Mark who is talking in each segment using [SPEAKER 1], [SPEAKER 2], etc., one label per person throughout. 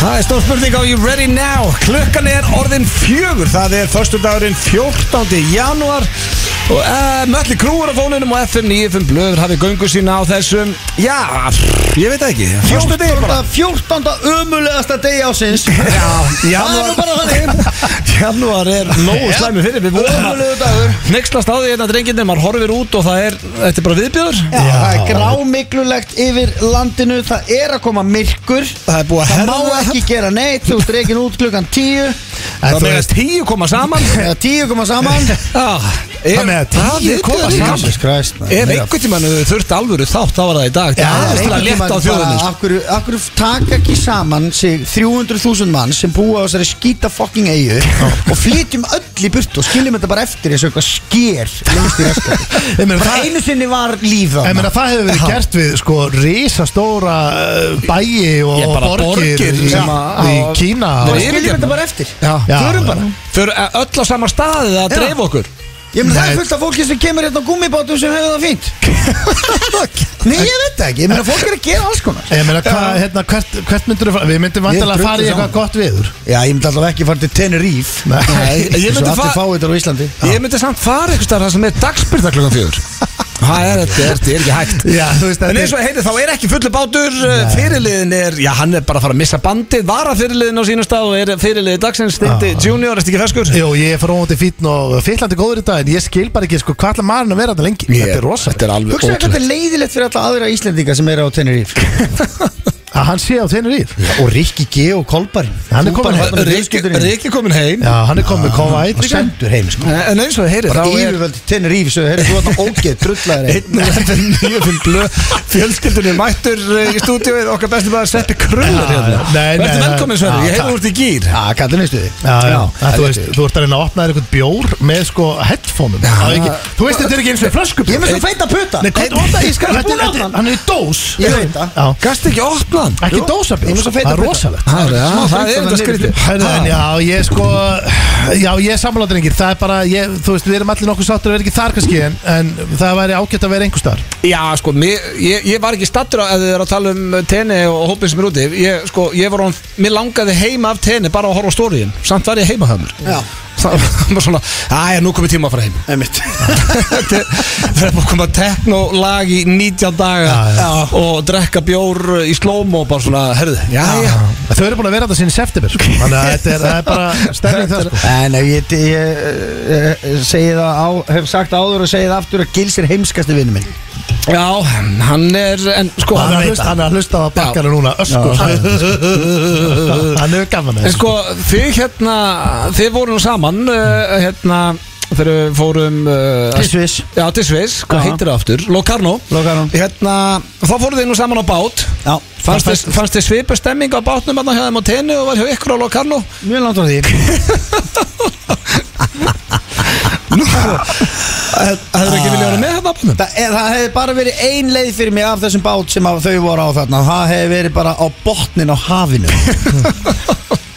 [SPEAKER 1] Það er stór spurning á You Ready Now Klukkan er orðin fjögur Það er förstu dagurinn 14. januar Og uh, mölli krúar á fónunum og FM 95 blöður hafi göngu sína á þessum Já, ég veit það ekki Förstu dagur bara
[SPEAKER 2] 14. 14. ömulegasta degi ásins
[SPEAKER 1] Já,
[SPEAKER 2] Það er nú bara
[SPEAKER 1] þannig Januar er nógu
[SPEAKER 2] Já.
[SPEAKER 1] slæmi fyrir Við vorum
[SPEAKER 2] Ömulegu dagur
[SPEAKER 1] neykslast á því hérna drenginni Maður horfir út og það er, þetta er bara viðbjörður
[SPEAKER 2] Já, það er grámiklulegt yfir landinu Það er að koma myrkur
[SPEAKER 1] Það er búið að
[SPEAKER 2] Það
[SPEAKER 1] herða
[SPEAKER 2] má ekki gera neitt Þú strekin út klukkan 10
[SPEAKER 1] Það með að tíu koma saman
[SPEAKER 2] Eða 10 koma saman
[SPEAKER 1] Já, er-
[SPEAKER 3] Það með að tíu
[SPEAKER 1] er
[SPEAKER 3] koma
[SPEAKER 1] viðbjóður.
[SPEAKER 3] saman.
[SPEAKER 2] Jesus Christ maður.
[SPEAKER 1] Ef einhvern tímann hefur þurft alvöru þátt, þá var það í dag
[SPEAKER 2] Já,
[SPEAKER 1] Það er til að létta á þjóðunni sko.
[SPEAKER 2] af, hverju, af hverju taka ekki saman sig 300.000 mann sem búa á þessari skýta fokking eigu og flytjum öll í burt og skiljum þetta bara eftir eins og eitthvað sker lengst í raskar
[SPEAKER 3] Ég meina,
[SPEAKER 2] bara
[SPEAKER 3] það-
[SPEAKER 2] einu sinni var líf
[SPEAKER 3] Ég
[SPEAKER 2] þarna
[SPEAKER 3] meina það hefur verið gert við sko risastóra uh, bæi og
[SPEAKER 1] Ég
[SPEAKER 3] og
[SPEAKER 1] bara
[SPEAKER 3] borgir,
[SPEAKER 1] borgir
[SPEAKER 3] í,
[SPEAKER 1] sem að-
[SPEAKER 3] í Kína
[SPEAKER 1] Nei,
[SPEAKER 3] og-
[SPEAKER 1] ég-
[SPEAKER 2] skiljum þetta bara eftir
[SPEAKER 1] Já.
[SPEAKER 2] förum bara
[SPEAKER 1] Fyrir eh, öll á sama staði að
[SPEAKER 2] Já.
[SPEAKER 1] dreifa okkur
[SPEAKER 2] Ég meina það
[SPEAKER 3] Nei.
[SPEAKER 2] er fullt af fólki sem kemur hérna á gummibátum sem hefur það fínt Nei ég veit það ekki, ég meina fólk er að gera alls konar
[SPEAKER 3] Ég meina hvað, hérna, hvert, hvert myndur við myndum vantilega að
[SPEAKER 2] drullu
[SPEAKER 3] fara í eitthvað
[SPEAKER 2] saman.
[SPEAKER 3] gott viður
[SPEAKER 2] Já ég myndi alltaf ekki fara til Tenerife
[SPEAKER 3] Nei.
[SPEAKER 2] Nei,
[SPEAKER 1] Ég
[SPEAKER 2] ég
[SPEAKER 1] myndi
[SPEAKER 2] myndi
[SPEAKER 1] fa-
[SPEAKER 2] allir fáið þetta á Íslandi
[SPEAKER 1] Ég myndi samt fara einhvers staðar þar sem er dagspyrta klokkan fjögur Það er þetta, er- þetta er ekki hægt
[SPEAKER 3] Já, þú veist,
[SPEAKER 1] En
[SPEAKER 3] þetta
[SPEAKER 1] eins og heiti, þá er ekki fullu bátur eh, Fyrirliðin er, já hann er bara að fara að missa bandið Vara fyrirliðin á sínum stað og er fyrirliðið dagsins Stindi Junior, ertu ekki feskur?
[SPEAKER 3] Jó, ég er fróðandi fítn og fyllandi góður í dag en ég skil bara ekki sko hvað ætla maðurinn að vera þetta lengi Þetta er rosa
[SPEAKER 1] Þetta er alveg
[SPEAKER 2] Hugsaðu hvað
[SPEAKER 1] ótrúlegt.
[SPEAKER 2] þetta er um leiðilegt fyrir alla aðra Íslendinga sem eru á Tenerife
[SPEAKER 3] að hann sé á þeinnur ír
[SPEAKER 2] Og Rikki G og Kolbarinn
[SPEAKER 3] Hann er kominn heim.
[SPEAKER 1] hérna, Rikki Rikki er komin heim
[SPEAKER 3] Já, hann er komið koma eitt
[SPEAKER 2] Og sendur heim sko
[SPEAKER 1] Eh, En eins og heiti,
[SPEAKER 2] Bara
[SPEAKER 1] þá er
[SPEAKER 2] yfirvöld í Tenerife Svo heyrðu þú þetta ógeð, drullar þeir
[SPEAKER 1] fjölskyldunni mættur eh, í stúdíóið okkar bestu maður Sveppi Krullur hérna
[SPEAKER 3] nei, nei,
[SPEAKER 1] Vertu
[SPEAKER 3] nei.
[SPEAKER 1] velkomin Sveppi, ég
[SPEAKER 3] Já,
[SPEAKER 1] hef úr í gýr
[SPEAKER 2] Já, kallin veistu þið
[SPEAKER 3] Já, já,
[SPEAKER 2] það
[SPEAKER 3] þú
[SPEAKER 2] veit
[SPEAKER 3] veist,
[SPEAKER 2] ég.
[SPEAKER 3] þú ert að reyna að opna þér einhvern bjór með sko headphoneum Það er ekki- Þú veist, þetta er ekki eins og
[SPEAKER 2] Ég er
[SPEAKER 3] flöskubjór
[SPEAKER 2] með svo feita putta
[SPEAKER 3] Nei, hvað opna ég skal
[SPEAKER 2] Ég er búinn að opna hann.
[SPEAKER 3] Hann er í dós
[SPEAKER 2] Ég veit það.
[SPEAKER 3] Já.
[SPEAKER 1] Gast ekki opna hann Jú.
[SPEAKER 3] Ekki
[SPEAKER 2] Ég er
[SPEAKER 3] dósabjór
[SPEAKER 2] með svo
[SPEAKER 3] sko.
[SPEAKER 2] feita
[SPEAKER 3] Það er
[SPEAKER 2] putta.
[SPEAKER 3] rosalegt
[SPEAKER 1] Það er- já,
[SPEAKER 2] Smá
[SPEAKER 1] það er þetta
[SPEAKER 2] þrýsting þarna
[SPEAKER 1] skrítið
[SPEAKER 2] niður.
[SPEAKER 3] Hæðu, en já, ég sko Já, ég er sammálaður engir Það er bara, ég, þú veist, við erum allir nokkuð sáttur að vera ekki þar kannski En, en það væri ágætt að vera einhver staðar
[SPEAKER 1] Já, sko, mér, ég, ég var ekki stattur að þið er að tala um tenni og hópin sem er úti Ég, sko, ég var án, mér langaði heima af tenni bara að horfa á stóriðin Samt var ég heima það mér
[SPEAKER 2] Já.
[SPEAKER 1] Það var svona, aðja, nú komið tíma að fara heim
[SPEAKER 2] Einmitt
[SPEAKER 1] Þetta er- Það er bara að koma teknolag í 19 daga
[SPEAKER 3] Já, já.
[SPEAKER 1] Og drekka bjór í slóm og bara svona, herðu, já, já.
[SPEAKER 3] Ah. Þau eru búin að vera þetta sinni september sko. Þannig að þetta er, það er bara stærning það sko.
[SPEAKER 2] En ef ég, ég, ég, ég segi það á, hef sagt áður og segi það aftur að Gils er heimskasti vinnu minn
[SPEAKER 1] Já, hann er, en sko
[SPEAKER 3] Hann er að hlusta- hann er að hlusta á bakkanu núna Öskur Hann er gaman
[SPEAKER 1] En
[SPEAKER 3] að þessu.
[SPEAKER 1] sko, þið hérna, þið voru nú saman uh, Hérna, þegar við fórum uh,
[SPEAKER 2] Til Sviss.
[SPEAKER 1] Já, til Sviss, hvað
[SPEAKER 2] Já.
[SPEAKER 1] heitir það aftur? Locarno
[SPEAKER 2] Locarno.
[SPEAKER 1] Hérna, þá fóruð þið nú saman á bát
[SPEAKER 2] Já,
[SPEAKER 1] Fannst þið, fannst þið svipa stemming á bátnum hérna hjá þeim á tenni og var hjá ykkur á Locarno?
[SPEAKER 2] mjög langt á því
[SPEAKER 1] Það hefur ekki viljað vera með hérna á bátnum?
[SPEAKER 2] Ah. Það, er, það hefði bara verið ein leið fyrir mig af þessum bát sem að þau voru á þarna Það hefði verið bara á botnin á hafinu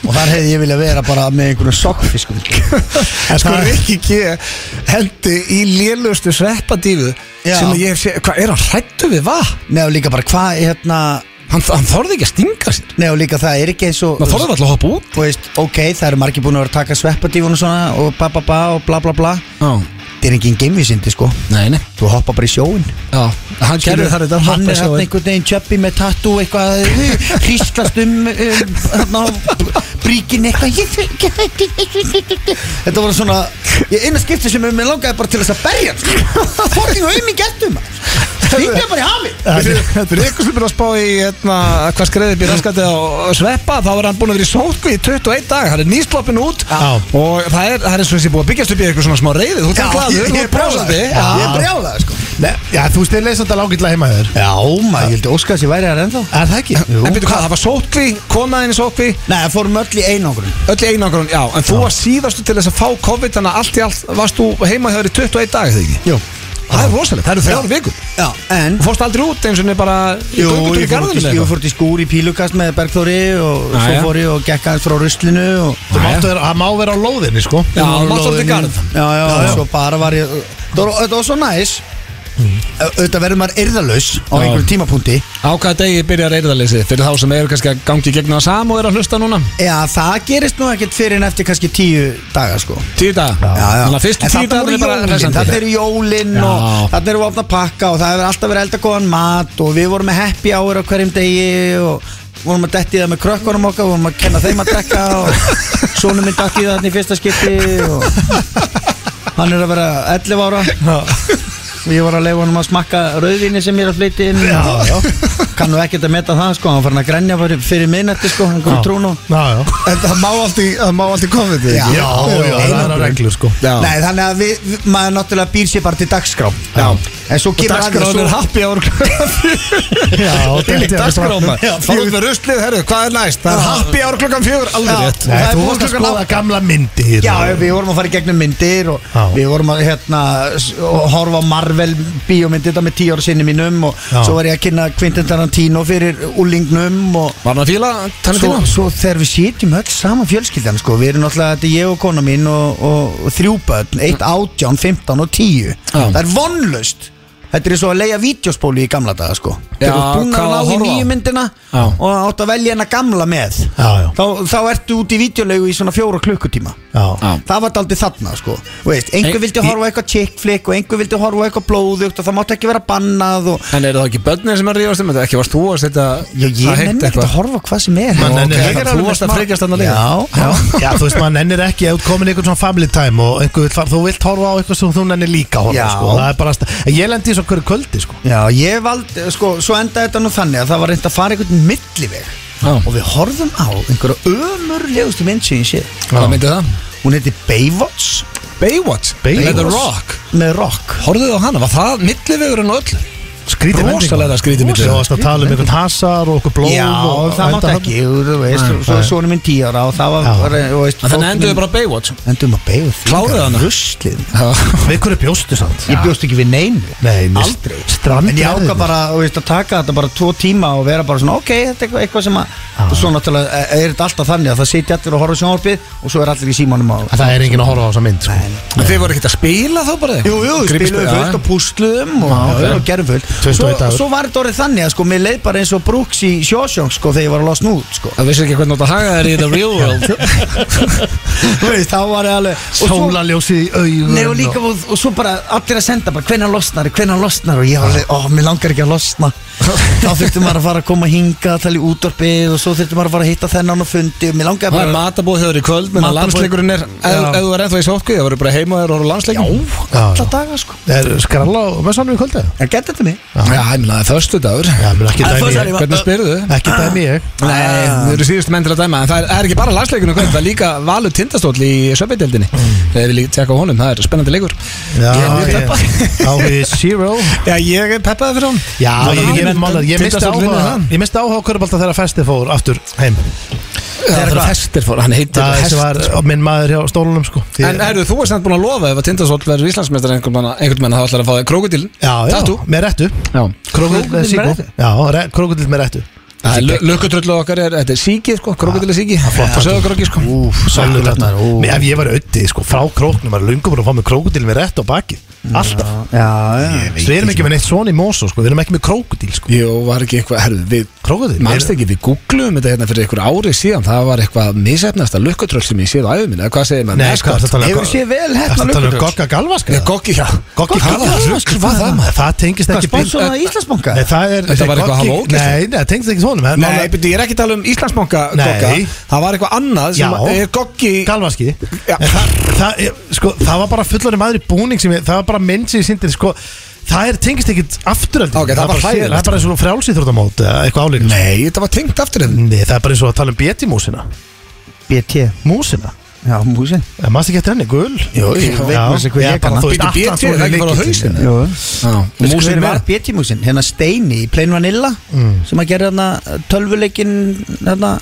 [SPEAKER 2] Og þar hefði ég vilja vera bara með einhvern sokkfiskum
[SPEAKER 1] En sko, Rikki G hendi í lélustu sveppadífu
[SPEAKER 2] Já.
[SPEAKER 1] sem ég hef séð, hvað er hann hrættu við, hvað?
[SPEAKER 2] Nei og líka bara hvað, hérna
[SPEAKER 1] Hann, hann þorði ekki að stinga sér
[SPEAKER 2] Nei og líka það er ekki eins og
[SPEAKER 1] Ná þorðum alltaf að hoppa út
[SPEAKER 2] Þú veist, ok, það eru margir búin að vera að taka sveppadífun og svona og ba ba ba og bla bla bla
[SPEAKER 1] Já,
[SPEAKER 2] Það er engin geimvísindi sko
[SPEAKER 1] nei, nei
[SPEAKER 2] Þú hoppa bara í sjóin
[SPEAKER 1] Já, hann gerði þar þetta
[SPEAKER 2] Hann er hann
[SPEAKER 1] hann
[SPEAKER 2] einhvern veginn tjöppi með tattoo eitthvað Hrýstlast um um, Hann á bríkin eitthvað Ég fer ekki að þetta. Þetta var svona Ég eina skipti sem mér langaði bara til þess að berja sko. hann Fokking auðmi gertum Stingja bara í hafi
[SPEAKER 1] Þetta er ykkur sem er að spá í hérna, hvað skreði býr raskatið á sveppa þá er hann búin að vera í sótkví í 21 dag hann er nýsloppin út
[SPEAKER 3] Já.
[SPEAKER 1] og það er, það er eins og þessi búið að byggjast upp í eitthvað svona smá reyði þú ert glæður, þú ert brásandi
[SPEAKER 2] Ég er brjálaði sko
[SPEAKER 3] Nei, Já, þú veist, þeir leysa þetta lágitlega heima hjá þér
[SPEAKER 2] Já maður, ég held óskast ég væri þar ennþá
[SPEAKER 3] Er það ekki?
[SPEAKER 1] En byrju hvað, það var sótkví, konaðin í sótkví
[SPEAKER 2] Nei, það fórum öll í einangrun
[SPEAKER 1] öll í einangrun, já, en þú var síðastu til þess að fá COVID þannig að allt í allt varst þú heima hjá þér í 21 dag, þegar ekki?
[SPEAKER 2] Jú
[SPEAKER 1] Það er rosalegt, það eru þrjár vikur
[SPEAKER 2] Já, en
[SPEAKER 1] Þú fórst aldrei út eins og niður bara í
[SPEAKER 2] Jú,
[SPEAKER 1] göngutúr í
[SPEAKER 2] ég fór út
[SPEAKER 1] garðinum eða
[SPEAKER 2] í, ég
[SPEAKER 1] eitthvað?
[SPEAKER 2] fór út í skúr í pílukast með Bergþóri og svo
[SPEAKER 1] Jæja.
[SPEAKER 2] fór ég og gekk aðeins frá ruslinu og
[SPEAKER 3] Þú máttu vera- Það má vera á lóðinni sko
[SPEAKER 1] Já,
[SPEAKER 3] Á
[SPEAKER 1] máttu vera í
[SPEAKER 3] lóðinni.
[SPEAKER 1] garð.
[SPEAKER 2] já, já,
[SPEAKER 3] Já, já.
[SPEAKER 2] svo bara var ég Þetta var, þetta var svo næs Ö- auðvitað verður maður erðalaus á
[SPEAKER 1] Mm. Já.
[SPEAKER 2] einhverjum tímapunkti
[SPEAKER 1] Á hvaða degi byrjar eyrðarleysið fyrir þá sem eru kannski að gangi í gegnum það sam og eru að hlusta núna?
[SPEAKER 2] Já, það gerist nú ekkert fyrir en eftir kannski tíu daga sko
[SPEAKER 1] Tíu daga?
[SPEAKER 2] Já, já.
[SPEAKER 1] Þannig að fyrstu tíu
[SPEAKER 2] En þarna
[SPEAKER 1] dagar
[SPEAKER 2] voru
[SPEAKER 1] er bara
[SPEAKER 2] jólin,
[SPEAKER 1] hressandi.
[SPEAKER 2] þarna eru jólin
[SPEAKER 1] Já.
[SPEAKER 2] og þarna eru ofna pakka og það hefur alltaf verið elda góðan mat og við vorum með happy hour á hverjum degi og vorum að detti það með krökkunum okkar vorum að kenna þeim að drekka og sonum minn datti það í fyrsta skipti og hann er að vera 11 ára og ég var að leifa honum að smakka rauðvinni sem ég er að flytja inn já, já. kannu ekkert að meta það sko hann var farin að grenja fyrir, fyrir miðnætti sko hann kom trún og
[SPEAKER 3] Já, já
[SPEAKER 4] En það má allt í, það má allt í komið
[SPEAKER 2] Já.
[SPEAKER 3] Já, já, það er á reglur sko
[SPEAKER 1] Já.
[SPEAKER 2] Nei, þannig að við, við, maður náttúrulega býr sér bara til dagskrá
[SPEAKER 1] Já.
[SPEAKER 2] En svo kemur
[SPEAKER 1] Dagskráin er happy hour
[SPEAKER 3] Já,
[SPEAKER 1] Til í dagskráin
[SPEAKER 3] Já,
[SPEAKER 1] Fáðu upp með ruslið, herru, hvað er næst? Það er happy hour klukkan fjögur, alveg
[SPEAKER 2] Já.
[SPEAKER 1] rétt
[SPEAKER 3] Nei,
[SPEAKER 2] Það er
[SPEAKER 3] þú
[SPEAKER 2] búið
[SPEAKER 3] varst að
[SPEAKER 2] klukkan
[SPEAKER 3] skoða gamla myndir
[SPEAKER 2] Já,
[SPEAKER 3] og-
[SPEAKER 2] við vorum að fara í gegnum myndir og
[SPEAKER 3] Já.
[SPEAKER 2] við vorum að hérna, s- og horfa á Marvel bíómyndir þetta með tíu ára sinni mínum og
[SPEAKER 3] Já.
[SPEAKER 2] svo var ég að kynna Quentin Tarantino fyrir úlingnum og
[SPEAKER 1] Var hann að fíla
[SPEAKER 2] svo,
[SPEAKER 1] Tarantino?
[SPEAKER 2] svo þegar við sitjum öll saman fjölskyldan sko, við erum náttúrulega, þetta er ég og kona mín og, og, og þrjú börn,
[SPEAKER 1] Mm.
[SPEAKER 2] 1, 18, 15 og 10 það er vonlust Þetta er svo að leia vídeospóli í gamla daga sko
[SPEAKER 1] Já,
[SPEAKER 2] Þegar þú ert búin
[SPEAKER 1] hvað að
[SPEAKER 2] að ná í
[SPEAKER 1] horfa á?
[SPEAKER 2] nýju myndina
[SPEAKER 1] Já.
[SPEAKER 2] og átt að velja hennar gamla með
[SPEAKER 3] Já, já.
[SPEAKER 2] Þá, þá ertu út í vídeolegu í svona fjóra klukkutíma
[SPEAKER 3] Já,
[SPEAKER 2] Það var aldrei þarna sko Þú veist,
[SPEAKER 1] Ein-
[SPEAKER 2] Einhver vildi
[SPEAKER 1] í-
[SPEAKER 2] horfa á eitthvað chick flick og einhver vildi horfa á eitthvað blóðugt og það mátti ekki vera bannað og
[SPEAKER 1] En eru það ekki börnir sem er ríðast um þetta? Ekki varst þú að setja
[SPEAKER 2] Já, ég nenni ekkert að horfa á hvað sem er
[SPEAKER 3] Man
[SPEAKER 2] Já,
[SPEAKER 3] nennir
[SPEAKER 2] ok.
[SPEAKER 3] ekkert
[SPEAKER 2] Ég er
[SPEAKER 1] að- þú
[SPEAKER 2] alveg
[SPEAKER 1] varst að
[SPEAKER 2] smá-
[SPEAKER 1] frekjast þarna líka.
[SPEAKER 2] Já, já
[SPEAKER 3] Já, þú veist, maður nennir ekki ef þú komin í einhvern svona family time og einhver, vill fara- þú vilt horfa á eitthvað sem þú nennir líka að horfa
[SPEAKER 2] Já.
[SPEAKER 3] sko. það er bara, sta- en ég lendi í svo hverju kvöldi sko.
[SPEAKER 2] Já, ég vald, sko, svo endaði þetta nú þannig að það var reynd að fara einhvern milliveg
[SPEAKER 1] Já.
[SPEAKER 2] og við horfðum á einhverja ömurlegustu mynd sem ég sé
[SPEAKER 1] Hvað myndi það?
[SPEAKER 2] Hún heiti Baywatch
[SPEAKER 1] Baywatch
[SPEAKER 3] Baywatch.
[SPEAKER 1] Með The Rock
[SPEAKER 2] með Rock
[SPEAKER 1] Horfðuð á hana, var það millivegurinn og öll?
[SPEAKER 3] skrítið
[SPEAKER 1] Rosalega skrítið
[SPEAKER 3] myndi
[SPEAKER 1] myndi.
[SPEAKER 3] þú varst að tala um einhvern hasar og okkur blóð
[SPEAKER 2] Já,
[SPEAKER 3] og,
[SPEAKER 2] það mátt
[SPEAKER 3] enda-
[SPEAKER 2] ekki, þú veist,
[SPEAKER 3] Nei,
[SPEAKER 2] svo
[SPEAKER 3] nei.
[SPEAKER 2] er svona minn tíu ára og það var,
[SPEAKER 3] Já.
[SPEAKER 2] var þú veist,
[SPEAKER 1] En Þannig endur við bara Baywatch
[SPEAKER 2] Endum að Baywatch
[SPEAKER 1] Kláruðu hana?
[SPEAKER 2] Ruslið
[SPEAKER 3] við hverju bjóstu samt
[SPEAKER 2] Ég bjóst ekki við neinu
[SPEAKER 3] Nei, mér-
[SPEAKER 2] Aldrei En ég
[SPEAKER 3] strandverðirnir.
[SPEAKER 2] ákvað bara, þú veist, að taka þetta bara tvo tíma og vera bara svona, ok, þetta er eitthvað- eitthvað sem að og svo náttúrulega eh, er þetta alltaf þannig að það sitja allir og horfa sjónvarpið og svo er allir í símanum á
[SPEAKER 3] En það er enginn að horfa á þessa mynd sko.
[SPEAKER 1] En þið voru ekkert að spila þá bara?
[SPEAKER 2] Jú, jú,
[SPEAKER 1] Grípist-
[SPEAKER 2] spiluðu
[SPEAKER 1] Já.
[SPEAKER 2] fullt og púsluðum og,
[SPEAKER 1] Já,
[SPEAKER 2] og gerðum fullt
[SPEAKER 3] 21
[SPEAKER 2] svo,
[SPEAKER 3] dagur.
[SPEAKER 2] svo var þetta orðið þannig að sko, mér leið bara eins og brúks í sjósjóngs sko, þegar ég var að losna út sko.
[SPEAKER 1] Það vissi ekki hvernig þú átt að haga þér í the real world
[SPEAKER 2] Þú veist, þá var ég alveg og svo-
[SPEAKER 3] sólaljósið í augun
[SPEAKER 2] Nei og líka og, og svo bara allir að senda bara hvenær losnar, hvenær losnar og ég var alveg, ó, mér langar ekki að losna þá þurfti maður að fara að koma að hinga tala í útvarpið og svo þurfti maður að fara að hitta þennan og fundi og mér langaði
[SPEAKER 1] Það er
[SPEAKER 2] bara
[SPEAKER 1] matabóð þegar í kvöld menn að
[SPEAKER 2] Matarboð-
[SPEAKER 1] landsleikurinn er
[SPEAKER 2] Já.
[SPEAKER 1] Ef ef þú er ennþá í sótkvíð þá voru bara heima þér og horfa landsleikurinn Já,
[SPEAKER 2] alla daga sko
[SPEAKER 3] er skralla á messanum í kvöldi
[SPEAKER 2] En gett þetta mig?
[SPEAKER 1] já ég meina það er förstu dagur
[SPEAKER 3] já, menn ekki
[SPEAKER 2] En
[SPEAKER 3] dæmi
[SPEAKER 2] það
[SPEAKER 3] ég
[SPEAKER 2] var-
[SPEAKER 1] Hvernig spyrðu þau?
[SPEAKER 3] ekki dæmi ég
[SPEAKER 1] Nei, þau eru síðust menn til að dæma En það er, er ekki bara landsleikunum kvöld Það er líka Valur Tindastóll í söpbeideldinni Þegar við líka tjekka á honum, það er spennandi leikur
[SPEAKER 3] já,
[SPEAKER 1] Mm. Ég er mjög
[SPEAKER 3] ég- áhugi zero
[SPEAKER 1] Já, ég er peppaði fyrir hann
[SPEAKER 3] Já,
[SPEAKER 1] Það
[SPEAKER 3] ég,
[SPEAKER 1] var
[SPEAKER 3] ég,
[SPEAKER 1] hann-
[SPEAKER 3] málar, ég misti
[SPEAKER 1] Tindastóll vinnur
[SPEAKER 3] áhuga
[SPEAKER 1] það.
[SPEAKER 3] Ég misti áhuga á körbalta þegar festið fór aftur heim
[SPEAKER 1] Það er
[SPEAKER 2] hvað?
[SPEAKER 1] festir fór, hann heitir
[SPEAKER 3] Það sem
[SPEAKER 1] Hest.
[SPEAKER 3] var minn maður hjá stólunum sko Því-
[SPEAKER 1] En erðu, þú er samt búin að lofa ef að Tindastóll verður Íslandsmeistar einhvern mann einhvern mann þá ætlar að fá þig krokodil
[SPEAKER 3] Já, já,
[SPEAKER 1] Tattoo.
[SPEAKER 3] með réttu
[SPEAKER 1] Já.
[SPEAKER 3] Krókodill með
[SPEAKER 2] Krókódíll með
[SPEAKER 3] síku
[SPEAKER 2] réttu?
[SPEAKER 3] Já, re- krókodill með réttu
[SPEAKER 1] Það er lukkutröllu okkar er, þetta er síki sko, krokodil er síki
[SPEAKER 3] flott tattoo.
[SPEAKER 1] Söðakroki sko
[SPEAKER 3] Úf, sannlega þetta Men Ef ég var auðið sko, frá króknum var lungum að fá með krókodill með réttu á baki Alltaf
[SPEAKER 2] Já, já
[SPEAKER 3] Svo Við erum ekki með neitt svona í moso sko, við erum ekki með krókodill sko
[SPEAKER 1] Jó, var ekki eitthvað, herðu, við
[SPEAKER 3] Krókodill
[SPEAKER 1] Manst ekki, við googluðum þetta hérna fyrir einhver ári síðan Það var eitthvað misefnasta lukkutröll sem ég séð á æfum minna Hvað segir maður?
[SPEAKER 3] Nei, hvað er þetta
[SPEAKER 1] um
[SPEAKER 3] að
[SPEAKER 2] Hefur séð vel hérna
[SPEAKER 3] tala um
[SPEAKER 2] lukkutröll?
[SPEAKER 3] Gogga Galvask
[SPEAKER 1] Nei, Goggi, já
[SPEAKER 3] Goggi
[SPEAKER 1] Hvað var
[SPEAKER 3] Galvask
[SPEAKER 1] það? Hvað það maður?
[SPEAKER 3] Það tengist
[SPEAKER 2] Hvað
[SPEAKER 3] ekki
[SPEAKER 2] sponsor það Íslandsbanka?
[SPEAKER 3] Nei, það er
[SPEAKER 1] Þetta var eitthvað að hafa
[SPEAKER 3] Goggi-
[SPEAKER 1] ógeðslega.
[SPEAKER 3] Nei, nei, það tengist ekki svona
[SPEAKER 1] Nei, byrju, ég er ekki að tala um Íslandsbanka
[SPEAKER 3] Nei.
[SPEAKER 1] Gogga Það var eitthvað annað sem
[SPEAKER 3] Já.
[SPEAKER 1] er Goggi
[SPEAKER 3] Galvaski
[SPEAKER 1] Já.
[SPEAKER 3] En það, það, er- sko, það var bara fullorinn maður í búning sem ég, það var bara mynd sem ég sýndir sko, það er tengist ekkit afturöld
[SPEAKER 1] Ok, það var hræðilegt.
[SPEAKER 3] það er bara eins og frjálsýþróttamót eða eitthvað álíka sko.
[SPEAKER 1] Nei, þetta var tengt aftur hérna. þeim
[SPEAKER 3] Nei, það er bara eins og að tala um betimúsina
[SPEAKER 2] BT
[SPEAKER 3] músina
[SPEAKER 2] Já, músin
[SPEAKER 3] Eh, maður ekki eftir henni, gul
[SPEAKER 2] Jú, ég veit
[SPEAKER 3] Já.
[SPEAKER 2] maður sem hvað
[SPEAKER 3] Já,
[SPEAKER 2] ég
[SPEAKER 3] bara
[SPEAKER 2] kann.
[SPEAKER 3] þú veist,
[SPEAKER 1] Bíddu, BT, það er ekki
[SPEAKER 3] Atlantskóli
[SPEAKER 1] bara á hausinn?
[SPEAKER 3] lykillinn.
[SPEAKER 2] Jú Músin
[SPEAKER 1] Músin
[SPEAKER 2] var
[SPEAKER 1] með
[SPEAKER 2] BT músin Hérna Steini í Plain Vanilla sem að gera hérna tölvuleikin hérna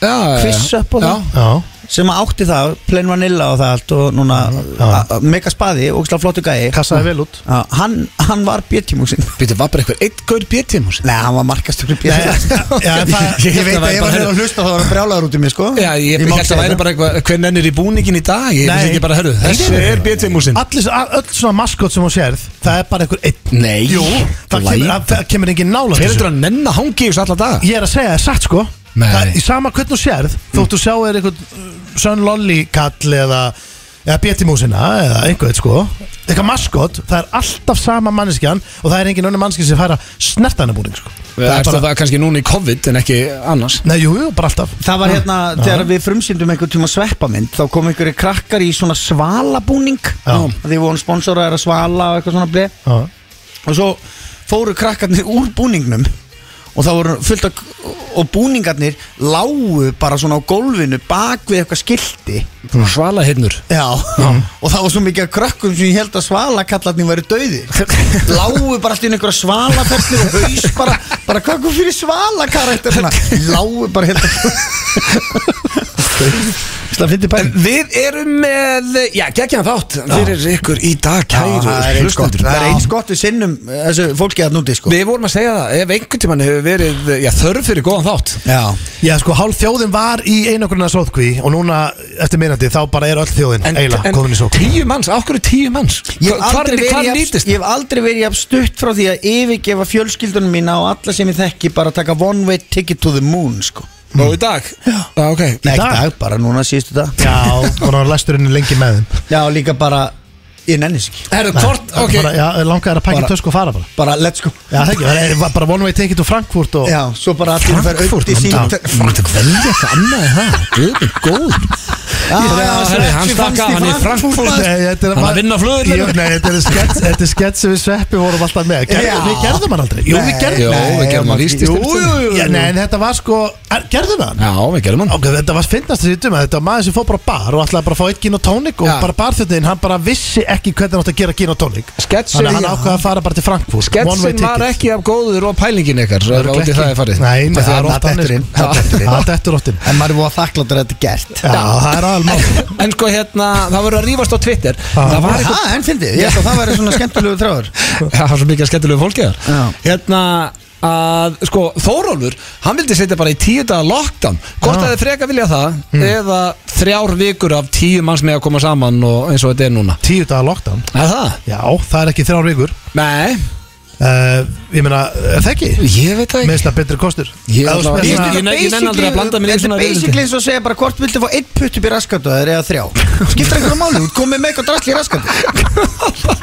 [SPEAKER 1] Já, já, já.
[SPEAKER 2] Quiz up og það.
[SPEAKER 1] Já,
[SPEAKER 3] Já,
[SPEAKER 2] sem að átti það, plain vanilla og það allt og núna a- a- mega spaði og flottu gæi
[SPEAKER 3] Mhm. Kassaði vel út
[SPEAKER 2] Já, hann, hann var bjöttímúsin
[SPEAKER 1] Býttu, var bara einhver eitt gaur bjöttíma
[SPEAKER 2] Nei, hann var markastur í
[SPEAKER 3] Já, en það-
[SPEAKER 2] Ég veit að
[SPEAKER 3] hérna
[SPEAKER 2] ef hann er að hlusta þá var hann brjálaður út í mig sko
[SPEAKER 1] Já, ég
[SPEAKER 2] má
[SPEAKER 1] held
[SPEAKER 2] ekki
[SPEAKER 1] að það
[SPEAKER 2] segja
[SPEAKER 1] væri bara eitthvað Hver nennir í búningin í dag? Ég
[SPEAKER 2] Nei.
[SPEAKER 1] finnst ekki bara, herru, þessi er BT-músin
[SPEAKER 3] Allir, a- öll svona maskot sem hún sérð Það er bara einhver einn
[SPEAKER 1] Nei,
[SPEAKER 3] Jú, það kemur, að, það kemur engin nála
[SPEAKER 1] Hver heldur að nenn að hangi í þessu alla daga?
[SPEAKER 3] Ég er að segja það satt sko
[SPEAKER 1] Nei.
[SPEAKER 3] það, Í sama hvernig þú sérð Þóttu sjá er einhvern uh, Sönn Lolli kall eða Eða Bétimúsina eða einhvern sko Eitthvað maskot, það er alltaf sama manneskjan Og það er engin önnur manneskja sem fær að snerta hennar búning sko
[SPEAKER 1] Það er bara það kannski núna í COVID en ekki annars
[SPEAKER 3] Nei, jú, jú, bara alltaf
[SPEAKER 2] Það var hérna, þegar við frumsýndum einhvern tíma sveppamind þá kom einhverju krakkar í svona svalabúning
[SPEAKER 3] Já.
[SPEAKER 2] því voru sponsorar að svala og eitthvað svona blei
[SPEAKER 3] Já.
[SPEAKER 2] og svo fóru krakkarnir úr búningnum og það voru fullt af og búningarnir lágu bara svona á gólfinu bak við eitthvað skilti
[SPEAKER 1] Svala hinnur
[SPEAKER 2] Já, og það var svo mikið að krökkum sem ég held að svalakallarnir væri döðir Láu bara allt inn einhverja svalaferðnir og haus bara, bara krökkum fyrir svalakarættir Láu bara held að Það finnir bæn
[SPEAKER 1] Við erum með, já, geggjan þátt Fyrir ykkur í dag, kæru
[SPEAKER 2] Það er eins gott,
[SPEAKER 1] hlustendur.
[SPEAKER 2] það er
[SPEAKER 1] Já.
[SPEAKER 2] eins gott við sinnum eh, þessu fólki að núti sko
[SPEAKER 1] Við vorum að segja það, ef einhvern tímann hefur verið já, þörf fyrir góðan þátt
[SPEAKER 2] Já,
[SPEAKER 3] Já, sko, hálf þjóðin var í einagrunna sótkví Og núna, eftir minnandi, þá bara er öll þjóðin
[SPEAKER 1] En,
[SPEAKER 3] Eila,
[SPEAKER 1] en
[SPEAKER 3] komin í sótkví
[SPEAKER 1] tíu manns, af hverju tíu manns?
[SPEAKER 2] Ég hef
[SPEAKER 1] Hvar-
[SPEAKER 2] aldrei
[SPEAKER 1] hvar
[SPEAKER 2] verið jafn-
[SPEAKER 1] nýtist?
[SPEAKER 2] ég hef aldrei verið jafn stutt frá því að yfirgefa fjölskyldunum mína og alla sem ég þekki bara að taka one way ticket to the moon sko
[SPEAKER 1] Nú í dag? Já, ok
[SPEAKER 2] Nei, ekki
[SPEAKER 3] dag?
[SPEAKER 2] dag, bara núna síðustu dag
[SPEAKER 3] Já, og hann læstur henni lengi með þeim
[SPEAKER 2] Já, líka bara, ég nennis ekki
[SPEAKER 1] Herru, hvort, ok
[SPEAKER 3] bara, Já, langaði að pakka
[SPEAKER 2] Bara-
[SPEAKER 3] tösku og fara bara
[SPEAKER 2] Bara let's go
[SPEAKER 3] Já, það ekki, það er bara one way ticket to Frankfurt og
[SPEAKER 2] Já, svo bara allir fær aukt í sín
[SPEAKER 1] Frankfurt velja eitthvað annað en það Guðum góður Herri, hann stakk af, hann er í Frankfurt
[SPEAKER 3] Nei, þetta er
[SPEAKER 1] Hann að vinna flugurinn
[SPEAKER 3] Jú, Nei, þetta er skets Þetta er skets sem við sveppi vorum alltaf með Gerð,
[SPEAKER 2] Já.
[SPEAKER 3] Við gerðum hann aldrei Jú, við gerðum
[SPEAKER 1] Jú, við gerðum hann víst í
[SPEAKER 3] Jú,
[SPEAKER 1] styrtu.
[SPEAKER 3] jú, jú, jú. Já, Nei, en þetta var sko er, Gerðum við hann?
[SPEAKER 1] Já, við gerum hann
[SPEAKER 3] Ok, þetta var finnast þessi duma um, Þetta var maður sem fór bara á bar og ætlaði bara að fá eitt gin og tónik og
[SPEAKER 1] Já.
[SPEAKER 3] bara barþjóðin, hann bara vissi ekki hvernig hann átti að gera gin og tónik
[SPEAKER 1] Sketsin-
[SPEAKER 3] Þannig að hann
[SPEAKER 1] já.
[SPEAKER 3] ákvaði að fara bara til Frankfurt one way
[SPEAKER 1] Sketsin
[SPEAKER 3] ticket.
[SPEAKER 1] var ekki af góður og pælingin ykkar Það er
[SPEAKER 3] Örugglega
[SPEAKER 1] átið
[SPEAKER 3] ekki.
[SPEAKER 1] það er farið
[SPEAKER 3] Nei, nei,
[SPEAKER 1] Það
[SPEAKER 3] það er
[SPEAKER 1] er
[SPEAKER 3] oft
[SPEAKER 2] dettur
[SPEAKER 3] þannig,
[SPEAKER 2] inn,
[SPEAKER 3] sko.
[SPEAKER 2] það dettur inn.
[SPEAKER 3] Það dettur óttinn
[SPEAKER 2] En maður er búið að þakkláttur að þetta er gert
[SPEAKER 3] Já, það er aðal mál
[SPEAKER 1] En sko hérna, það voru að rífast á Twitter Það var eitthvað
[SPEAKER 2] Það, en fyndi, ég held að það væri svona skemmtilegu þráður
[SPEAKER 1] Það var svo mikið að skemmtilegu fólki
[SPEAKER 2] Já.
[SPEAKER 1] þar Hérna að sko Þórólfur hann vildi setja bara í tíu daga lockdown hvort
[SPEAKER 3] Já. Hmm.
[SPEAKER 1] að þið freka vilja það eða þrjár vikur af tíu manns með að koma saman og eins og þetta er núna
[SPEAKER 3] Tíu dagar lockdown
[SPEAKER 1] Er það?
[SPEAKER 3] Já, það er ekki þrjár vikur
[SPEAKER 1] Nei,
[SPEAKER 3] uh, Ég meina, er það ekki?
[SPEAKER 1] ég veit það ekki
[SPEAKER 3] Mér finnst það betri kostur
[SPEAKER 1] Ég,
[SPEAKER 3] Ef þú
[SPEAKER 1] allavega-
[SPEAKER 3] spyrir
[SPEAKER 1] ég,
[SPEAKER 3] svona-
[SPEAKER 1] ég, ég, ég nenn aldrei að blanda mér í svona
[SPEAKER 2] basically
[SPEAKER 1] reyðildi
[SPEAKER 2] eins og segja bara hvort viltu fá einn putt upp í raskatu eða þrjá Skiptir einhverju máli, þú ert komið með eitthvað drastli í raskatu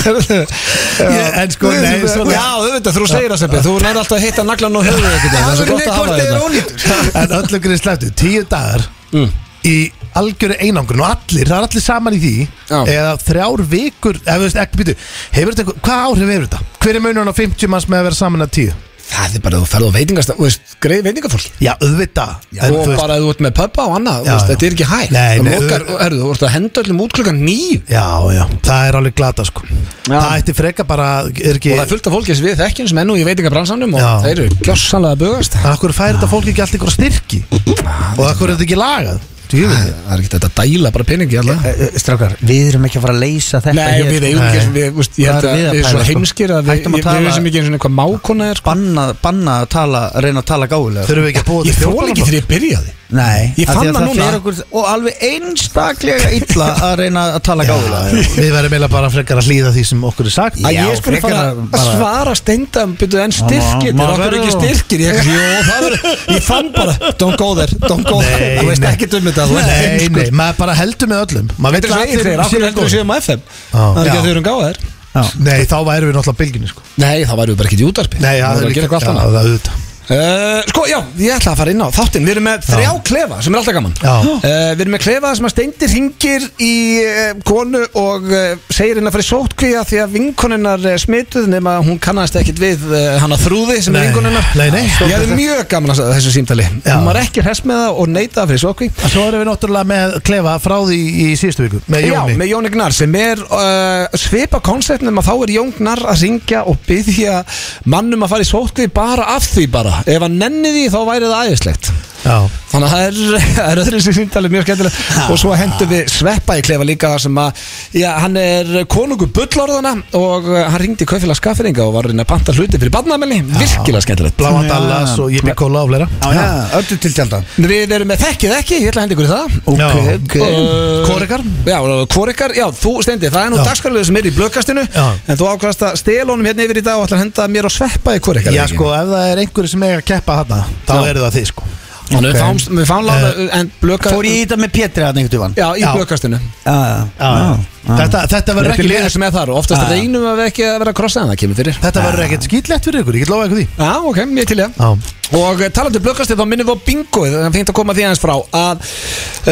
[SPEAKER 3] Ég- En sko, nei,
[SPEAKER 1] Já,
[SPEAKER 3] svona
[SPEAKER 1] auðvitað, þú segir það sem betur Þú nær alltaf að hitta naglan og höfuðu ekkert Það er svo gott að hafa þetta
[SPEAKER 3] En öllu grinn slæftu, tíu dagar
[SPEAKER 1] Mm.
[SPEAKER 3] Í algjöru einangrun og allir, það er allir saman í því
[SPEAKER 1] Já.
[SPEAKER 3] Eða þrjár vikur, ef þú veist ekki býtu Hefur þetta einhver, hvað áhrif hefur þetta? Hver er munurinn á 50 manns með að vera saman að tíu?
[SPEAKER 1] Það er bara, þú ferð á veitingast Þú veist, greið veitingafólk
[SPEAKER 3] Já, auðvitað En
[SPEAKER 1] og
[SPEAKER 3] þú veist-
[SPEAKER 1] bara ef þú ert með pöppa og annað
[SPEAKER 3] Já,
[SPEAKER 1] já, veist,
[SPEAKER 3] já.
[SPEAKER 1] þetta er ekki hæ
[SPEAKER 3] Nei,
[SPEAKER 1] það
[SPEAKER 3] nei,
[SPEAKER 1] lokar,
[SPEAKER 3] auðvitað.
[SPEAKER 1] herru, þú ert að henda öllum út klukkan nýju
[SPEAKER 3] Já, já, það er alveg glata sko Það ætti freka bara, er ekki
[SPEAKER 1] og það er fullt af fólki sem við þekkjum sem ennú í veitingabransanum og
[SPEAKER 3] Já.
[SPEAKER 1] þeir eru gjossanlega að bugast
[SPEAKER 3] Akkur fær þetta fólk ekki allt ykkur styrki Og akkur er þetta ekki lagað Djöfull.
[SPEAKER 1] það er ekki þetta að dæla bara peningi alltaf
[SPEAKER 2] Eh, Strákar, við erum ekki að fara að leysa þetta
[SPEAKER 1] Nei,
[SPEAKER 2] hér.
[SPEAKER 1] við eigum
[SPEAKER 3] Nei.
[SPEAKER 1] ekki, við, veist, ég held
[SPEAKER 2] Hvað
[SPEAKER 1] að
[SPEAKER 2] erum við að
[SPEAKER 1] við erum svo
[SPEAKER 2] pæla, sko?
[SPEAKER 1] heimskir að við,
[SPEAKER 2] Hættum að
[SPEAKER 1] við,
[SPEAKER 2] tala-
[SPEAKER 1] við veisum ekki eins og hvað mákona er sko.
[SPEAKER 2] Banna, banna að tala, reyna að tala gáðulega
[SPEAKER 3] Þurfum við ekki að búa
[SPEAKER 1] Ég
[SPEAKER 3] til
[SPEAKER 1] þól ekki þegar ég byrjaði
[SPEAKER 2] Nei,
[SPEAKER 1] Ég
[SPEAKER 2] af því
[SPEAKER 1] fann
[SPEAKER 2] að
[SPEAKER 1] það núna.
[SPEAKER 2] fer okkur, Og alveg einstaklega illa að reyna að tala gáðulega
[SPEAKER 3] Við verðum eiginlega bara frekar að hlýða því sem okkur er sko- sagt
[SPEAKER 1] Að
[SPEAKER 2] Já,
[SPEAKER 1] ég skulle
[SPEAKER 2] frekar
[SPEAKER 1] fara
[SPEAKER 2] að
[SPEAKER 1] að
[SPEAKER 2] bara-
[SPEAKER 1] svara steindam byrju en
[SPEAKER 2] Já,
[SPEAKER 1] styrkir
[SPEAKER 2] ma-
[SPEAKER 1] Það
[SPEAKER 2] maður
[SPEAKER 1] okkur ekki
[SPEAKER 2] verður-
[SPEAKER 1] styrkir Ég, jó, það var, ég fann bara Don't go there, don't go there
[SPEAKER 3] Nei,
[SPEAKER 1] Þú veist
[SPEAKER 3] nei.
[SPEAKER 1] ekki um þetta Þú veist
[SPEAKER 3] Nei,
[SPEAKER 1] heimskur.
[SPEAKER 3] nei, maður bara heldur með öllum Maður
[SPEAKER 1] Þetta er
[SPEAKER 3] vill
[SPEAKER 1] svo
[SPEAKER 3] að
[SPEAKER 1] eigin
[SPEAKER 3] allir
[SPEAKER 1] þegar,
[SPEAKER 3] séu
[SPEAKER 1] okkur heldur við
[SPEAKER 3] góðir.
[SPEAKER 1] séum á FM
[SPEAKER 3] Já.
[SPEAKER 1] Það er ekki
[SPEAKER 2] Já.
[SPEAKER 1] að þau eru um gáðar
[SPEAKER 3] Nei, þá værum við náttúrulega bylginni sko
[SPEAKER 1] Nei, þá væru við bara ekki í útarpi
[SPEAKER 3] Nei,
[SPEAKER 1] það er ekki eitthvað allt
[SPEAKER 3] Já,
[SPEAKER 1] annað
[SPEAKER 3] það er auðvitað
[SPEAKER 1] Uh, Sko, já, ég ætla að fara inn á þáttinn Við erum með þrjá klefa sem er alltaf gaman
[SPEAKER 3] Já.
[SPEAKER 1] uh, Við erum með klefa sem að steindir hringir í uh, konu og uh, segir henn að fara í sótkvíja því að vinkoninnar uh, smituð nema að hún kannast ekkit við uh, hana þrúði sem
[SPEAKER 3] Nei,
[SPEAKER 1] er vinkoninnar
[SPEAKER 3] nei, nei.
[SPEAKER 1] Ég hefði mjög gaman að þessu símtali
[SPEAKER 3] Já.
[SPEAKER 1] Hún var ekki hress með það og neitaði fyrir sótkví
[SPEAKER 3] En Svo erum við náttúrulega með klefa frá því í síðustu viku Með
[SPEAKER 1] Já,
[SPEAKER 3] Jóni
[SPEAKER 1] með Jóni Gnar sem er uh, svipa konceptnum að þá er Jón Gnar að ringja og byggja mannum að fara í sótkvið bara af því bara ef hann nenni því þá væri það æðislegt
[SPEAKER 3] Já.
[SPEAKER 1] þannig að það er, það er öðru sér síntalið mjög skemmtilega og svo hendum við sveppa í klefa líka þar sem að já, hann er konungu bullorðana og eh, hann ringdi í kaufélag skafferinga og var að reyna að panta hluti fyrir barnamelni, virkilega skemmtilegt
[SPEAKER 3] Bláan
[SPEAKER 2] Já.
[SPEAKER 3] Dallas og Yippie Cola og fleira
[SPEAKER 2] já, öllu til tjálta
[SPEAKER 1] Við erum með þekkið ekki, ég ætla að henda ykkur í það
[SPEAKER 2] Ok,
[SPEAKER 3] Já.
[SPEAKER 2] ok
[SPEAKER 1] Uh,
[SPEAKER 3] Kórikar?
[SPEAKER 1] Já, Kórikar, já, þú steindi Það er nú
[SPEAKER 3] Já.
[SPEAKER 1] dagskarlega sem er í blökkastinu
[SPEAKER 3] Já.
[SPEAKER 1] En þú ákvæðast að stela honum hérna yfir í dag og ætla að henda mér og sveppa í Kórikar
[SPEAKER 3] Já sko, ef það er einhverju sem eiga að keppa þarna þá
[SPEAKER 1] Já.
[SPEAKER 3] eru það þið sko
[SPEAKER 1] Þannig við fáum, við fáum lána En blökkar
[SPEAKER 2] Fór ég í þetta með Pétri að einhvern tíðan
[SPEAKER 1] Já, í
[SPEAKER 3] Eh, Já.
[SPEAKER 1] blökkastinu
[SPEAKER 2] Já, já, já
[SPEAKER 3] Þetta, þetta
[SPEAKER 1] Það
[SPEAKER 3] verður
[SPEAKER 1] er
[SPEAKER 3] ekki
[SPEAKER 1] ekki Ah. liður sem er þar og Oftast
[SPEAKER 2] Já.
[SPEAKER 1] reynum við ekki að vera að krossa en það kemur fyrir
[SPEAKER 3] Þetta verður ekkert skýtlegt fyrir ykkur, ég get lofa ykkur því
[SPEAKER 1] Já, ok, ég til ég
[SPEAKER 3] Já,
[SPEAKER 1] Ah. Og eh, talandi um blökkastir þá minnum við á bingo Það fengt að koma því aðeins frá að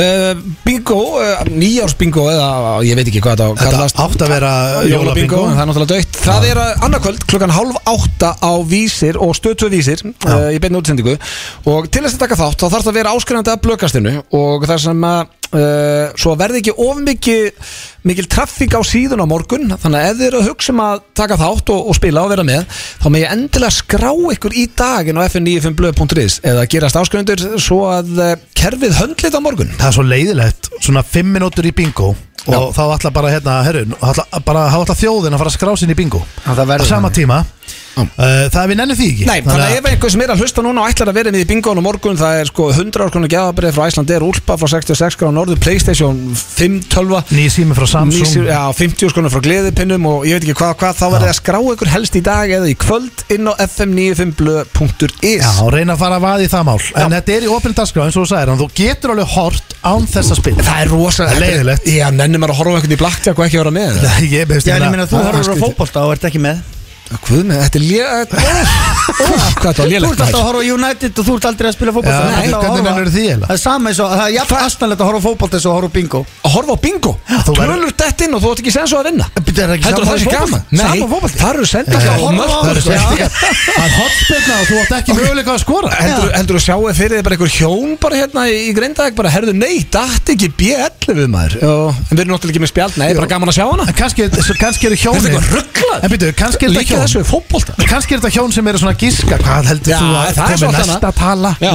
[SPEAKER 1] uh, bingo, uh, nýjársbingo eða ég veit ekki hvað þetta á
[SPEAKER 3] þetta
[SPEAKER 1] kallast
[SPEAKER 3] átt að vera
[SPEAKER 1] Jólabingo, en það er náttúrulega dögt Það er að annarkvöld klukkan hálf átta á vísir og stötu vísir uh, í beinu útsendingu og til þess að taka þátt þá þarf það að vera áskrifandi að blökastinu og það sem að uh, svo verði ekki of mikið mikil traffík á síðun á morgun þannig að ef þið eru að hugsa um að taka þátt og, og spila og vera með þá með ég endilega skrá ykkur í daginn á fn95blöð.is eða gerast áskrifandur svo að uh, kerfið höndlit á morgun
[SPEAKER 3] Það er svo leiðilegt, svona 5 minútur í bingo og þá ætla bara hérna, herru nú ætla- bara hafa alltaf þjóðin að fara að skrá sinni í bingo
[SPEAKER 2] Já, það verður
[SPEAKER 3] á sama tíma uh, það er við nennum því ekki
[SPEAKER 1] Nei, þannig að ef einhver sem er að hlusta núna og ætlar að vera með í bingoðan á morgun það er sko 100 árkonu gjafabrið frá Æsland er úlpa frá 66 gráð norður, Playstation 5, 12
[SPEAKER 3] Nýjir sími frá Samsung
[SPEAKER 1] Nýsir, já, 50 skonu frá gleðipinnum og ég veit ekki hvað, hvað þá verður það að skrá ykkur helst í dag eða í kvöld inn á
[SPEAKER 3] Já,
[SPEAKER 1] fm95blö.is
[SPEAKER 3] og reyna að fara að vaða í það mál En þetta er í opinni dagskrá eins og þú sagðir En þú getur alveg hort án þess að spila
[SPEAKER 1] Það er rosalega
[SPEAKER 3] Leiðilegt.
[SPEAKER 1] Já, nennir maður að horfa á einhvern í blackjack og ekki vera með
[SPEAKER 3] Nei, ég hérna- beðst
[SPEAKER 2] Já, en ég meina þú horfður á fótbolta og ert ekki með
[SPEAKER 1] Hvað með, þetta er lélegt Hvað þetta var
[SPEAKER 2] Þú
[SPEAKER 1] lélegt
[SPEAKER 2] ert alltaf að horfa á United og þú ert aldrei að spila fótbolta
[SPEAKER 3] Já,
[SPEAKER 2] Þú ert alltaf að
[SPEAKER 3] hvernig
[SPEAKER 2] horfa-
[SPEAKER 3] nennirðu því eiginlega?
[SPEAKER 2] Það er sama eins og, það er jafn astanlegt að horfa á fótbolta eins og að horfa á bingo
[SPEAKER 1] að horfa á bingo
[SPEAKER 3] þú verður-
[SPEAKER 1] Tölur dett inn og þú átt ekki sensu að vinna
[SPEAKER 2] Bíddu, er það ekki
[SPEAKER 1] Heldur það
[SPEAKER 2] sama
[SPEAKER 1] sé
[SPEAKER 2] fótbolti?
[SPEAKER 1] gaman?
[SPEAKER 2] Sama
[SPEAKER 1] Nei, það
[SPEAKER 2] fótbolti?
[SPEAKER 1] sko, eru senda
[SPEAKER 2] Já, horfa á Já.
[SPEAKER 3] Það er svolítið Það er hotspilna og þú átt ekki möguleika að skora
[SPEAKER 1] Heldur, heldur þú sjáu að fyrir þið bara einhver hjón bara hérna í, í greindag bara herðu nei, datt ekki B11 við maður og, en við erum náttúrulega ekki með spjald, nei, bara gaman að sjá hana
[SPEAKER 3] En kannski, svo kannski eru
[SPEAKER 1] Þetta er
[SPEAKER 3] hjónin
[SPEAKER 1] eitthvað rugglað.
[SPEAKER 3] En byrju, kannski eru
[SPEAKER 1] Líka
[SPEAKER 3] þetta
[SPEAKER 1] þessu
[SPEAKER 3] hjón
[SPEAKER 1] við fótbolta
[SPEAKER 3] Kannski eru þetta hjón sem eru svona að giska Hvað heldur
[SPEAKER 1] Já,
[SPEAKER 3] þú að
[SPEAKER 1] það er
[SPEAKER 3] komi
[SPEAKER 1] svolítið
[SPEAKER 3] næst
[SPEAKER 1] annað.
[SPEAKER 3] að tala
[SPEAKER 1] Já.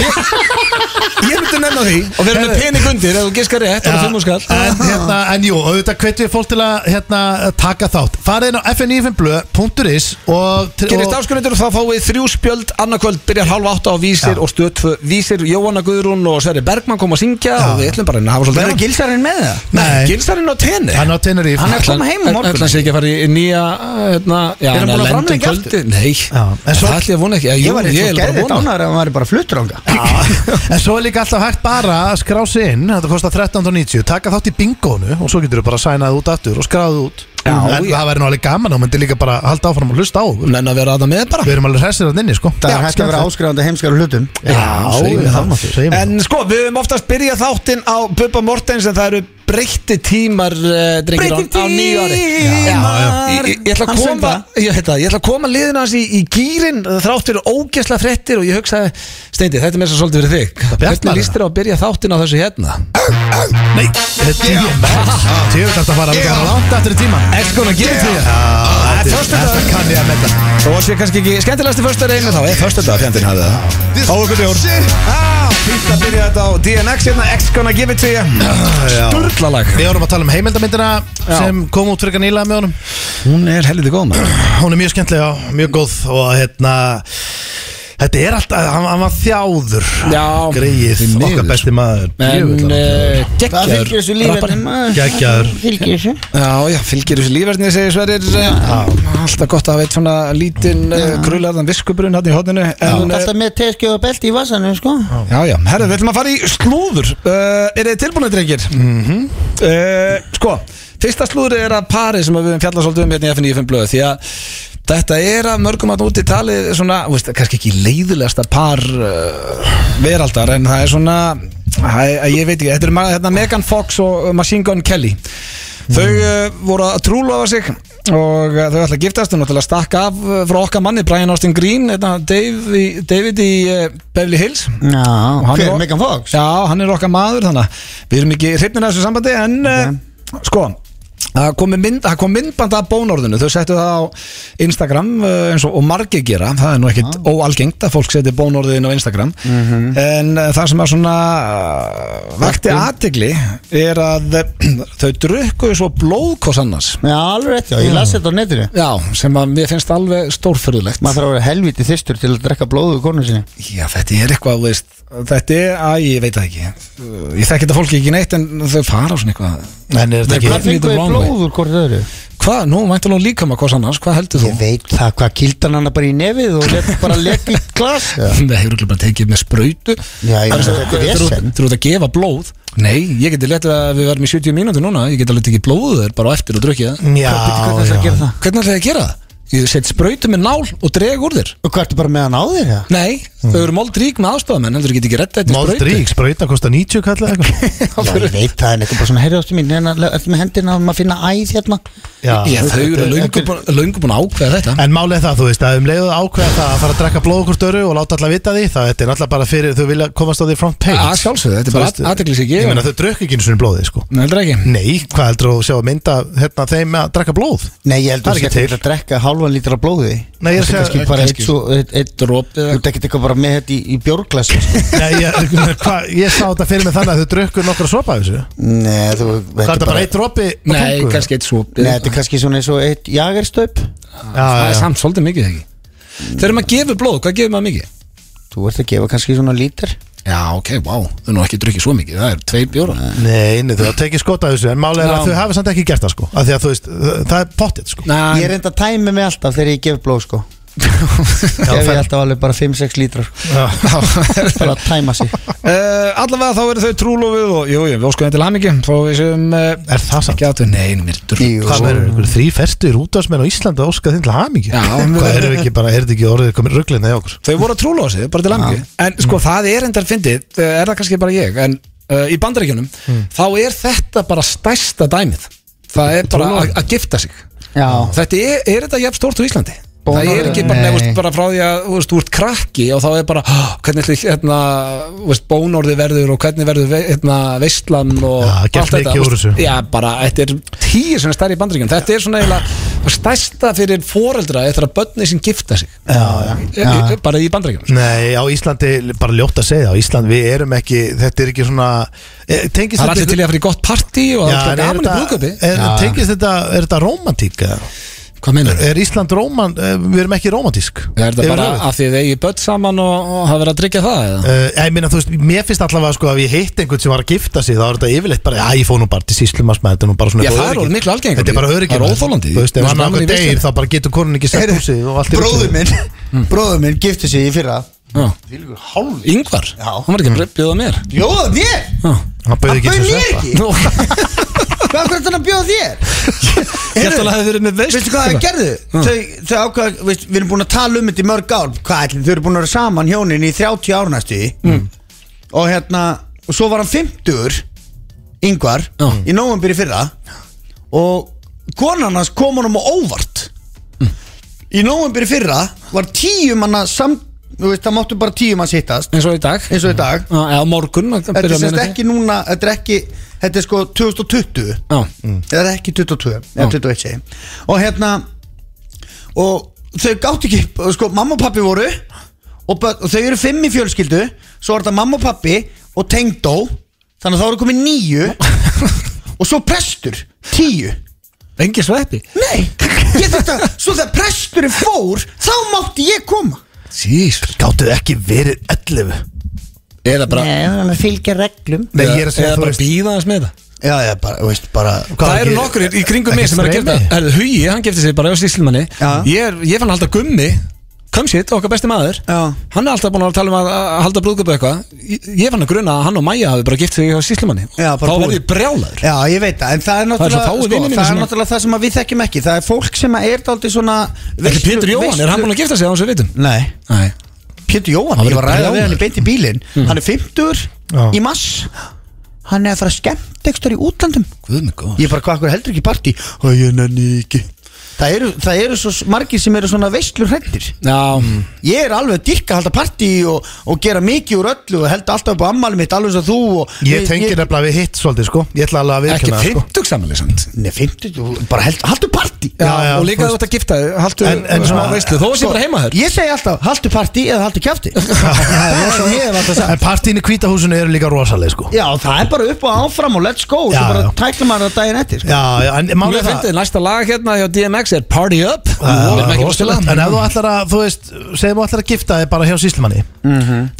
[SPEAKER 1] Ég, ég myndi nefna því og við erum með
[SPEAKER 3] Heyrðu.
[SPEAKER 1] pening undir ef þú giskar rétt
[SPEAKER 3] Já,
[SPEAKER 1] og fimm og skall
[SPEAKER 3] en, hérna, en jú, auðvitað hvetjum við fólk til að hérna, taka þátt Farið inn á fnifnblö.is og,
[SPEAKER 1] Gerist
[SPEAKER 3] og
[SPEAKER 1] áskunnindur og þá fáið þið þrjú spjöld annarkvöld byrjar hálf átta á vísir
[SPEAKER 3] Já.
[SPEAKER 1] og stöð tvö vísir Jóhanna Guðrún og Sverri Bergmann kom að syngja og við ætlum bara að hafa svolítið
[SPEAKER 2] Verður gilsarinn með það?
[SPEAKER 1] Nei, gilsarinn á tenni
[SPEAKER 3] hann á Teneríf
[SPEAKER 2] Hann er að koma heim á morgun.
[SPEAKER 1] Það sé ekki að fara í nýja hérna, já,
[SPEAKER 2] Er hann búinn
[SPEAKER 1] lenda
[SPEAKER 2] að
[SPEAKER 1] um
[SPEAKER 2] framlengja
[SPEAKER 1] kvöldið? Nei,
[SPEAKER 3] Já, en svo-
[SPEAKER 1] það ætlum ég að vona ekki Já,
[SPEAKER 2] Ég
[SPEAKER 1] jú,
[SPEAKER 2] var
[SPEAKER 1] ég
[SPEAKER 2] eitthvað
[SPEAKER 1] er bara
[SPEAKER 2] gæðið
[SPEAKER 1] að vona
[SPEAKER 2] dánar ef maður er bara fluttur ánga
[SPEAKER 3] En svo er líka alltaf hægt bara að skrá sig inn Þetta kostar 13.90 Taka þátt í bingónu og svo getur þú bara að sæna það út aftur og skráðu út
[SPEAKER 1] Já,
[SPEAKER 3] En
[SPEAKER 1] já.
[SPEAKER 3] það væri nú alveg gaman og myndi líka bara halda áfram og hlusta á okkur.
[SPEAKER 1] Menn að vera að það með bara
[SPEAKER 3] Við erum alveg hressir að inni sko
[SPEAKER 2] Það er hægt að vera áskrifandi heimskar og hlutum
[SPEAKER 1] segjum
[SPEAKER 3] Já,
[SPEAKER 1] það.
[SPEAKER 3] segjum það.
[SPEAKER 1] En sko, við höfum oftast byrjað þáttinn á Bubba Mortens en það eru breytti tímar uh, drengir
[SPEAKER 2] Breyttir
[SPEAKER 1] á, á nýju ári
[SPEAKER 2] tímar.
[SPEAKER 1] Já, Ég, ég, ég ætla
[SPEAKER 2] Hann
[SPEAKER 1] að
[SPEAKER 2] söng
[SPEAKER 1] koma ég, heita, ég ætla að koma liðin hans í, í gýrin þrátt fyrir ógæsla frettir og ég hugsaði Steindi, þetta er mér svo svolítið fyrir þig
[SPEAKER 3] Bjartmar,
[SPEAKER 1] Hvernig líst þér á að byrja þáttinn á þessu hérna?
[SPEAKER 3] Nei, þetta er Tjöfum þetta að fara að vera langt aftur í tíma
[SPEAKER 1] Ertu konar að gera því?
[SPEAKER 3] Já,
[SPEAKER 1] er
[SPEAKER 3] þetta
[SPEAKER 1] föstudagur.
[SPEAKER 3] þetta kann ég að metta
[SPEAKER 1] Þó að sé kannski ekki skemmtilegasti föstudagur einu þá er föstudag fjandinn hafið það Ógur bjór Fýtt að byrja Ah, þetta á DNX hérna X gonna give it to you Sturlalag
[SPEAKER 3] Við vorum að tala um heimildamindina sem kom út fyrir kanníla með honum
[SPEAKER 1] Hún er helviti góð maður
[SPEAKER 3] Hún er mjög skemmtilega, mjög góð og hérna Þetta er alltaf, hann, hann var þjáður
[SPEAKER 1] Já,
[SPEAKER 3] Greið,
[SPEAKER 1] því miður.
[SPEAKER 3] okkar besti maður
[SPEAKER 1] En eh,
[SPEAKER 2] Það
[SPEAKER 1] geggjaður
[SPEAKER 2] fylgir þessu lífið maður.
[SPEAKER 3] Gægjaður
[SPEAKER 2] Fylgir þessu
[SPEAKER 1] Já, já, fylgir þessu lífverðni segir Sverrir eh, Alltaf gott að hafa eitt svona lítinn eh, krullarðan viskubrun hann í hodninu
[SPEAKER 2] Þú
[SPEAKER 1] en,
[SPEAKER 2] ert
[SPEAKER 1] eh,
[SPEAKER 2] alltaf með teskið og belti í vasanum sko
[SPEAKER 1] Já, já, herru, við ætlum að fara í slúður uh, Er þið tilbúinu, drengir? Mm sko, fyrsta slúður er að pari sem við höfum fjallað svolítið um hérna í FNÍFM blöð Því að þetta er að mörgum að úti talið svona, þú veist, kannski ekki leiðilegasta par uh, veraldar En það er svona, hæ, ég veit ekki, þetta er hérna, Megan Fox og Machine Gun Kelly Þau uh, voru að trúlofa sig og uh, þau ætla að giftast og náttúrulega stakka af uh, frá okkar manni Brian Austin Green, hérna, Dave, í- David í uh, Beverly Hills
[SPEAKER 2] Já,
[SPEAKER 1] hann
[SPEAKER 2] hver
[SPEAKER 1] er-
[SPEAKER 2] Megan Fox?
[SPEAKER 1] Já, hann er okkar maður þannig að við erum ekki hrifnir af þessu sambandi en okay. sko, Það kom, mynd, það kom myndband af bónorðinu Þau settu það á Instagram uh, eins og, og margir gera Það er nú ekkit óalgengt að fólk seti bónorðin á Instagram En uh, það sem að svona uh, Vakti aðtigli Er að uh, þau drukkuðu svo blóðkoss annars
[SPEAKER 2] Já, alveg rétt, já, ég las þetta á netinu
[SPEAKER 1] Já, sem að mér finnst alveg stórfyrðulegt
[SPEAKER 2] Maður þarf að vera helviti þyrstur til að drekka blóðu konu sinni
[SPEAKER 1] Já, þetta er eitthvað, þú veist Þetta er, að ég veit það ekki Uh, Ég þekki þetta fólki ekki neitt en þau fara á svona eitthvað
[SPEAKER 3] En er þetta
[SPEAKER 2] Hvað
[SPEAKER 3] ekki
[SPEAKER 2] fengur við blóður hvort öðru?
[SPEAKER 1] Hvað, nú mæntalega líka maður hvers annars, hvað heldur þú?
[SPEAKER 2] Ég veit það, hvað kildan hana bara í nefið og let bara leka í glas Já,
[SPEAKER 1] Það hefur ekki bara tekið með sprautu Það
[SPEAKER 2] ég veit þetta
[SPEAKER 1] er
[SPEAKER 2] er vesen
[SPEAKER 1] út að gefa blóð Nei, ég geti letið að við verðum í 70 mínútur núna Ég geti alveg tekið blóðu þér bara á eftir og drukkið það
[SPEAKER 3] Já,
[SPEAKER 2] Hvað er það að
[SPEAKER 3] já
[SPEAKER 2] gera það?
[SPEAKER 1] Hvernig ætlaði ég að gera það? Ég set sprautu með nál og dreg úr þér
[SPEAKER 2] Og hvað ertu bara með hann á þér, já?
[SPEAKER 1] Nei, þau eru moldrík með aðstofamenn Heldur þú geti ekki retta eftir sprautu
[SPEAKER 3] Moldrík, sprauta kostar 90 kall eða eitthvað
[SPEAKER 2] Já, ég veit það, en eitthvað bara svona, herri ástu mín, hérna, ertu með hendina að maður finna æð hérna?
[SPEAKER 1] Já, þau eru löngu búin- löngu búin að ákveða þetta
[SPEAKER 3] En málið er það, þú veist, að um leiðu ákveða það að fara að drekka blóð okkur störu og láta alla vita því þá þetta er náttúrulega bara fyrir þau vilja komast á því front page
[SPEAKER 1] Að sjálfsögðu, þetta er
[SPEAKER 3] Þú
[SPEAKER 1] bara
[SPEAKER 3] veist,
[SPEAKER 1] athyglishyggju.
[SPEAKER 3] Ég meina þau drukku ekki eins og blóði, sko
[SPEAKER 1] Nei, heldur ekki
[SPEAKER 3] Nei, hvað heldur þú að sjá að mynda hérna, þeim með að drekka blóð?
[SPEAKER 2] Nei, ég heldur
[SPEAKER 3] Það er
[SPEAKER 2] að
[SPEAKER 3] ekki
[SPEAKER 2] þetta að drekka halvan lítra af blóði
[SPEAKER 3] Nei,
[SPEAKER 2] Það
[SPEAKER 3] ég er að segja-
[SPEAKER 2] er kannski bara eitt
[SPEAKER 1] kannski.
[SPEAKER 2] svo, eitt, eitt
[SPEAKER 1] Dropi
[SPEAKER 2] Þú
[SPEAKER 1] eða-
[SPEAKER 2] tekit eitthvað bara með þetta í, í bjórglas sko. Nei,
[SPEAKER 3] Nei, ég, hva, ég sá þetta fyrir mig þannig að þau drukku nokkra sopa af þessu
[SPEAKER 2] þú
[SPEAKER 3] Það er bara eitt dropi á
[SPEAKER 1] Nei,
[SPEAKER 3] tungu?
[SPEAKER 1] kannski eitt svopi
[SPEAKER 2] Nei, þetta er kannski svona eins og eitt jagerstaup
[SPEAKER 3] Já,
[SPEAKER 1] Það er
[SPEAKER 3] já, já.
[SPEAKER 1] samt svolítið mikið ekki Þegar maður gefur blóð, hvað gefur maður mikið?
[SPEAKER 2] Þú ert að gefa kannski svona lítir
[SPEAKER 1] Já, ok, wow, þau nú ekki drukkið svo mikið Það er tveir bjóra
[SPEAKER 3] Nei, nei, þau hafa tekið skot af þessu En málið er
[SPEAKER 1] Já.
[SPEAKER 3] að þau hafa samt ekki gert það, sko Af því að þú veist, það er pottið, sko
[SPEAKER 2] Ég er enda að tæmi mig alltaf þegar ég gef blóð, sko Gef ég
[SPEAKER 3] fer-
[SPEAKER 2] alltaf alveg bara 5-6 lítrar sko.
[SPEAKER 1] Já.
[SPEAKER 2] Bara að tæma sig
[SPEAKER 1] Uh, allavega þá eru þau trúlofið og jú, jú, við óskum þeim til hamingju þó við séum uh,
[SPEAKER 3] Er það samt?
[SPEAKER 1] ekki áttu, nei, mér drögg
[SPEAKER 2] Jú,
[SPEAKER 3] Hvað verður ykkur þrý ferstur útvarsmenn á Íslandi að óska þinn til hamingi?
[SPEAKER 1] Já.
[SPEAKER 3] Hvað erum við ekki bara, er þetta ekki orðið komin rugglinni í okkur?
[SPEAKER 1] þau voru að trúlofa sig, bara til hamingju en sko
[SPEAKER 3] Mm.
[SPEAKER 1] það er endar fyndið, uh, er það kannski bara ég en uh, í bandaríkjunum
[SPEAKER 3] Mm.
[SPEAKER 1] þá er þetta bara stærsta dæmið það er bara að- að gifta sig
[SPEAKER 2] Já,
[SPEAKER 1] þetta er, er þetta jafn stórt úr Íslandi
[SPEAKER 2] Bónar-
[SPEAKER 1] það er ekki bara,
[SPEAKER 2] Nei.
[SPEAKER 1] nefnst, bara frá því að þú veist, þú ert krakki og þá er bara "Ah, hvernig ætli, hérna, þú veist, bónorði verður og hvernig verður ve- hérna, veistlan og
[SPEAKER 3] Já, gert mikið
[SPEAKER 1] þú
[SPEAKER 3] úr
[SPEAKER 1] veist.
[SPEAKER 3] þessu.
[SPEAKER 1] já, bara, þetta er tíu sem er stærri í bandaríkjum þetta er svona eiginlega stærsta fyrir foreldra eftir að börni sem gifta sig já, já, Eh, bara í bandaríkjum
[SPEAKER 3] Nei, á Íslandi, bara ljótt að segja á Íslandi, við erum ekki, þetta er ekki svona eh, Tengist
[SPEAKER 1] það er allir til í að fara í gott partí og
[SPEAKER 3] Já,
[SPEAKER 1] það er alltaf
[SPEAKER 3] en er
[SPEAKER 1] gaman í
[SPEAKER 3] þetta,
[SPEAKER 1] brúðköpi
[SPEAKER 3] er, tengist þetta, er þetta romantík? eða?
[SPEAKER 1] hvað meinar þau?
[SPEAKER 3] Er Ísland róman, eh, við erum ekki romantísk
[SPEAKER 1] Er þetta
[SPEAKER 3] Yfir
[SPEAKER 1] bara
[SPEAKER 3] höfuð.
[SPEAKER 1] að þið eigi börn saman og, og hafa verið að tryggja það? Eða?
[SPEAKER 3] Eh, ég meina, þú veist, mér finnst allavega sko að ég hitt einhvern sem var að gifta sig þá er þetta yfirleitt bara, já, ég fóð nú bara til síslumars með þetta er nú bara svona
[SPEAKER 1] Já,
[SPEAKER 3] eitthvað
[SPEAKER 1] það er
[SPEAKER 3] öryggi.
[SPEAKER 1] orðið miklu algengara.
[SPEAKER 3] Þetta er bara öryggi
[SPEAKER 1] Það er óþolandi.
[SPEAKER 3] Þú veist, ef
[SPEAKER 1] Mér
[SPEAKER 3] hann
[SPEAKER 1] finnst
[SPEAKER 3] ákveð
[SPEAKER 1] gaman í
[SPEAKER 3] deyr
[SPEAKER 1] veistlunni.
[SPEAKER 3] þá bara getur konun ekki sett úr sig og allt í
[SPEAKER 2] bróður
[SPEAKER 3] ruglinu.
[SPEAKER 2] minn Bróður minn gifti sig í fyrra
[SPEAKER 1] Já.
[SPEAKER 2] Hálf
[SPEAKER 1] Yngvar,
[SPEAKER 2] Já.
[SPEAKER 1] hann var ekki
[SPEAKER 3] Mm.
[SPEAKER 1] að bjóða mér
[SPEAKER 2] Bjóða þér?
[SPEAKER 1] Já.
[SPEAKER 3] Hann bauð
[SPEAKER 2] Hann
[SPEAKER 3] ekki
[SPEAKER 2] bauð
[SPEAKER 3] eins og
[SPEAKER 2] mér
[SPEAKER 3] sveppa.
[SPEAKER 2] ekki?
[SPEAKER 1] Nú,
[SPEAKER 2] Hvað hvernig hann að bjóða þér?
[SPEAKER 1] Ég held að það hefði verið með veist
[SPEAKER 2] Veistu hvað það gerðu? Þau, þau ákvað, veist, við erum búin að tala um þetta í mörg ár Hvað ætlum, þau eru búin að vera saman hjónin í 30 ár næstu mm. Og hérna, og svo var hann 50 Yngvar
[SPEAKER 1] Já.
[SPEAKER 2] Í nóvambir í fyrra Og konan hans kom honum á óvart Mm. Í nóvambir í fyrra Var tíum manna samt Þú veist, það máttu bara tíum að sittast
[SPEAKER 1] eins og í dag
[SPEAKER 2] Eins og í dag
[SPEAKER 1] Já, eða á morgun að
[SPEAKER 2] Þetta
[SPEAKER 1] byrja
[SPEAKER 2] er
[SPEAKER 1] að
[SPEAKER 2] sérst
[SPEAKER 1] meina
[SPEAKER 2] ekki núna, þetta er ekki Þetta er sko 2020
[SPEAKER 1] Já,
[SPEAKER 2] Mm. eða ekki 22, eða
[SPEAKER 1] Já.
[SPEAKER 2] 21 segi ég. og hérna og þau gátt ekki, sko mamma og pappi voru og, börn- og þau eru fimm í fjölskyldu svo er þetta mamma og pappi og tengdó þannig að þá eru komið nýju og svo prestur, tíu
[SPEAKER 1] engi sveppi
[SPEAKER 2] nei, ég þetta, svo þegar presturinn fór þá mátti ég koma
[SPEAKER 1] Sýs
[SPEAKER 3] Gátu þið ekki verið 11
[SPEAKER 1] Eða bara,
[SPEAKER 2] hann að fylgja reglum
[SPEAKER 3] Nei, ég er að segja,
[SPEAKER 1] eða
[SPEAKER 3] þú
[SPEAKER 1] bara
[SPEAKER 3] veist
[SPEAKER 1] býða hans með það
[SPEAKER 2] já, já, bara, þú veist, bara
[SPEAKER 3] Hvað,
[SPEAKER 1] Það eru
[SPEAKER 3] ekki-
[SPEAKER 1] nokkur í kringum mig
[SPEAKER 3] ekki
[SPEAKER 1] sem er að gera
[SPEAKER 3] streymi?
[SPEAKER 1] það Herðu, Hugi, hann gefti sig bara á síslmanni
[SPEAKER 2] Já.
[SPEAKER 1] Ég er- ég fann að halda gummi Kömsitt, okkar besti maður
[SPEAKER 2] Já.
[SPEAKER 1] Hann er alltaf búin að tala um að að halda brúðgöpu eitthvað Ég- Ég fann að gruna að hann og Maja hafi bara gift sig á síslmanni
[SPEAKER 2] Já,
[SPEAKER 1] Þá
[SPEAKER 2] bara búin.
[SPEAKER 1] verði ég brjálaður
[SPEAKER 2] Já, ég veit það, en það er náttúrulega sko,
[SPEAKER 1] svo fáir vinir mínir
[SPEAKER 2] það, er
[SPEAKER 1] sem-
[SPEAKER 2] náttúrulega það sem að við þekkjum ekki Það er fólk sem að er daldið svona
[SPEAKER 1] Ekki Pétur Jóhann, er hann búin að gifta sig á hans við vitum?
[SPEAKER 2] Nei,
[SPEAKER 1] Nei
[SPEAKER 2] Pétur Jóhann,
[SPEAKER 1] Hann
[SPEAKER 2] ég var að
[SPEAKER 1] verður
[SPEAKER 2] ræða
[SPEAKER 1] Hmm.
[SPEAKER 2] við hann í beint í bílinn Hann er 50
[SPEAKER 3] Já.
[SPEAKER 2] í mass Hann er að fara skemmt ekstur í útlandum
[SPEAKER 1] Guð mig góð
[SPEAKER 2] Ég er bara hvað okkur heldur ekki partí Og ég nenni ekki það eru, það eru svo margir sem eru svona veistlur hrettir
[SPEAKER 1] Já,
[SPEAKER 2] Ég er alveg dyrka að halda partí og, og gera mikið úr öllu og held alltaf upp á ammali mitt alveg eins og þú og,
[SPEAKER 3] Ég tengi nefnilega við hitt svolítið sko Ég ætla alveg að
[SPEAKER 1] ekki
[SPEAKER 3] viðkynna sko.
[SPEAKER 1] fimmtugsamali samt
[SPEAKER 2] Nei, 50, þú- bara held, haldu partí
[SPEAKER 1] Já,
[SPEAKER 3] já,
[SPEAKER 1] og líka
[SPEAKER 3] þú
[SPEAKER 1] þú ert að gifta þig, haltu
[SPEAKER 3] En- en
[SPEAKER 1] smá
[SPEAKER 3] svona-
[SPEAKER 1] veislu, þó að sé bara heima þér
[SPEAKER 2] Sko, Ég segi alltaf, haldu partí eða haldu kjafti Það er svo ég hef alltaf sagt
[SPEAKER 3] En partíin í kvítahúsinu eru líka rosaleg sko
[SPEAKER 2] Já, það er bara upp og áfram og let's go
[SPEAKER 3] Já,
[SPEAKER 2] Svo bara
[SPEAKER 3] já.
[SPEAKER 2] tækla maður það daginn eftir sko.
[SPEAKER 3] Já, já, en
[SPEAKER 1] Mér
[SPEAKER 3] málið er
[SPEAKER 1] finnst
[SPEAKER 3] það
[SPEAKER 1] þið, næsta lag hérna hjá DMX er Party Up
[SPEAKER 3] Já,
[SPEAKER 1] Við erum ekki að spila.
[SPEAKER 3] rosalegt. En ef þú ætlar að, þú veist, segjum þú ætlar að gifta þig bara hjá síslumanni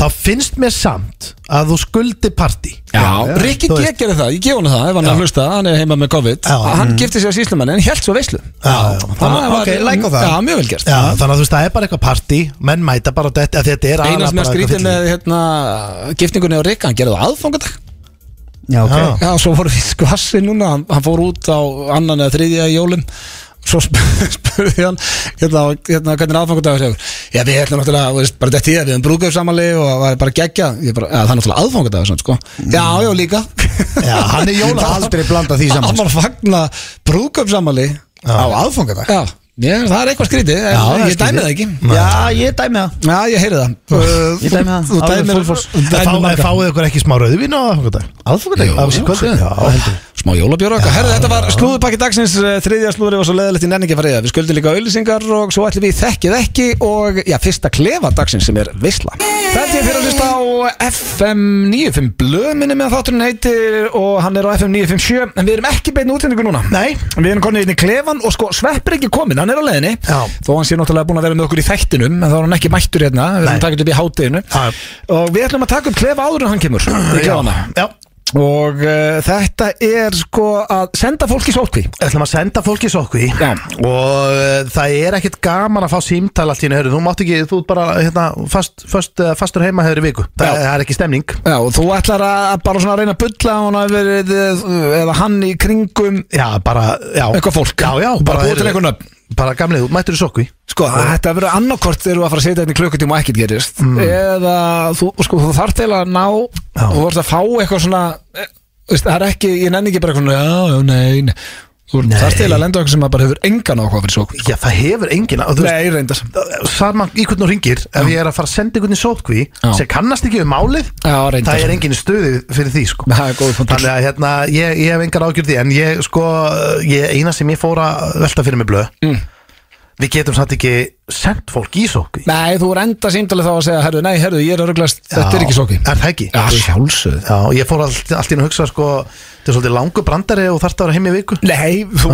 [SPEAKER 3] Þá finnst mér samt að þú skuldi partí
[SPEAKER 1] Já, Rikki
[SPEAKER 3] Þú
[SPEAKER 1] G
[SPEAKER 3] veist.
[SPEAKER 1] gerir það, ég gef hann það ef hann er að hlusta, hann er heima með COVID
[SPEAKER 3] Já. Mm.
[SPEAKER 1] hann gifti sér að síslumann en held svo veislu
[SPEAKER 3] Já,
[SPEAKER 1] Það var-
[SPEAKER 2] ok, like á það.
[SPEAKER 1] Já, mjög vel gert
[SPEAKER 3] Já, þannig að þú veist, það er bara eitthvað partí Menn mæta bara á þetta, að þetta er
[SPEAKER 1] Einar
[SPEAKER 3] aðallega
[SPEAKER 1] sem er
[SPEAKER 3] bara
[SPEAKER 1] skrítið
[SPEAKER 3] eitthvað
[SPEAKER 1] með hérna, gifningunni á Rikka, hann gerði það aðfangadag
[SPEAKER 2] Já, ok
[SPEAKER 3] Já.
[SPEAKER 1] Já, svo voru við skvassi núna hann, hann fór út á annan eða þriðja í jólum Svo sp- spurði hann hérna, hérna hvernig aðfangandagur hefur Já, við ætlum náttúrulega, þú veist, bara þetta tíða Við höfum brúkaðu samanli og það var bara geggja Ég bara, ja, það er náttúrulega aðfangandagur svona, sko Já, já, líka
[SPEAKER 3] Mm. Já, hann er jóla
[SPEAKER 2] Aldrei blanda því saman
[SPEAKER 1] Hann var að fagna brúkaðu samanli
[SPEAKER 2] Á aðfangadag
[SPEAKER 1] Já, ég, það er eitthvað skrítið en
[SPEAKER 3] það er
[SPEAKER 1] Ég dæmi það ekki
[SPEAKER 2] Já, ég dæmi það
[SPEAKER 1] Já, ég heyri það
[SPEAKER 2] Ég dæmi það.
[SPEAKER 1] Þú
[SPEAKER 2] Alveg
[SPEAKER 1] dæmir
[SPEAKER 2] fullfoss.
[SPEAKER 1] þú dæmir
[SPEAKER 3] Fá-
[SPEAKER 1] marga.
[SPEAKER 3] Fáið ykkur ekki smá rauðvín á aðfangadag
[SPEAKER 2] Aðfangadag?
[SPEAKER 3] Á þessu kvöldi? Já, heldur.
[SPEAKER 1] Smá jólabjóra okkar Herðu, þetta var slúðupakki dagsins eh, Þriðja slúður var svo leðalegt í nenningi farið Við skuldum líka auðlýsingar og svo ætlum við í þekkið ekki Og já, fyrsta klefa dagsins sem er visla Þetta er fyrir að hlusta á FM 95 Blöð minni með þátturinn heitir Og hann er á FM 957 En við erum ekki beinu útlendingu núna
[SPEAKER 3] Nei.
[SPEAKER 1] Við erum konið inn í klefan og sko Sveppur er ekki komin, hann er á leiðinni
[SPEAKER 3] Já.
[SPEAKER 1] Þó hann sé náttúrulega búin að vera með okkur í þættinum En þá er hann ekki mættur hérna Við erum
[SPEAKER 3] Nei.
[SPEAKER 1] að taka þetta upp í hátteginu
[SPEAKER 3] Já.
[SPEAKER 1] Og við ætlum að taka upp klefa áður en hann kemur Í klefana
[SPEAKER 3] Já,
[SPEAKER 1] Og uh, þetta er sko að senda fólki sótkví
[SPEAKER 3] við ætlum að senda fólki sókvi
[SPEAKER 1] Já.
[SPEAKER 3] og uh, það er ekkit gaman að fá símtal allt í henni, hörru, þú mátt ekki, þú ert bara hérna, fast, fast, uh, fastur heima hefur í viku Þa,
[SPEAKER 1] Já.
[SPEAKER 3] það er ekki stemning
[SPEAKER 1] Já, og þú ætlar að bara svona reyna að bulla að hún hafi verið eh, eða hann í kringum
[SPEAKER 3] Já, bara, já
[SPEAKER 1] Eitthvað fólk.
[SPEAKER 3] Já, já,
[SPEAKER 1] Bara búið til
[SPEAKER 3] heyrðu,
[SPEAKER 1] einhvern nöfn.
[SPEAKER 3] Bara gamlið, þú mættur í sókvi
[SPEAKER 1] Sko, þetta verður annarkort þegar þú að fara að setja þetta í klukkutíma og ekkert gerist eða þú, sko, þú þarf til að ná
[SPEAKER 3] Já.
[SPEAKER 1] og þú vorst að fá eitthvað svona eh, veist, það er ekki, ég nenni ekki bara eitthvað svona, já, já, nei, nei þú
[SPEAKER 3] Nei.
[SPEAKER 1] þarf til að lenda á eitthvað sem að bara hefur engan áhuga fyrir sótkví
[SPEAKER 3] Já, það hefur engin og þú veist,
[SPEAKER 1] Nei, reyndar
[SPEAKER 3] sama í hvern og ringir ef ég er að fara að senda einhvern í sótkví
[SPEAKER 1] Já.
[SPEAKER 3] sem kannast ekki við málið
[SPEAKER 1] Já, reyndar.
[SPEAKER 3] það er engin stöði fyrir því sko.
[SPEAKER 1] Það er góður punktur.
[SPEAKER 3] þannig að hérna, ég, ég hef engar ágjörði en ég sko, ég, eina sem ég fór að velta fyrir mig blöð
[SPEAKER 1] Mm.
[SPEAKER 3] við getum samt ekki sendt fólk í sótkví
[SPEAKER 1] Nei, þú er enda símtalið þá að segja, herðu, nei, herðu, ég er að ruglast, þetta er ekki sótkví
[SPEAKER 3] er það ekki?
[SPEAKER 1] Já, sjálfsögðu
[SPEAKER 3] Já, ég fór allt, allt í einu að hugsa sko, þetta er svolítið langur brandari og þarf það að vera heim í viku
[SPEAKER 1] Nei, þú,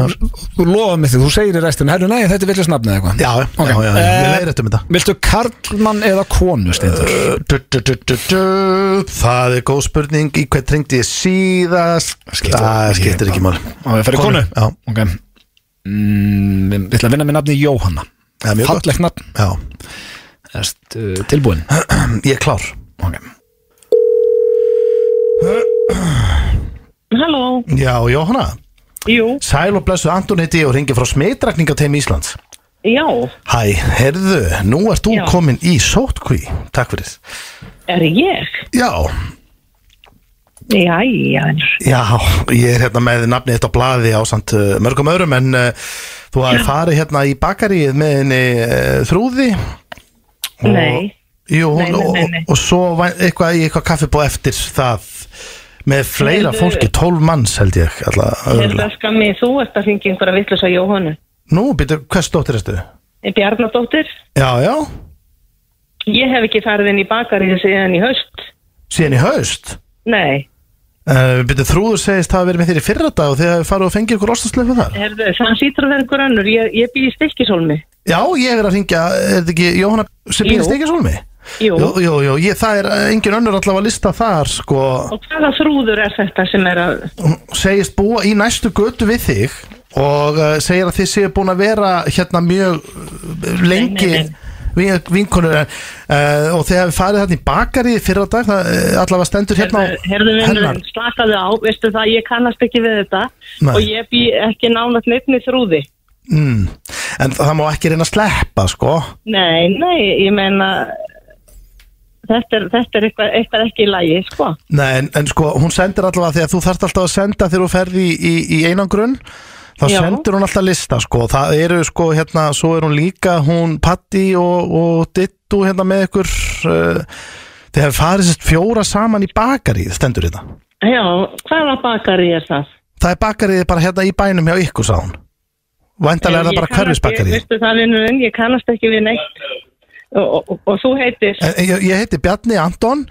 [SPEAKER 1] þú lofaði mig því, þú segir í restinu Herru, nei, þetta er villið snabnið eitthvað
[SPEAKER 3] Já, já, já, já, já, við leiðréttum þetta.
[SPEAKER 1] Viltu karlmann eða konu, Steindur?
[SPEAKER 3] Du, du, du, du, du. Það er góð spurning Í hvert ringdi ég síðast
[SPEAKER 1] Skiptir-
[SPEAKER 3] Það skiptir ekki máli
[SPEAKER 1] Og við fyrir konu?
[SPEAKER 3] Já,
[SPEAKER 1] Ok mm, Ég ætla að vinna með nafni Jóhanna
[SPEAKER 3] Það er mjög gott.
[SPEAKER 1] Fallegt nafn,
[SPEAKER 3] já,
[SPEAKER 1] erst uh, tilbúin
[SPEAKER 3] ég er klár
[SPEAKER 1] Ok
[SPEAKER 5] Halló,
[SPEAKER 3] Já, Jóhanna
[SPEAKER 5] jú,
[SPEAKER 3] Sæl og blessu Anton heiti ég og ringi frá smitrakningateim Íslands
[SPEAKER 5] já,
[SPEAKER 3] Hæ, herðu, nú ert þú
[SPEAKER 5] Já.
[SPEAKER 3] komin í sótkví Takk fyrir
[SPEAKER 5] er ég?
[SPEAKER 3] Já,
[SPEAKER 5] Jæja,
[SPEAKER 3] já, ég er hérna með nafnið þetta á blaði á samt uh, mörgum öðrum En uh, þú hafði farið hérna í bakaríð með henni uh, þrúði og,
[SPEAKER 5] Nei.
[SPEAKER 3] Jú,
[SPEAKER 5] Nei, nei, nei, nei.
[SPEAKER 3] Og, og svo var eitthvað í eitthvað kaffibóð eftir það Með fleira
[SPEAKER 5] Heyrðu.
[SPEAKER 3] fólki, tólf manns held ég alltaf,
[SPEAKER 5] þetta
[SPEAKER 3] örugglega.
[SPEAKER 5] Hérna, skammi, þú ert að hringi einhverja vitlusa Jóhannu.
[SPEAKER 3] Nú, býttu, hvers dóttir ertu?
[SPEAKER 5] Bjarnadóttir,
[SPEAKER 3] Já, já,
[SPEAKER 5] ég hef ekki farið inn í bakarið síðan í höst.
[SPEAKER 3] síðan í haust
[SPEAKER 5] Nei,
[SPEAKER 3] uh, byrju þrúður segist það að verið með þér í fyrra dag og þið hafið farið og fengið ykkur ostasleifu þar
[SPEAKER 5] herðu, það sýtur að vera einhver annur, ég, ég býð í stikkisólmi.
[SPEAKER 3] já, ég er að ringja, er þetta ekki Jóhanna sem býr
[SPEAKER 5] Jú.
[SPEAKER 3] stíkisólmi?
[SPEAKER 5] Jú,
[SPEAKER 3] jú, jú, jú ég, það er eh, engin önnur allavega að lista þar sko,
[SPEAKER 5] og hvaða þrúður er þetta sem er að,
[SPEAKER 3] hún segist búa í næstu götu við þig og uh, segir að þið séu búin að vera hérna mjög eh, lengi
[SPEAKER 5] Nei, nei, nei.
[SPEAKER 3] vin- vinkonur uh, og þið hafið farið þarna í bakari fyrra dag, það eh, allavega stendur hérna á
[SPEAKER 5] herðu, herðu
[SPEAKER 3] hennar.
[SPEAKER 5] vinnurinn, slakaðu á, veistu það, ég kannast ekki við þetta
[SPEAKER 3] Nei.
[SPEAKER 5] og ég býð ekki nánast neittni þrúði.
[SPEAKER 3] mm. en það má ekki reyna að sleppa sko
[SPEAKER 5] Nei, nei, ég meina, þetta er, þetta er eitthvað, eitthvað ekki í lagi, sko.
[SPEAKER 3] Nei, en, en sko, hún sendir allavega því að þú þarft alltaf að senda þegar þú ferði í, í, í einangrun þá
[SPEAKER 5] Já.
[SPEAKER 3] sendir hún alltaf lista sko. það eru sko hérna, svo er hún líka hún Patti og, og Dittu hérna með ykkur uh, þeir hafa farið sérst fjóra saman í bakarið stendur þetta
[SPEAKER 5] Já, hvaða bakari er það?
[SPEAKER 3] það er bakarið bara hérna í bænum hjá ykkur sá hún væntalega er það
[SPEAKER 5] Ég
[SPEAKER 3] bara
[SPEAKER 5] kannast-
[SPEAKER 3] hverfisbakarið
[SPEAKER 5] ég- Veistu það vinnurinn, ég kannast ekki við neitt og, og, og, og þú heitir
[SPEAKER 3] En- en Eh, Ég, ég heiti Bjarni Anton en,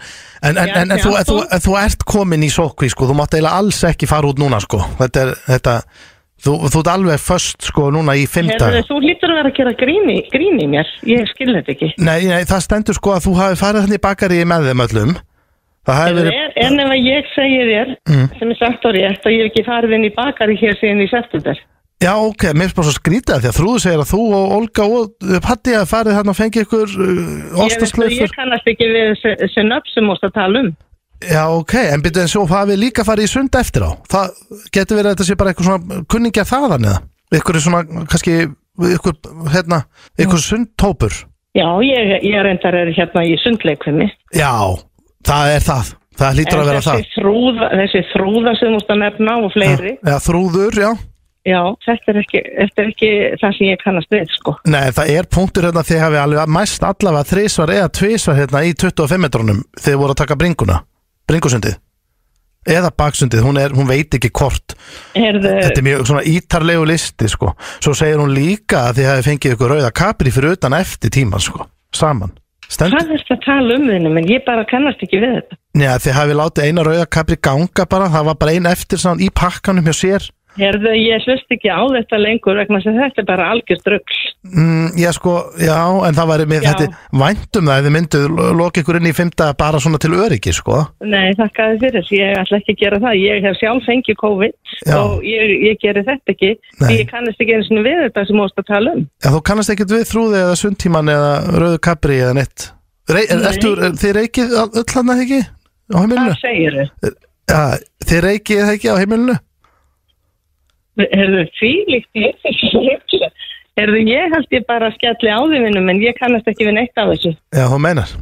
[SPEAKER 3] en, en, en,
[SPEAKER 5] Bjarni
[SPEAKER 3] þú, en, þú,
[SPEAKER 5] Anton.
[SPEAKER 3] en þú ert komin í sókví sko, þú mátt eiginlega alls ekki fara út núna sko. þetta er þetta, þú, þú ert alveg först sko, núna í fimm dag
[SPEAKER 5] Herðu, þú lítur að vera að gera grín í, grín í mér Ég skil þetta ekki
[SPEAKER 3] nei, nei, það stendur sko að þú hafi farið þannig bakari með þeim öllum það hafi verið,
[SPEAKER 5] En- En ef að ég segi þér
[SPEAKER 3] Mm.
[SPEAKER 5] sem er sagt og rétt og ég hef ekki farið inn í bakari hér síðan í september
[SPEAKER 3] já ok mér er bara svo skrítið að því að þrúðu segir að þú og Olga og uh, Patti hafi farið þannig að fengi ykkur uh,
[SPEAKER 5] Ég, veistu, ég
[SPEAKER 3] ostasleifur
[SPEAKER 5] kannast ekki við þessi- þessi nöfn sem múst að tala um
[SPEAKER 3] já ok, en byrjuð en svo hafi líka farið í sund eftir á það getur verið að þetta sé bara eitthvað svona kunningja þaðan eða ykkur er svona kannski ykkur, hérna, ykkur sundtópur
[SPEAKER 5] Já, ég, ég reyndar er hérna í sundleikvimi
[SPEAKER 3] já, það er það það hlýtur að vera það
[SPEAKER 5] þessi þrúða, þessi þrúða sem þú múst að nefna og fleiri
[SPEAKER 3] Já, þrúður, já
[SPEAKER 5] Já, þetta er ekki, þetta er ekki það sem ég kannast við, sko.
[SPEAKER 3] Nei, það er punktur hérna þegar við alveg mæst allavega þrísvar eða tvísvar hérna í 25 metrunum þegar voru að taka bringuna, bringusundið eða baksundið, hún, er, hún veit ekki hvort
[SPEAKER 5] Herðu,
[SPEAKER 3] þetta er mjög svona ítarlegu listi sko. svo segir hún líka að þið hafi fengið ykkur rauða kapri fyrir utan eftir tíman sko. saman, stendur
[SPEAKER 5] hvað er þetta að tala um þinu, menn ég bara kannast ekki við þetta.
[SPEAKER 3] Nei, þið hafi látið eina rauða kapri ganga bara, það var bara ein eftir svona, í pakkanum hjá sér
[SPEAKER 5] Herðu, ég hlust ekki á þetta lengur vegna sem þetta er bara algjörst rugg.
[SPEAKER 3] Mm, já sko, já, en það væri mér
[SPEAKER 5] Já.
[SPEAKER 3] þetta væntum það ef þið mynduð lo- loka ykkur inn í fymta bara svona til öryggi sko.
[SPEAKER 5] Nei, þakka þið fyrir, ég ætla ekki að gera það. Ég hef sjálf fengið COVID
[SPEAKER 3] Já.
[SPEAKER 5] og ég, ég geri þetta ekki.
[SPEAKER 3] Nei.
[SPEAKER 5] Því ég kannast ekki eins og við þetta sem múst að tala um.
[SPEAKER 3] Já, þú kannast ekkert við þrúði eða sundtíman eða rauðu kapri eða neitt. Rey, er,
[SPEAKER 5] Nei.
[SPEAKER 3] ertu, er, þið reykið all- öll hann að ekki á heimilinu?
[SPEAKER 5] Hvað segir þau?
[SPEAKER 3] Já, þið reykið það ekki á heimilinu?
[SPEAKER 5] Herðu, því líkt ég ekki. Herðu, ég held ég bara að skelli á því vinnum, en ég kannast ekki við neitt af þessu.
[SPEAKER 3] Já, þú meinar.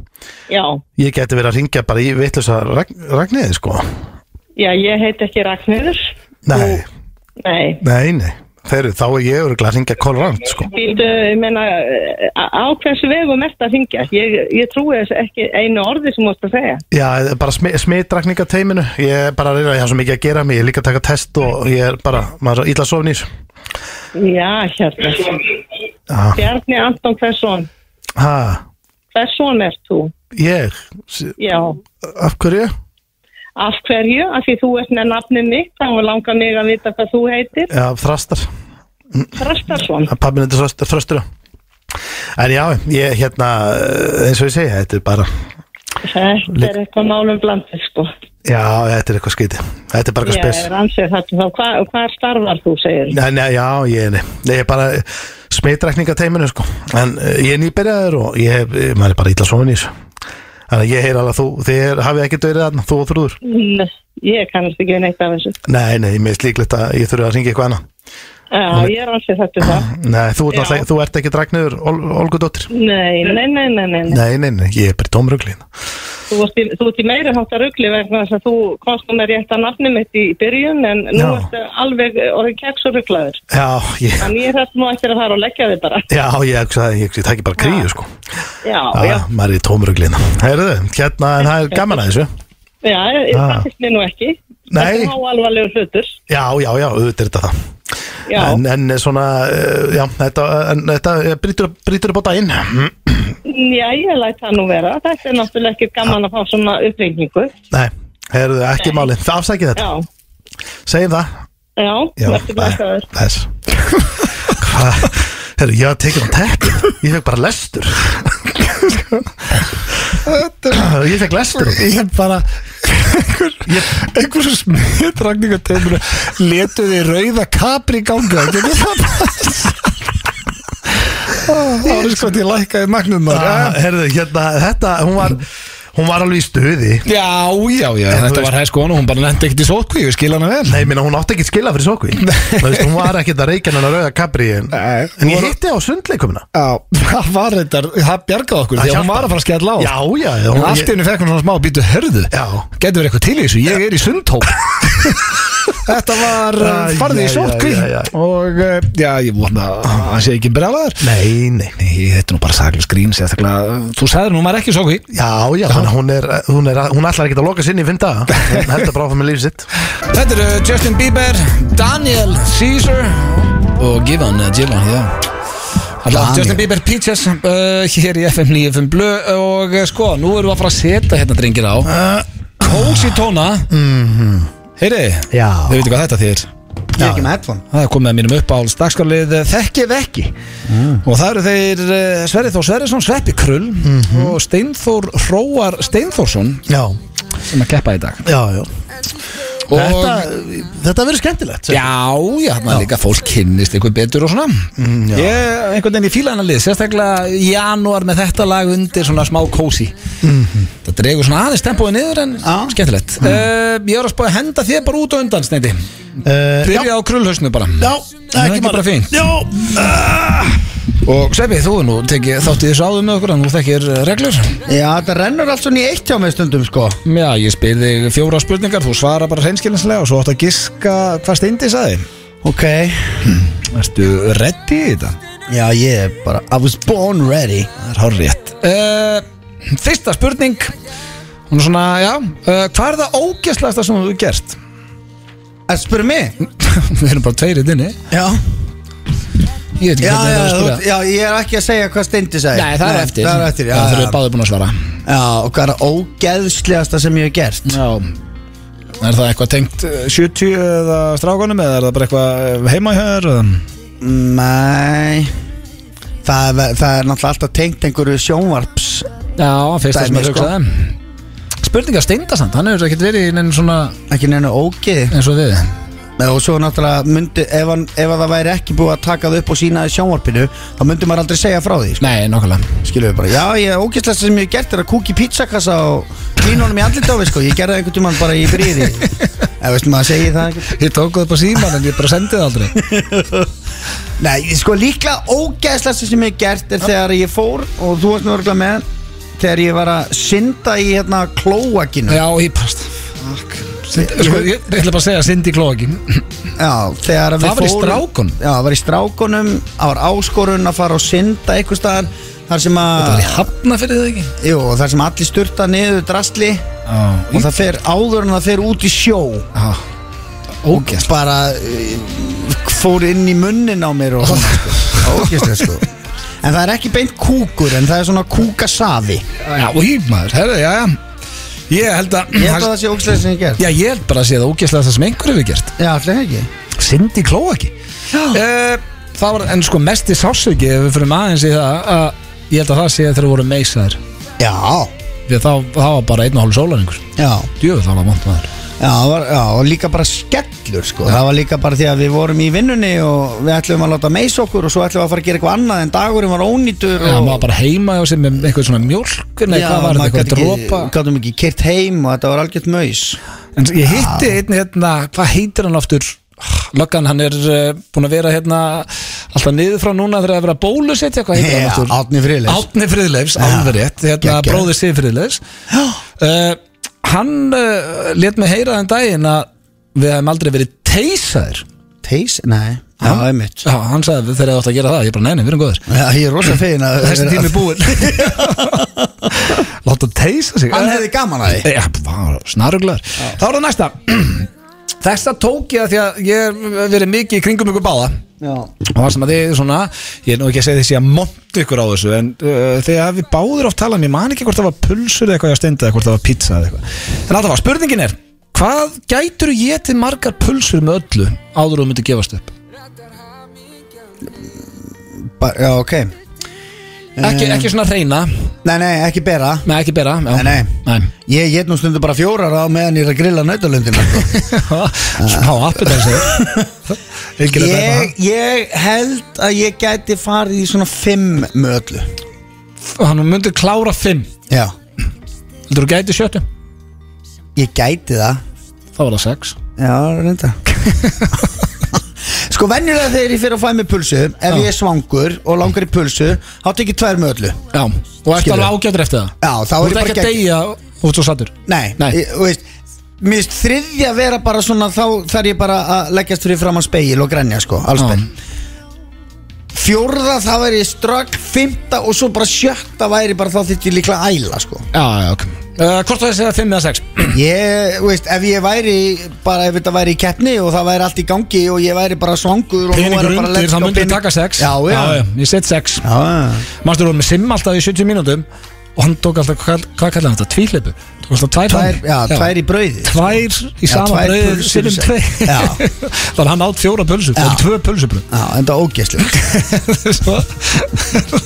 [SPEAKER 5] Já,
[SPEAKER 3] Ég geti verið að ringja bara í vitlusa ragniði sko.
[SPEAKER 5] já, ég heit ekki Ragnhildur.
[SPEAKER 3] Nei,
[SPEAKER 5] Nei,
[SPEAKER 3] nei, nei. Þeir, þá er ég öruglega að ringja kolrand sko.
[SPEAKER 5] Býtu, ég meina, á á hversu vegum ert að hringja? Ég, ég trúi þess ekki einu orði sem múst að segja.
[SPEAKER 3] Já, bara smi- smitrakningateiminu Ég er bara að reyna, ég hafa svo mikið að gera mig Ég er líka að taka test og ég er bara maður er svo illa sofn í þessu
[SPEAKER 5] Já, hérna.
[SPEAKER 3] Já.
[SPEAKER 5] Bjarni Anton, hvers son?
[SPEAKER 3] Ha,
[SPEAKER 5] Hvers son ert þú?
[SPEAKER 3] Ég, S-
[SPEAKER 5] Já.
[SPEAKER 3] af hverju?
[SPEAKER 5] Af hverju? Af því þú ert með nafnið mitt, þá langar mig að vita hvað þú heitir.
[SPEAKER 3] Já, þrastar
[SPEAKER 5] Þrastarsson.
[SPEAKER 3] Pappin þetta þrastur, þrastur já. En já, ég hérna eh, eins og ég segi, þetta er bara
[SPEAKER 5] Þetta er eitthvað málum blandið, sko.
[SPEAKER 3] Já, þetta er eitthvað skiti Þetta er bara
[SPEAKER 5] Ég
[SPEAKER 3] eitthvað spes
[SPEAKER 5] er ansið þetta þá. Hva, hvað starfar þú, segir?
[SPEAKER 3] Nei, nei, já, ég, nei. ég er bara smitrækningateiminu sko en eh, ég er nýbyrjaður og ég hef, eh, maður er bara illa svona í þessu þannig að ég heyr alveg að þú, þið hafið ekkert verið þarna, þú og þrúður
[SPEAKER 5] Nei. Ég kannast ekki við neitt af þessu.
[SPEAKER 3] Nei, nei, mér er slíklegt að ég þurfi að ringa eitthvað annað
[SPEAKER 5] Já, ég er um ansið þetta þá.
[SPEAKER 3] Nei, þú, ert
[SPEAKER 5] Já.
[SPEAKER 3] náttúrulega- þú ert ekki dragniður Ol Olgudóttir
[SPEAKER 5] Nei, nei, nei, nei, nei. nei.
[SPEAKER 3] Nei, nei, nei, ég er bara í tómrugli hérna.
[SPEAKER 5] Þú ert í, þú ert í meiri hátta rugli vegna þess að þú kostum með rétt að nafni mitt í byrjun en nú
[SPEAKER 3] Já.
[SPEAKER 5] ertu alveg orðin keks og rugglaður.
[SPEAKER 3] Já, ég
[SPEAKER 5] Þannig ég þarf nú eftir að fara og leggja þig bara.
[SPEAKER 3] Já, ég hugsaði, ég, ég takk bara kríu sko
[SPEAKER 5] Já,
[SPEAKER 3] Já,
[SPEAKER 5] já,
[SPEAKER 3] maður er í tómruglina Heyrðu, hérna, en það er gaman að þessu
[SPEAKER 5] já, ég-
[SPEAKER 3] Ah.
[SPEAKER 5] það finnst mér nú ekki.
[SPEAKER 3] Nei.
[SPEAKER 5] Þetta er háalvarlegur hlutur.
[SPEAKER 3] Já, já, já, auðvitað er þetta það
[SPEAKER 5] Já,
[SPEAKER 3] En, en svona, eh, já, þetta, en, þetta eh, brýtur, brýtur upp á daginn Mm,
[SPEAKER 5] já, ég læt það nú vera. Þetta er náttúrulega ekki gaman að fá svona uppringingu.
[SPEAKER 3] Nei, heyrðu, ekki
[SPEAKER 5] Nei.
[SPEAKER 3] máli Það afsækið þetta,
[SPEAKER 5] Já,
[SPEAKER 3] segjum það
[SPEAKER 5] já,
[SPEAKER 3] Já,
[SPEAKER 5] verður blæstaður.
[SPEAKER 3] Þess Hvað, heyrðu, ég var tekið á teppið Ég fekk bara lestur Ég fekk lestur á því.
[SPEAKER 4] Ég bara einhver, einhver sem smitrakningateimur letu þið rauða kapri í ganga getur það Það var sko að ég lækkaði magnum maður
[SPEAKER 1] Ah.
[SPEAKER 3] Ah, Herðu, hérna, þetta, hún var hún var alveg í stuði
[SPEAKER 1] Já, já, já,
[SPEAKER 3] En þú
[SPEAKER 1] þetta
[SPEAKER 3] veist-
[SPEAKER 1] var hæsk og hún bara nefndi ekkert í sótkví, ég skil hana vel
[SPEAKER 3] Nei, minna, hún átti ekki skila fyrir sókví Þú veist, Hún var ekkert að reykja hann að rauða kabri En,
[SPEAKER 4] Nei,
[SPEAKER 3] en ég
[SPEAKER 4] voru-
[SPEAKER 3] hitti á sundleikumina
[SPEAKER 4] Já, það var þetta, það bjargaði okkur
[SPEAKER 3] Það
[SPEAKER 4] Því að hún
[SPEAKER 3] hjálpaði.
[SPEAKER 4] var að fara að skella á
[SPEAKER 3] Já, já, já,
[SPEAKER 4] En
[SPEAKER 3] hún-
[SPEAKER 4] allt í henni fekk hún svona smá býtu hörðu
[SPEAKER 3] Já.
[SPEAKER 4] Getur verið eitthvað til í þessu, ég er í sundhóp Þetta var uh,
[SPEAKER 3] Æ,
[SPEAKER 4] farðið í
[SPEAKER 3] já,
[SPEAKER 4] sótkví
[SPEAKER 3] já, já, já.
[SPEAKER 4] Og uh, já, ég vona að hann sé ekki brjálaður
[SPEAKER 3] Nei, nei
[SPEAKER 4] Nei, þetta er nú bara saglis grín sérstaklega Þú sagðir nú maður ekki sótkví
[SPEAKER 3] Já, já, þannig að hún er, hún er Hún ætlar ekkert að loka sinni í fimm daga Hún heldur bara áfram með líf sitt
[SPEAKER 1] Þetta eru Justin Bieber, Daniel Caesar og Givan
[SPEAKER 4] eh,
[SPEAKER 1] Gillan, já Alla,
[SPEAKER 4] Daniel.
[SPEAKER 1] Justin Bieber Peaches uh,
[SPEAKER 4] eh,
[SPEAKER 1] hér í FM 95 Blu og uh, sko, nú erum við að fara að setja hérna drengir á
[SPEAKER 3] Eh.
[SPEAKER 1] Kósi tóna Heyri,
[SPEAKER 3] Mhm. Já.
[SPEAKER 1] þau veitir hvað þetta þýðir
[SPEAKER 2] Ég er ekki með headphone
[SPEAKER 1] Það er komið að mínum uppáhalds dagskarlið Þekkið eh, ekki Og það eru þeir uh, Sverri Þór Sverrisson, Sveppi Krull og Steinþór Hróar Steinþórsson
[SPEAKER 3] Já,
[SPEAKER 1] sem að keppa í dag
[SPEAKER 3] já, já
[SPEAKER 1] Og-
[SPEAKER 3] Þetta, þetta verður skemmtilegt
[SPEAKER 1] Já, já, þannig að líka fólk kynnist einhver betur og svona Ég, einhvern veginn í fílanalið, sérstaklega í janúar með þetta lag undir svona smá kósi Það dregur svona aðeins tempóið niður en
[SPEAKER 2] Já.
[SPEAKER 1] skemmtilegt uh, Ég er að spáði að henda þér bara út á undan, Sneiti
[SPEAKER 3] Eh, já,
[SPEAKER 1] Byrja á krullhausnu bara
[SPEAKER 3] já,
[SPEAKER 1] Það er ekki bara fínt
[SPEAKER 3] Já,
[SPEAKER 1] Og Sveppi, þú er nú tekið þátt í þessu áður með okkur en þú þekkir eh, reglur
[SPEAKER 2] Já, þetta rennur alls svona í eitt hjá mig stundum sko
[SPEAKER 1] Já, ég spyr þig fjóra spurningar, þú svara bara hreinskilinslega og svo átt að giska hvað Steindi sagði
[SPEAKER 2] Ok
[SPEAKER 1] Ertu ready í þetta?
[SPEAKER 2] Já, ég er bara I was born ready
[SPEAKER 1] Það er hár rétt Eh, Fyrsta spurning Hún er svona, já uh, Hvað er það ógæslegasta sem þú hefur gert?
[SPEAKER 2] Það spurði mig
[SPEAKER 1] Við erum bara tveirið inni
[SPEAKER 2] Já
[SPEAKER 1] Ég veit ekki
[SPEAKER 2] Já,
[SPEAKER 1] hvernig það
[SPEAKER 2] já,
[SPEAKER 1] er að
[SPEAKER 2] þú,
[SPEAKER 1] spura
[SPEAKER 2] já, ég er ekki að segja hvað Steindi segi
[SPEAKER 1] Nei, það er eftir
[SPEAKER 2] Það er eftir, já,
[SPEAKER 1] Það þurfum
[SPEAKER 2] já,
[SPEAKER 1] við báðið búin að svara
[SPEAKER 2] já Og hvað er ógeðslegasta sem ég hef gert?
[SPEAKER 1] Já Er það eitthvað tengt eh, 70 eða strákunum eða er það bara eitthvað eh, heima hjá þér? eða?
[SPEAKER 2] Nei Það er, það er náttúrulega alltaf tengt einhverju sjónvarps
[SPEAKER 1] Já, fyrsta
[SPEAKER 2] Dæmi,
[SPEAKER 1] sem ég
[SPEAKER 2] sko.
[SPEAKER 1] hugsaði Spurningar steindasamt, hann hefur ekkert verið í neinn svona
[SPEAKER 2] Ekki neina ógeð
[SPEAKER 1] eins og við
[SPEAKER 2] Og svo náttúrulega myndi ef, hann, ef að það væri ekki búið að taka það upp og sína í sjónvarpinu Þá myndi maður aldrei segja frá því sko.
[SPEAKER 1] Nei, nokkulega
[SPEAKER 2] Skilum við bara Já, ég ógeðslegasta sem ég hef gert er að kúki pizzakassa og klína honum í andlit á við sko. Ég gerði það einhvern tímann bara í bríði Ef veist maður segi það einhvern
[SPEAKER 1] Ég tók það upp á síman en ég bara sendið aldrei
[SPEAKER 2] Nei, sko líklega ógeðslega sem ég hef gert er þegar ég fór og þú varst nörgla með þegar ég var að synda í hérna klóakinu
[SPEAKER 1] Já, ég past Sko, ég, ég ætla bara að segja Cindy Klóakin
[SPEAKER 2] þegar
[SPEAKER 1] Það
[SPEAKER 2] að við
[SPEAKER 1] var í
[SPEAKER 2] fórum-
[SPEAKER 1] strákunum?
[SPEAKER 2] Já, það var í strákunum, það var áskorun að fara og synda einhvers staðar þar sem að
[SPEAKER 1] Það var í hafna fyrir það ekki
[SPEAKER 2] Jú, og þar sem allir sturta niður drasli og það fer áður en það fer út í sjó
[SPEAKER 1] Ógæst
[SPEAKER 2] bara eh, fór inn í munnin á mér og svona sko. ógeðslega sko En það er ekki beint kúkur, en það er svona kúkasafi
[SPEAKER 1] Já, og hýp maður, herru, já, já Ég held að
[SPEAKER 2] Ég held að það sé ógeðslega sem ég hef gert
[SPEAKER 1] Já, ég held bara að sé það ógæstlega það sem einhver hefur gert
[SPEAKER 2] Já, allir ekki
[SPEAKER 1] Cindy Klóaki uh, Það var, en sko, mesti sásöki ef við fyrir aðeins í það að ég held að það sé þegar voru meisaðir
[SPEAKER 2] Já,
[SPEAKER 1] því að það, það var bara einn og hálf sólaringur
[SPEAKER 2] já,
[SPEAKER 1] Djöfull, það var vant maður
[SPEAKER 2] já, það var, já og líka bara skellur sko Það var líka bara því að við vorum í vinnunni og við ætlum að láta meis okkur og svo ætlum við að fara að gera eitthvað annað en dagurinn var ónýtur
[SPEAKER 1] Það
[SPEAKER 2] og
[SPEAKER 1] var bara heima og sem með eitthvað svona mjólk Nei,
[SPEAKER 2] Já,
[SPEAKER 1] hvað var þetta,
[SPEAKER 2] maður
[SPEAKER 1] eitthvað
[SPEAKER 2] gat ekki-
[SPEAKER 1] dropa
[SPEAKER 2] Gátum ekki kert heim og þetta var algjört maus
[SPEAKER 1] En ég hitti einn hérna, hvað heitir hann aftur? Ah, Löggan, hann er uh, búin að vera hérna alltaf niður frá núna þegar það er að vera bólusetja, hvað heitir hann
[SPEAKER 2] Já,
[SPEAKER 1] aftur?
[SPEAKER 2] Árni Friðleifs
[SPEAKER 1] Átni Friðleifs, alveg rétt, hérna
[SPEAKER 2] Geggjað.
[SPEAKER 1] bróðir Sif Friðleifs. Uh, hann uh, let mig heyra þann daginn að við hefum aldrei verið teysaðir.
[SPEAKER 2] Teis, nei, já, einmitt
[SPEAKER 1] Já, hann sagði þegar þið átt að gera það, ég bara neini, við erum góðir.
[SPEAKER 2] Já, ég er rosa fegin að
[SPEAKER 1] Þessi tími búin. Láta teysa sig.
[SPEAKER 2] Hann
[SPEAKER 1] Eh,
[SPEAKER 2] hefði gaman að því
[SPEAKER 1] Já, snaruglar Þá er það næsta Þessa tók ég að því að ég hef verið mikið í kringum ykkur báða
[SPEAKER 2] Já,
[SPEAKER 1] og það sem að þið svona, ég er nú ekki að segja þessi að monta ykkur á þessu en uh, þegar við báður oft talað, um, ég man ekki hvort það var pulsur eða eitthvað ég að stenda eða hvort það var pizza eða eitthvað en alltaf var, spurningin er hvað gætur ég til margar pulsur með öllu áður og myndi gefast upp
[SPEAKER 2] ba- já, ok
[SPEAKER 1] ekki, ekki svona reyna,
[SPEAKER 2] Nei, nei, ekki bera
[SPEAKER 1] með ekki bera já.
[SPEAKER 2] Eh. Nei, nei.
[SPEAKER 1] nei.
[SPEAKER 2] Ég get nú stundu bara fjórar á meðan ég er að grilla nautalöndina sko.
[SPEAKER 1] smá appi þessi
[SPEAKER 2] ég, ég held að ég gæti farið í svona fimm með öllu
[SPEAKER 1] hann myndi klára fimm
[SPEAKER 2] Já
[SPEAKER 1] Heldur þú gæti sjöttu?
[SPEAKER 2] Ég gæti það
[SPEAKER 1] Þá var það sex
[SPEAKER 2] Já, reynda Sko venjulega þegar ég fyrir að fæ mér pulsu Ef ég er svangur og langar í pulsu Þá tek ég tvær með öllu
[SPEAKER 1] Já, og ertu
[SPEAKER 2] Skilur.
[SPEAKER 1] alveg ágætur eftir það
[SPEAKER 2] Já, þá
[SPEAKER 1] Þú
[SPEAKER 2] er ég
[SPEAKER 1] ert
[SPEAKER 2] bara
[SPEAKER 1] ekki að
[SPEAKER 2] gegn-
[SPEAKER 1] deyja út svo sattur
[SPEAKER 2] Nei,
[SPEAKER 1] Nei.
[SPEAKER 2] Ég, þú veist Mér finnst þriðja vera bara svona Þá þarf ég bara að leggjast fyrir fram á speil og grenja sko Alls benn Fjórða þá er ég strögg Fymta og svo bara sjötta væri bara Þá þitt ég líklega að æla sko
[SPEAKER 1] Já, já, ok uh, Hvort það sé að fimm eða sex?
[SPEAKER 2] Ég, þú veist, ef ég væri bara ef þetta væri í keppni og það væri allt í gangi og ég væri bara svangur og nú
[SPEAKER 1] Peningur
[SPEAKER 2] væri bara
[SPEAKER 1] undir,
[SPEAKER 2] let's
[SPEAKER 1] þá
[SPEAKER 2] go
[SPEAKER 1] myndi ég
[SPEAKER 2] pening-
[SPEAKER 1] taka sex
[SPEAKER 2] Já, já, já,
[SPEAKER 1] Ég set sex
[SPEAKER 2] já.
[SPEAKER 1] Manstu voru með sim alltaf í 70 mínútum Og hann tók alltaf, hvað, hvað kallaði hann þetta? Tvíhleipu Tók alltaf tvær
[SPEAKER 2] Tvær,
[SPEAKER 1] fram.
[SPEAKER 2] já, tvær í brauði
[SPEAKER 1] Tvær í
[SPEAKER 2] Já,
[SPEAKER 1] sama
[SPEAKER 2] tvær
[SPEAKER 1] bröð
[SPEAKER 2] pulsur
[SPEAKER 1] Sinnum
[SPEAKER 2] í
[SPEAKER 1] tvei
[SPEAKER 2] sex. Já.
[SPEAKER 1] Þannig að hann átt fjóra pulsu Það
[SPEAKER 2] Já.
[SPEAKER 1] er tvö pulsubröð
[SPEAKER 2] Já, en það ógeðslegt
[SPEAKER 1] Svo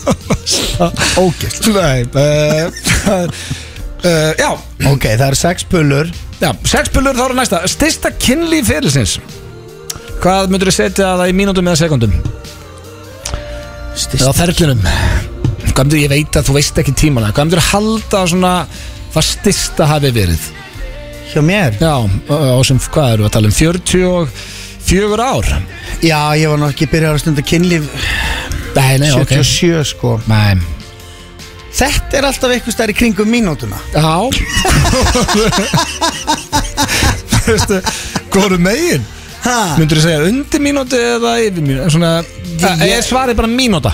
[SPEAKER 2] Ógeðslegt
[SPEAKER 1] Nei uh, uh, Já,
[SPEAKER 2] Ok, það eru sex pullur
[SPEAKER 1] já Sex pulsur þá eru næsta Styrsta kynlíf fyrirlsins Hvað myndur þú setja það í mínútum eða sekundum?
[SPEAKER 2] Stist
[SPEAKER 1] Eða á ferlinum Hvað myndur ég veit að þú veist ekki tímana Hvað myndur halda svona Hvað styrsta hafi verið?
[SPEAKER 2] hjá mér
[SPEAKER 1] Já, á sem, hvað eru að tala um 44 ár
[SPEAKER 2] Já, ég var nú ekki byrjað að stunda kynlíf
[SPEAKER 1] Nei, nei, ok
[SPEAKER 2] 77 sko
[SPEAKER 1] Nei,
[SPEAKER 2] Þetta er alltaf eitthvað stær í kringum mínútuna
[SPEAKER 1] já Veistu, hvað eru megin?
[SPEAKER 2] Ha?
[SPEAKER 1] Myndur þú segja undir mínúti eða yfir mínúti? Svona, ég, ég svari bara mínúta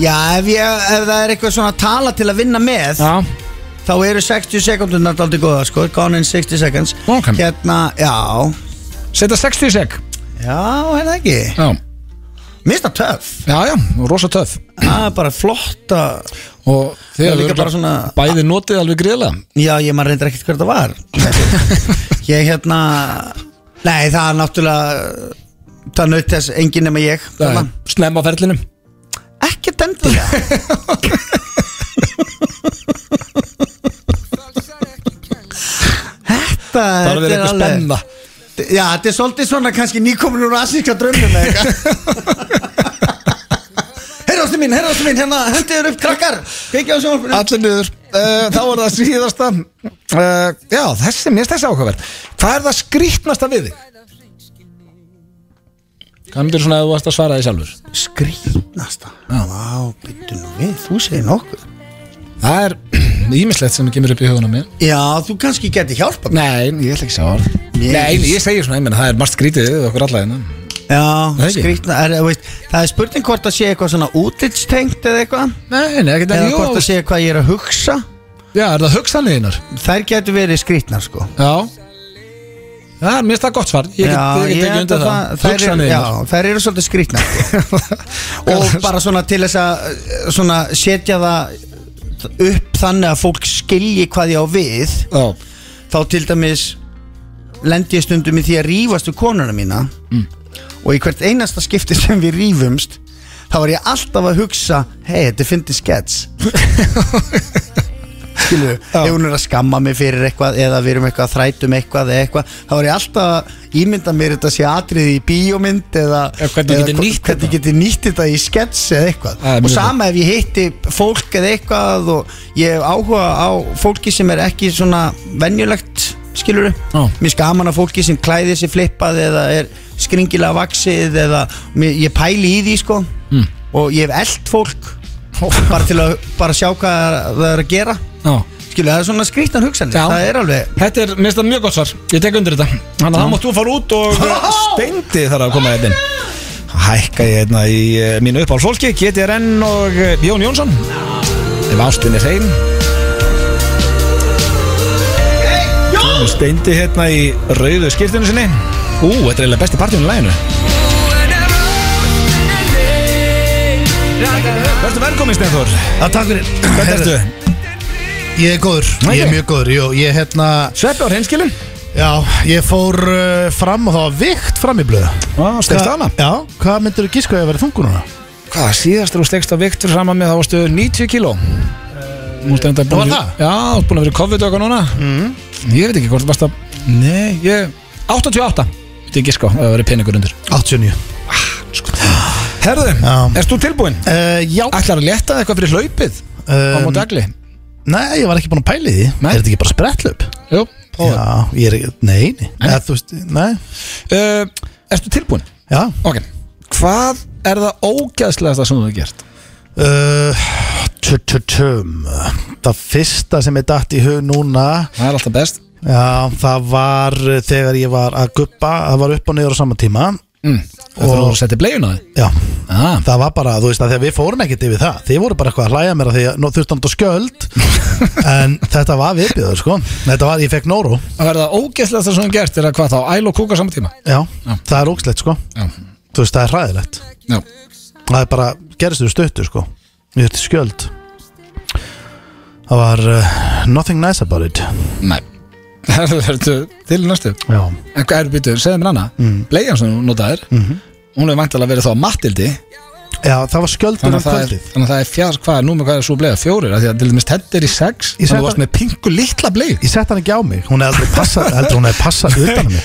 [SPEAKER 2] Já, ef, ég, ef það er eitthvað svona tala til að vinna með
[SPEAKER 1] Já,
[SPEAKER 2] Þá eru 60 sekundunar aldrei góða sko Gone in 60 seconds
[SPEAKER 1] Ok.
[SPEAKER 2] Hérna, já
[SPEAKER 1] setja 60 sek
[SPEAKER 2] Já, hérna ekki
[SPEAKER 1] Já,
[SPEAKER 2] Mér finnst það töff
[SPEAKER 1] já, já, rosa töf
[SPEAKER 2] Það er bara flott að
[SPEAKER 1] Og þið
[SPEAKER 2] er
[SPEAKER 1] hefur
[SPEAKER 2] líka bara
[SPEAKER 1] örugglega
[SPEAKER 2] svona-
[SPEAKER 1] Bæði notið alveg gríðlega
[SPEAKER 2] Já, ég maður reyndir ekkert hver það var Ég hérna Nei, það er náttúrulega Það naut þess enginn nema ég
[SPEAKER 1] Nei,
[SPEAKER 2] þarna.
[SPEAKER 1] Snemma á ferlinu
[SPEAKER 2] Ekkert endilega Þetta
[SPEAKER 1] Það er verið
[SPEAKER 2] þetta
[SPEAKER 1] eitthvað spenna
[SPEAKER 2] Já, þetta er svolítið svona kannski nýkomin úr asíska drömmum eða eitthvað Herra ástu mín, herra ástu mín, hérna hendiður upp krakkar Kveikja á sjónvarpinu
[SPEAKER 1] Allir niður uh, Þá er það síðasta uh, Já, þessi, mér er þessi áhugaverð Hvað er það skrýtnasta við þig? Hvað myndir svona að þú varst að svara því sjálfur?
[SPEAKER 2] Skrýtnasta Vá, byttu nú við, þú segir nokkuð
[SPEAKER 1] Það er ímislegt sem kemur upp í hugunum mér
[SPEAKER 2] Já, þú kannski geti hjálpa mér
[SPEAKER 1] Nei, ég ætla ekki að sjá orð
[SPEAKER 2] Ég-
[SPEAKER 1] Nei, ég segir svona, ég menna, það er margt skrítið við okkur alla hérna
[SPEAKER 2] Já,
[SPEAKER 1] Nei, ekki.
[SPEAKER 2] skrýtna, er, þú veist, það er spurning hvort það sé eitthvað svona útlitstengt eða eitthvað
[SPEAKER 1] Nei, nei, ekkert
[SPEAKER 2] Eða
[SPEAKER 1] ekki,
[SPEAKER 2] hvort það
[SPEAKER 1] jú
[SPEAKER 2] sé hvað ég er að hugsa
[SPEAKER 1] Já, er það hugsanleginar?
[SPEAKER 2] Þær getur verið skrýtnar sko
[SPEAKER 1] Já Já, mér finnst það gott svar Ég get, ég get ekki
[SPEAKER 2] held
[SPEAKER 1] undir
[SPEAKER 2] að
[SPEAKER 1] það, það.
[SPEAKER 2] þær, eru, já,
[SPEAKER 1] Hugsanleginar
[SPEAKER 2] þær eru svolítið skrýtnar sko. Og bara svona til þess að eh, svona, setja það upp þannig að fólk skilji hvað ég á við
[SPEAKER 1] Já,
[SPEAKER 2] Þá til dæmis lendi ég stundum í því að rífast við konuna mína
[SPEAKER 1] Mm.
[SPEAKER 2] Og í hvert einasta skipti sem við rífumst Þá var ég alltaf að hugsa Hei, þetta finnir skets Skilu,
[SPEAKER 1] Já.
[SPEAKER 2] ef hún er að skamma mig fyrir eitthvað Eða við erum eitthvað að þrætum eitthvað eða eitthvað Þá var ég alltaf að ímynda mér þetta sé atriði í bíómynd Eða,
[SPEAKER 1] Já, hvernig ég geti
[SPEAKER 2] hvo-
[SPEAKER 1] nýtt
[SPEAKER 2] hvernig
[SPEAKER 1] þetta.
[SPEAKER 2] geti nýtt þetta í skets eða eitthvað
[SPEAKER 1] Það er
[SPEAKER 2] Og
[SPEAKER 1] mjög
[SPEAKER 2] sama ef ég hitti fólk eða eitthvað Og ég hef áhuga á fólki sem er ekki svona venjulegt skilur
[SPEAKER 1] Já.
[SPEAKER 2] mér skaman að fólki sem klæðir sig flippað eða er skringilega vaksið eða mér, ég pæli í því sko
[SPEAKER 1] Hmm.
[SPEAKER 2] mm. og ég hef eld fólk bara til að bara sjá hvað það er að gera
[SPEAKER 1] já
[SPEAKER 2] skilu, það er svona skrýttan hugsanir
[SPEAKER 1] Já.
[SPEAKER 2] það er alveg
[SPEAKER 1] Þetta er, mér finnst það mjög gott svar, ég tek undir þetta Þannig að það mátt þú fara út og
[SPEAKER 2] Hó!
[SPEAKER 1] steindi þar að koma þetta inn Hækka ég hérna í uh, mínu uppáhaldsfólki, GTRN og uh, Jón Jónsson Ef ástin er hrein Hún Steindi hérna í rauðu skýrtinu sinni Ú, þetta er eiginlega besti partíun í læginu Vertu velkomin Steinþór
[SPEAKER 3] Það takk fyrir
[SPEAKER 1] Hvernig ertu?
[SPEAKER 3] Ég er góður, ég er mjög góður Jó, ég hérna
[SPEAKER 1] Sveppi á hreinskilin?
[SPEAKER 3] Já, ég fór uh, fram og það var vikt fram í blöðu
[SPEAKER 1] Já, stegst á hana
[SPEAKER 3] Já, hvað myndir þú gíska að ég verið þungur núna?
[SPEAKER 1] Hvað, síðast er þú slegst á Viktor saman með þá varstu 90 kíló Nú ertu enda
[SPEAKER 3] var
[SPEAKER 1] búin
[SPEAKER 3] það? Mhm.
[SPEAKER 1] Já, þú ert búin að vera í COVID og eitthvað núna Ég veit ekki hvort þú varst að Nei, ég 88 Þetta er giska, á, ef það verið peningur undir
[SPEAKER 3] 89
[SPEAKER 1] Herðu,
[SPEAKER 3] Já.
[SPEAKER 1] erst þú tilbúin?
[SPEAKER 3] uh, Já
[SPEAKER 1] Ætlar að leta eitthvað fyrir hlaupið á
[SPEAKER 3] um,
[SPEAKER 1] móti agli?
[SPEAKER 3] Nei, ég var ekki búin að pæli því
[SPEAKER 1] Nei.
[SPEAKER 3] Er þetta ekki bara sprettlöp?
[SPEAKER 1] Jú, prófaðu.
[SPEAKER 3] Já, ég er ekki, nei, nei. Eða, þú veist, nei
[SPEAKER 1] Uh, Ertu tilbúin?
[SPEAKER 3] Já
[SPEAKER 1] Ok Hvað er það ógæðslegasta sem þú hefur gert?
[SPEAKER 3] uh, Tjötjötjöm Það fyrsta sem er datt í hug núna
[SPEAKER 1] Það er alltaf best
[SPEAKER 3] Já, það var uh, þegar ég var að guppa Það var upp og niður á sama tíma
[SPEAKER 1] mm. Það
[SPEAKER 3] Og-
[SPEAKER 1] þurfa að setja bleiðin á þig
[SPEAKER 3] Já,
[SPEAKER 1] ah.
[SPEAKER 3] það var bara, þú veist að þegar við fórum ekkert yfir það Þið voru bara eitthvað að hlæja mér að því að nú þurfti hann þetta skjöld En þetta var viðbjöður, sko Þetta var, ég fekk Nóru
[SPEAKER 1] Það er það ógæðslegasta sem þú hefur gert Er að hvað þá? Æl og kúka á sama tíma
[SPEAKER 3] Já,
[SPEAKER 1] Já.
[SPEAKER 3] það er ógslegt, sko
[SPEAKER 1] Já,
[SPEAKER 3] Þú veist, það er hræðilegt
[SPEAKER 1] Já.
[SPEAKER 3] það er bara, gerist þér stöttu sko ég þurfti skjöld það var uh, nothing nice about it
[SPEAKER 1] Nei Það verður til næstu
[SPEAKER 3] já,
[SPEAKER 1] En hvað er býtu, segðu mér hana mm. Bleiðan sem þú notaðir -hmm. Hún hefur vantilega verið þá Mattildi
[SPEAKER 3] já það var skjöldur um
[SPEAKER 1] Þannig að, það er,
[SPEAKER 3] kvöldið
[SPEAKER 1] þannig að það er fjár, hvað er nú með hvað er svo bleiða fjórir af Því að til dæmis tett er í sex Þannig að
[SPEAKER 3] Ég segi
[SPEAKER 1] þú varst
[SPEAKER 3] það-
[SPEAKER 1] með pingu litla bleið
[SPEAKER 3] ég sett hann ekki á mig, hún er aldrei passað heldur hún er passað utan að mig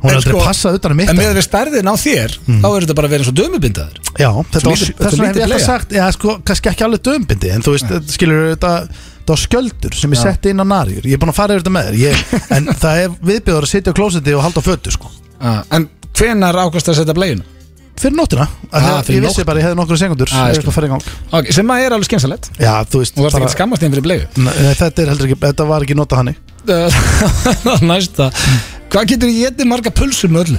[SPEAKER 3] hún
[SPEAKER 1] En
[SPEAKER 3] er aldrei
[SPEAKER 1] sko-
[SPEAKER 3] passað utan að mitt
[SPEAKER 1] En með við stærðin á þér Þá er þetta bara verið eins og dömubindaður
[SPEAKER 3] já, þetta
[SPEAKER 1] Svo
[SPEAKER 3] var,
[SPEAKER 1] lítið-
[SPEAKER 3] þess
[SPEAKER 1] svo
[SPEAKER 3] vegna hef
[SPEAKER 1] lítið
[SPEAKER 3] ég alltaf
[SPEAKER 1] bleia.
[SPEAKER 3] sagt já, sko, kannski ekki alveg dömbindi en þú veist, ja. skilur þetta það var skjöldur sem ég setti inn á narjur ég er búin að fara yfir þetta með þér ég, en það er viðbjöður að sitja á klósetti og halda á fötu sko.
[SPEAKER 1] Ah, En hvenar ákvæmst að setja bleiðinu?
[SPEAKER 3] fyrir nóttina, ah,
[SPEAKER 1] Ah, fyrir
[SPEAKER 3] ég vissi
[SPEAKER 1] nótt.
[SPEAKER 3] bara að ég hefði nokkru segundur
[SPEAKER 1] Ah, ég
[SPEAKER 3] ah, ég
[SPEAKER 1] skil.
[SPEAKER 3] skal fara í gang
[SPEAKER 1] Okay, sem að er alveg skemmsalett
[SPEAKER 3] Já, þú veist
[SPEAKER 1] Þú varst
[SPEAKER 3] bara-
[SPEAKER 1] ekki að skammast þeim fyrir bleiðu
[SPEAKER 3] Nei, þetta er heldur ekki, þetta var ekki nota hannig
[SPEAKER 1] Uh, Næsta Hvað getur ég getið marga pulsur með öllu?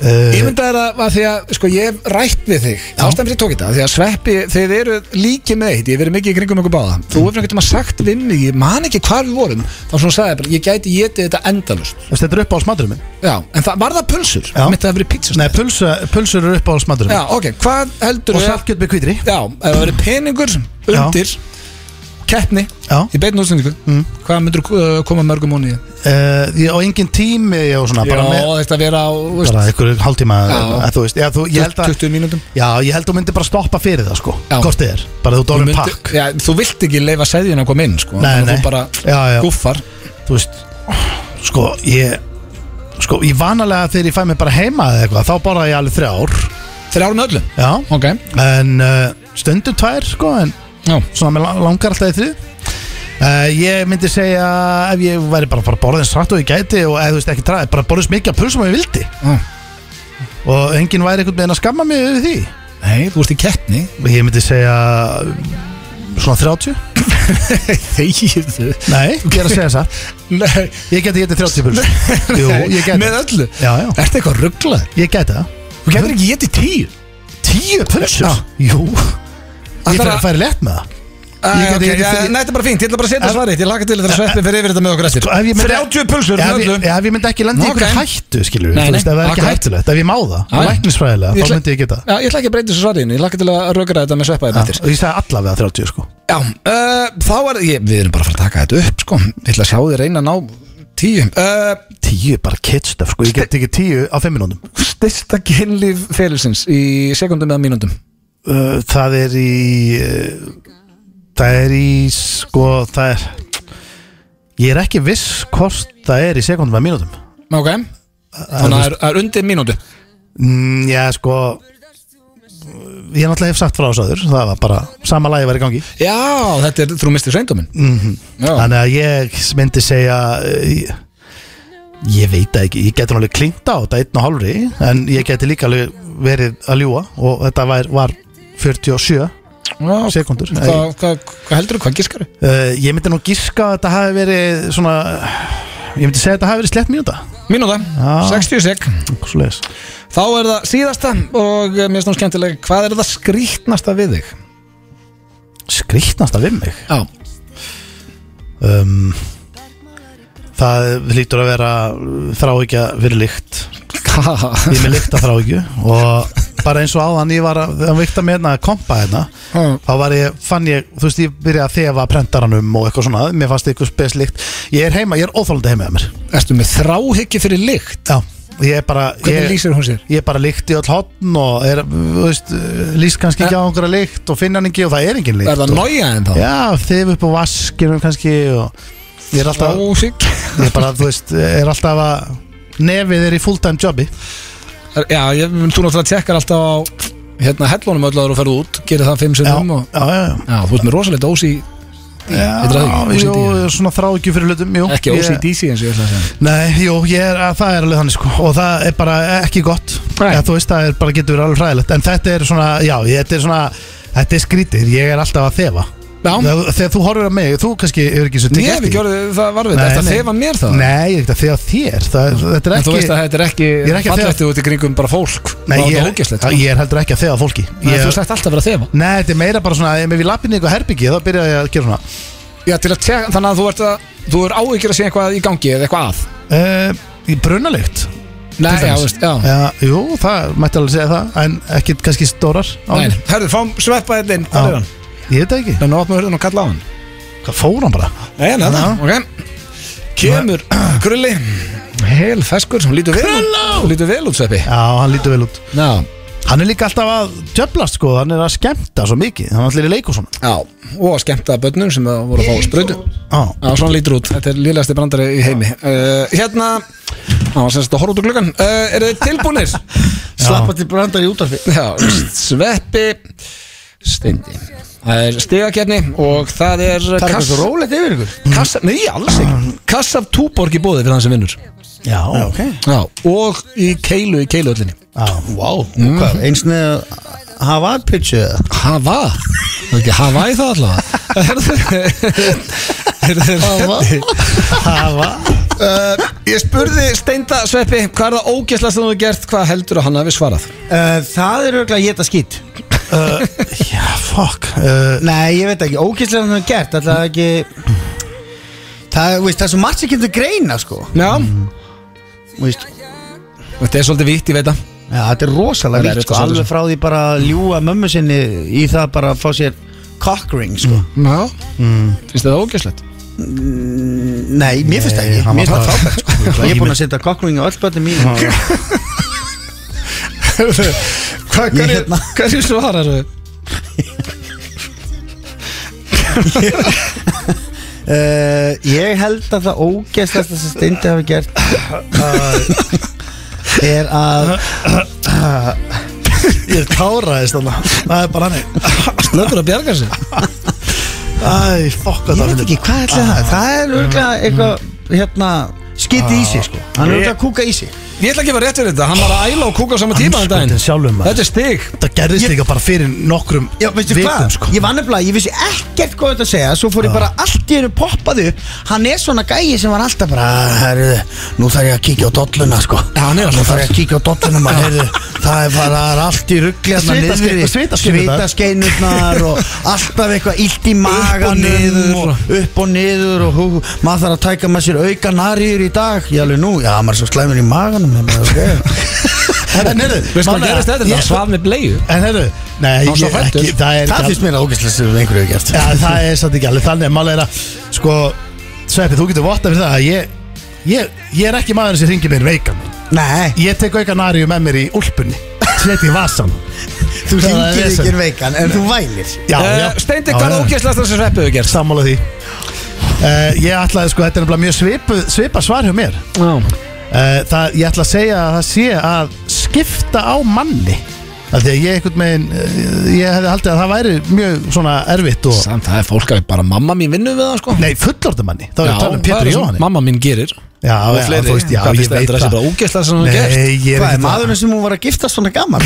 [SPEAKER 1] Ég
[SPEAKER 3] uh,
[SPEAKER 1] myndi að það að því að sko, ég hef rætt við þig Ástæðan fyrir ég tók þetta af Því að sveppi, þið eru líki með eitt Ég hef verið mikið í kringum ykkur báða Þú hefur einhvern veginn sagt við mig Ég man ekki hvar við vorum Þá svona sagði ég bara Ég gæti getið þetta endalust
[SPEAKER 3] Þetta er upp á smadurinn minn
[SPEAKER 1] Já, en það, var það pulsur?
[SPEAKER 3] Já.
[SPEAKER 1] Mitt að það hafi verið
[SPEAKER 3] Nei,
[SPEAKER 1] pizzastæð
[SPEAKER 3] pulsa, pulsur eru upp á smadurinn
[SPEAKER 1] Já,
[SPEAKER 3] minn
[SPEAKER 1] ok, hvað heldur
[SPEAKER 3] Og saltkjöt með kvítri
[SPEAKER 1] Já, ef það verið peningur undir Keppni
[SPEAKER 3] Já.
[SPEAKER 1] Í beitin útsendingu mm. Hvað myndur uh, koma mörgum ónið?
[SPEAKER 3] uh, Ég á engin tími og svona
[SPEAKER 1] Já,
[SPEAKER 3] Bara með
[SPEAKER 1] þetta að vera á þú veist,
[SPEAKER 3] bara einhverju hálftíma
[SPEAKER 1] Já.
[SPEAKER 3] en þú veist, já, þú, ég held að
[SPEAKER 1] 20 mínútum
[SPEAKER 3] já, ég held að þú myndir bara stoppa fyrir það sko
[SPEAKER 1] Já.
[SPEAKER 3] hvort þið er, bara þú
[SPEAKER 1] Þú
[SPEAKER 3] dórum
[SPEAKER 1] myndi-
[SPEAKER 3] pakk
[SPEAKER 1] Já, þú vilt ekki leifa seðjun að koma inn sko.
[SPEAKER 3] Nei,
[SPEAKER 1] Þannig að
[SPEAKER 3] nei.
[SPEAKER 1] Þú bara
[SPEAKER 3] Já, já.
[SPEAKER 1] guffar
[SPEAKER 3] þú veist, sko ég, sko, ég vanalega þegar ég fæ mig bara heima eða eitthvað, þá borða ég alveg þrjár
[SPEAKER 1] Þrjár með öllum
[SPEAKER 3] já,
[SPEAKER 1] Ok,
[SPEAKER 3] en uh, stundum tvær sko, en
[SPEAKER 1] já
[SPEAKER 3] svona með langar alltaf í þrið uh, ég myndi segja ef ég væri bara bara borðin satt og ég gæti og eða þú veist ekki træði, bara borðin smikja pulsum og ég vildi
[SPEAKER 1] Mm.
[SPEAKER 3] og enginn væri einhvern veginn að skamma mig yfir því
[SPEAKER 1] Nei, þú ert í keppni
[SPEAKER 3] og ég myndi segja svona 30
[SPEAKER 1] Þegir þú
[SPEAKER 3] nei, ég er að segja það
[SPEAKER 1] Nei,
[SPEAKER 3] ég geti getið 30 puls jú, ég geti
[SPEAKER 1] með öllu
[SPEAKER 3] já, já,
[SPEAKER 1] Ertu eitthvað rugglað?
[SPEAKER 3] ég geti það
[SPEAKER 1] Þú getur ekki getið tíu
[SPEAKER 3] tíu
[SPEAKER 1] Já.
[SPEAKER 3] pulsur, jú ég
[SPEAKER 1] Ætlar
[SPEAKER 3] færi,
[SPEAKER 1] að-
[SPEAKER 3] færi lett með það
[SPEAKER 1] Æ,
[SPEAKER 3] Ég gæti
[SPEAKER 1] Ah, ok,
[SPEAKER 3] getið
[SPEAKER 1] já,
[SPEAKER 3] þrjú-
[SPEAKER 1] Nei, þetta er bara fínt Ég ætla bara að setja svarið Ég laka til þetta sveppin fyrir yfir þetta með okkur eftir
[SPEAKER 3] Sko, ef ég myndi-
[SPEAKER 1] 30 pulsur
[SPEAKER 3] ef
[SPEAKER 1] með
[SPEAKER 3] ég,
[SPEAKER 1] öllu
[SPEAKER 3] ef ég myndi ekki landa í
[SPEAKER 1] Ok.
[SPEAKER 3] einhverju hættu skilur
[SPEAKER 1] Nei,
[SPEAKER 3] þú
[SPEAKER 1] nei,
[SPEAKER 3] veist, ef það er ekki
[SPEAKER 1] akkurat.
[SPEAKER 3] hættulegt, ef ég má það
[SPEAKER 1] Já,
[SPEAKER 3] og
[SPEAKER 1] já. Ég
[SPEAKER 3] læknisfræðilega,
[SPEAKER 1] ætla-
[SPEAKER 3] þá myndi ég geta Ah.
[SPEAKER 1] Já, ég ætla ekki að breyta þessu svariðinu Ég laka til að rögra þetta með sveppaði
[SPEAKER 3] og ég sagði allavega 30 sko
[SPEAKER 1] Já, uh, þá er ég, Við erum bara að fara að taka þetta upp sko. Ég ætla að sjá þér reyna að ná tíu uh,
[SPEAKER 3] 10 er bara kitstöf sko, ég get ekki 10 á 5 minútum
[SPEAKER 1] Styrsta kynlíf félagsins Í sekundum eða mínúndum
[SPEAKER 3] uh, það er í uh, það er í sko, það er ég er ekki viss hvort það er í sekundum að mínútum
[SPEAKER 1] Ok Þannig að það er- það er undir mínúndu
[SPEAKER 3] mm, já sko ég er náttúrulega hef sagt frá þessu áður það var bara, sama lagi var í gangi
[SPEAKER 1] Já, þetta er Þú mistir sveindómin
[SPEAKER 3] Mhm.
[SPEAKER 1] Já,
[SPEAKER 3] þannig að ég myndi segja uh, ég- ég veit það ekki, ég geti alveg klingt á þetta einn og hálfri, en ég geti líka alveg verið að ljúa og þetta var, var 47
[SPEAKER 1] Já,
[SPEAKER 3] sekundur
[SPEAKER 1] Hvað
[SPEAKER 3] uh,
[SPEAKER 1] hva, hva heldur þú? Hvað gískar þú?
[SPEAKER 3] Eh, ég myndi nú gíska að þetta hafi verið svona ég myndi segja að þetta hafi verið slett mínúta
[SPEAKER 1] Mínúnda,
[SPEAKER 3] Já.
[SPEAKER 1] 60 sek
[SPEAKER 3] eitthvað svoleiðis.
[SPEAKER 1] Þá er það síðasta og eh, mér finnst nú skemmtilega Hvað er það skrýtnasta við þig?
[SPEAKER 3] skrýtnast að við mig
[SPEAKER 1] Já,
[SPEAKER 3] um, það lítur að vera þráhyggja fyrir lykt ég er með lykt að þráhyggju og bara eins og áðan ég var að, að vikta með hérna að kompa hérna þá var ég, fann ég, þú veist ég byrjaði að þefa prentaranum og eitthvað svona, mér fannst eitthvað speslikt, ég er heima, ég er óþólandi heima hjá mér,
[SPEAKER 1] Ertu með þráhyggju fyrir lykt?
[SPEAKER 3] já, ég er bara
[SPEAKER 1] Hvernig
[SPEAKER 3] ég,
[SPEAKER 1] lýsir hún sér?
[SPEAKER 3] ég er bara líkt í öll hotn og er, þú veist, líst kannski ekki á einhverja líkt og finna hann ekki og það er engin líkt
[SPEAKER 1] Eh. Er það
[SPEAKER 3] og,
[SPEAKER 1] nója en þá?
[SPEAKER 3] já, þið upp á vaskinum kannski og ég er alltaf,
[SPEAKER 1] Þráhyggju
[SPEAKER 3] ég er bara, þú veist er alltaf að nefið er í full time jobbi
[SPEAKER 1] Já, ég, þú náttúrulega tekkar alltaf á hérna hellunum öll að þú ferð út, gerir það fimm
[SPEAKER 3] já,
[SPEAKER 1] sinnum og
[SPEAKER 3] já, já, já.
[SPEAKER 1] já, þú veist með rosalega dós í
[SPEAKER 3] Já, jú, svona þrá ekki fyrir hlutum jú.
[SPEAKER 1] Ekki
[SPEAKER 3] Ég-
[SPEAKER 1] OCDC eins og ég ætla að segja
[SPEAKER 3] Nei, jú, ég er, að, það er alveg þannig sko Og það er bara ekki gott
[SPEAKER 1] Nei.
[SPEAKER 3] Eða, Þú veist, það er bara getur verið alveg hræðilegt En þetta er svona, já, ég- þetta er svona Þetta er skrítið, ég er alltaf að þefa
[SPEAKER 1] Já,
[SPEAKER 3] Þegar, þegar þú horfir á mig, þú kannski hefur ekki svo
[SPEAKER 1] ég hef ekki orðið það varfið Þetta þefa mér það
[SPEAKER 3] Nei, ég er ekki að þefa þér það, er- Þetta er
[SPEAKER 1] En þú
[SPEAKER 3] ekki
[SPEAKER 1] veist að þetta er ekki
[SPEAKER 3] Ég er ekki að þefa-
[SPEAKER 1] fallegtu út í kringum bara fólk
[SPEAKER 3] Nei,
[SPEAKER 1] Það
[SPEAKER 3] ég,
[SPEAKER 1] er
[SPEAKER 3] er-
[SPEAKER 1] ógæslegt
[SPEAKER 3] Já, ég er heldur ekki að þefa fólki
[SPEAKER 1] Þú
[SPEAKER 3] ég,
[SPEAKER 1] slegt alltaf að vera að þefa
[SPEAKER 3] Nei, þetta er meira bara svona Ef við lappinni eitthvað herbyggi, þá byrja ég að gera svona
[SPEAKER 1] Já, til að tjekka, þannig að þú ert að Þú er áhyggjur að sé eitthvað í gangi eða eitthvað að
[SPEAKER 3] uh, Í brunalikt
[SPEAKER 1] Nei,
[SPEAKER 3] Til
[SPEAKER 1] já,
[SPEAKER 3] dæmis.
[SPEAKER 1] veist, já
[SPEAKER 3] Já, jú, það mætti alveg segja það En ekkit kannski stórar
[SPEAKER 1] Nei,
[SPEAKER 3] áhyggjur.
[SPEAKER 1] herðu, fáum sveppa þetta inn, hérna. hvað
[SPEAKER 3] Já.
[SPEAKER 1] er hann?
[SPEAKER 3] Ég veit það ekki
[SPEAKER 1] Þannig að opna hurðin og kalla á hann
[SPEAKER 3] Hvað fór hann bara?
[SPEAKER 1] Nei, nei, nei, ok Kemur krulli Hel feskur, hún lítur vel út Hún lítur vel út, sveppi
[SPEAKER 3] Já, hann lítur vel út
[SPEAKER 1] Já,
[SPEAKER 3] Hann er líka alltaf að djöblast sko Hann er að skemmta svo mikið Hann er allir í leikur svona
[SPEAKER 1] já Og skemmta bönnum sem að voru að fá sprautu
[SPEAKER 3] Já,
[SPEAKER 1] Já, svona lítur út, þetta er liðlegasti brandari í heimi uh, Hérna, á, sem sagt að horfa út úr gluggan uh, Er þið tilbúinir?
[SPEAKER 2] Slappa til brandar í útarfi
[SPEAKER 1] Já, sveppi Steindi Það er stigakerni og það er
[SPEAKER 2] Það er eitthvað
[SPEAKER 1] kass,
[SPEAKER 2] svo rólegt yfir ykkur
[SPEAKER 1] kassa, Nei, alls ekki Kass af túborg í bóði fyrir þann sem vinnur
[SPEAKER 3] já, ok
[SPEAKER 1] Já, og í keilu í keiluöllinni
[SPEAKER 3] Já, Mhm.
[SPEAKER 2] Vá, hvað, eins með að hafa að pitchu eða?
[SPEAKER 1] Hava Það er ekki hava í það allavega Herðu- Herðu Hava
[SPEAKER 3] það var
[SPEAKER 1] Uh, ég spurði Steinda Sveppi hvað er það ógæslega sem þú hefur gert hvað heldur að hann hafi svarað
[SPEAKER 2] Uh, það er auðvitað að geta skýt
[SPEAKER 3] Já, fuck uh,
[SPEAKER 2] Nei, ég veit ekki, ógæslega hann er gert Það er ekki Það, þú veist, það er svo margt sem getur greina sko
[SPEAKER 1] Já,
[SPEAKER 2] Þú veist,
[SPEAKER 1] þetta er svolítið vítt, ég veit að
[SPEAKER 2] ja, Þetta er rosalega
[SPEAKER 1] Það er
[SPEAKER 2] vilt sko,
[SPEAKER 1] þetta svolítið
[SPEAKER 2] alveg frá því bara að ljúga mömmu sinni í það bara að fá sér cockring sko.
[SPEAKER 1] Já, Mm. finnst þetta ógæslegt?
[SPEAKER 2] Nei, mér finnst það ekki,
[SPEAKER 3] hann
[SPEAKER 2] mér
[SPEAKER 3] var
[SPEAKER 2] finnst það frábært sko. Ég er búin að setja cockring á öll bötum mín
[SPEAKER 1] Hvað,
[SPEAKER 2] hverju- hérna.
[SPEAKER 1] hverju svarar þau?
[SPEAKER 2] Uh, ég held að það ógeðslega sem Steindi hafi gert uh, er að
[SPEAKER 3] Ég er táraðist þannig Það er bara hann
[SPEAKER 1] Snöður að bjarga sig
[SPEAKER 3] Æ, fuck
[SPEAKER 2] ég
[SPEAKER 3] þetta
[SPEAKER 2] veit ekki hvað ætlaði það það er örgulega eitthvað hérna, skiti í sig sko hann er örgulega að kúka í sig
[SPEAKER 1] Ég ætla ekki að vera rétt fyrir þetta, hann var að æla og kúka á sama tíma þann daginn
[SPEAKER 3] Andskotinn sjálfum, maður.
[SPEAKER 1] Þetta er stig
[SPEAKER 3] Það gerðist líka bara fyrir nokkrum
[SPEAKER 2] Já, veistu
[SPEAKER 3] vikum,
[SPEAKER 2] hvað,
[SPEAKER 3] sko.
[SPEAKER 2] ég var nefnilega, ég vissi ekkert hvað þetta að segja Svo fór ég bara allt í hennu poppaði upp Hann er svona gæi sem var alltaf bara Herðu, nú þarf ég að kíkja á dolluna sko
[SPEAKER 1] Já, hann er alltaf
[SPEAKER 2] Nú þarf ég að kíkja á dolluna maður Herðu, það er bara það er allt í ruggli hérna
[SPEAKER 3] Svitaske-
[SPEAKER 2] niðri.
[SPEAKER 3] svitaskeinurnar.
[SPEAKER 2] Svitaskeinurnar og alltaf eitthvað illt í
[SPEAKER 1] niður.
[SPEAKER 2] maganum og upp og niður og hú, maður þarf að tæka með sér auka nariður í dag Ég alveg nú, já maður er svo slæmur í maganum ég bara, okay.
[SPEAKER 3] En heyrðu
[SPEAKER 1] Veistu hvað
[SPEAKER 3] málega-
[SPEAKER 1] gerist þetta?
[SPEAKER 3] eh, ég-
[SPEAKER 1] Það svaf með bleiðu
[SPEAKER 3] En heyrðu Nei,
[SPEAKER 1] Hann var svo
[SPEAKER 3] ég
[SPEAKER 1] hræddur.
[SPEAKER 3] ekki Það er
[SPEAKER 2] Það
[SPEAKER 3] ekki
[SPEAKER 2] finnst mér að ógæslega sem einhverju hefur gert
[SPEAKER 3] Já, það er satt ekki alveg þannig Málega er að Sko Sveppi, þú getur votta fyrir það að Ég Ég, ég er ekki maður sem ringir mér veikan
[SPEAKER 2] Nei,
[SPEAKER 3] Ég tek auka naríu með mér í úlpunni Sett í vasan
[SPEAKER 2] þú
[SPEAKER 3] Það er
[SPEAKER 2] ringir
[SPEAKER 3] vesen.
[SPEAKER 2] ekki veikan en þú vælir
[SPEAKER 3] Já, já
[SPEAKER 1] Eh, Steindi,
[SPEAKER 3] Já,
[SPEAKER 1] hvað
[SPEAKER 3] já.
[SPEAKER 1] er ógæslega það sem sveppu hefur gert?
[SPEAKER 3] Sammála því uh, Ég ætlaði sko, þetta er nefnilega mjög svipu, svipa svar hjá mér
[SPEAKER 1] Já
[SPEAKER 3] uh, það, Ég ætla að segja að það sé að skipta á manni Af Því að ég einhvern veginn, uh, ég hefði haldið að það væri mjög svona erfitt og
[SPEAKER 1] Samt, það er fólk að bara mamma mín vinnur við það sko
[SPEAKER 3] Nei, fullorðum manni, þá er ég að tala um
[SPEAKER 1] það
[SPEAKER 3] Pétur
[SPEAKER 1] er
[SPEAKER 3] Jóhanni
[SPEAKER 1] Mamma mín gerir
[SPEAKER 3] Já,
[SPEAKER 1] Og
[SPEAKER 3] já,
[SPEAKER 1] fleiri.
[SPEAKER 3] þú veist, já,
[SPEAKER 1] Hvað
[SPEAKER 3] ég
[SPEAKER 1] finnst þér,
[SPEAKER 3] veit
[SPEAKER 1] þetta er þessi bara ógeðslega sem hún
[SPEAKER 3] Nei,
[SPEAKER 1] hefur gert?
[SPEAKER 3] ég er
[SPEAKER 2] Hvað er
[SPEAKER 3] ekkert að-
[SPEAKER 2] maðurinn sem hún var að giftast svona gammal?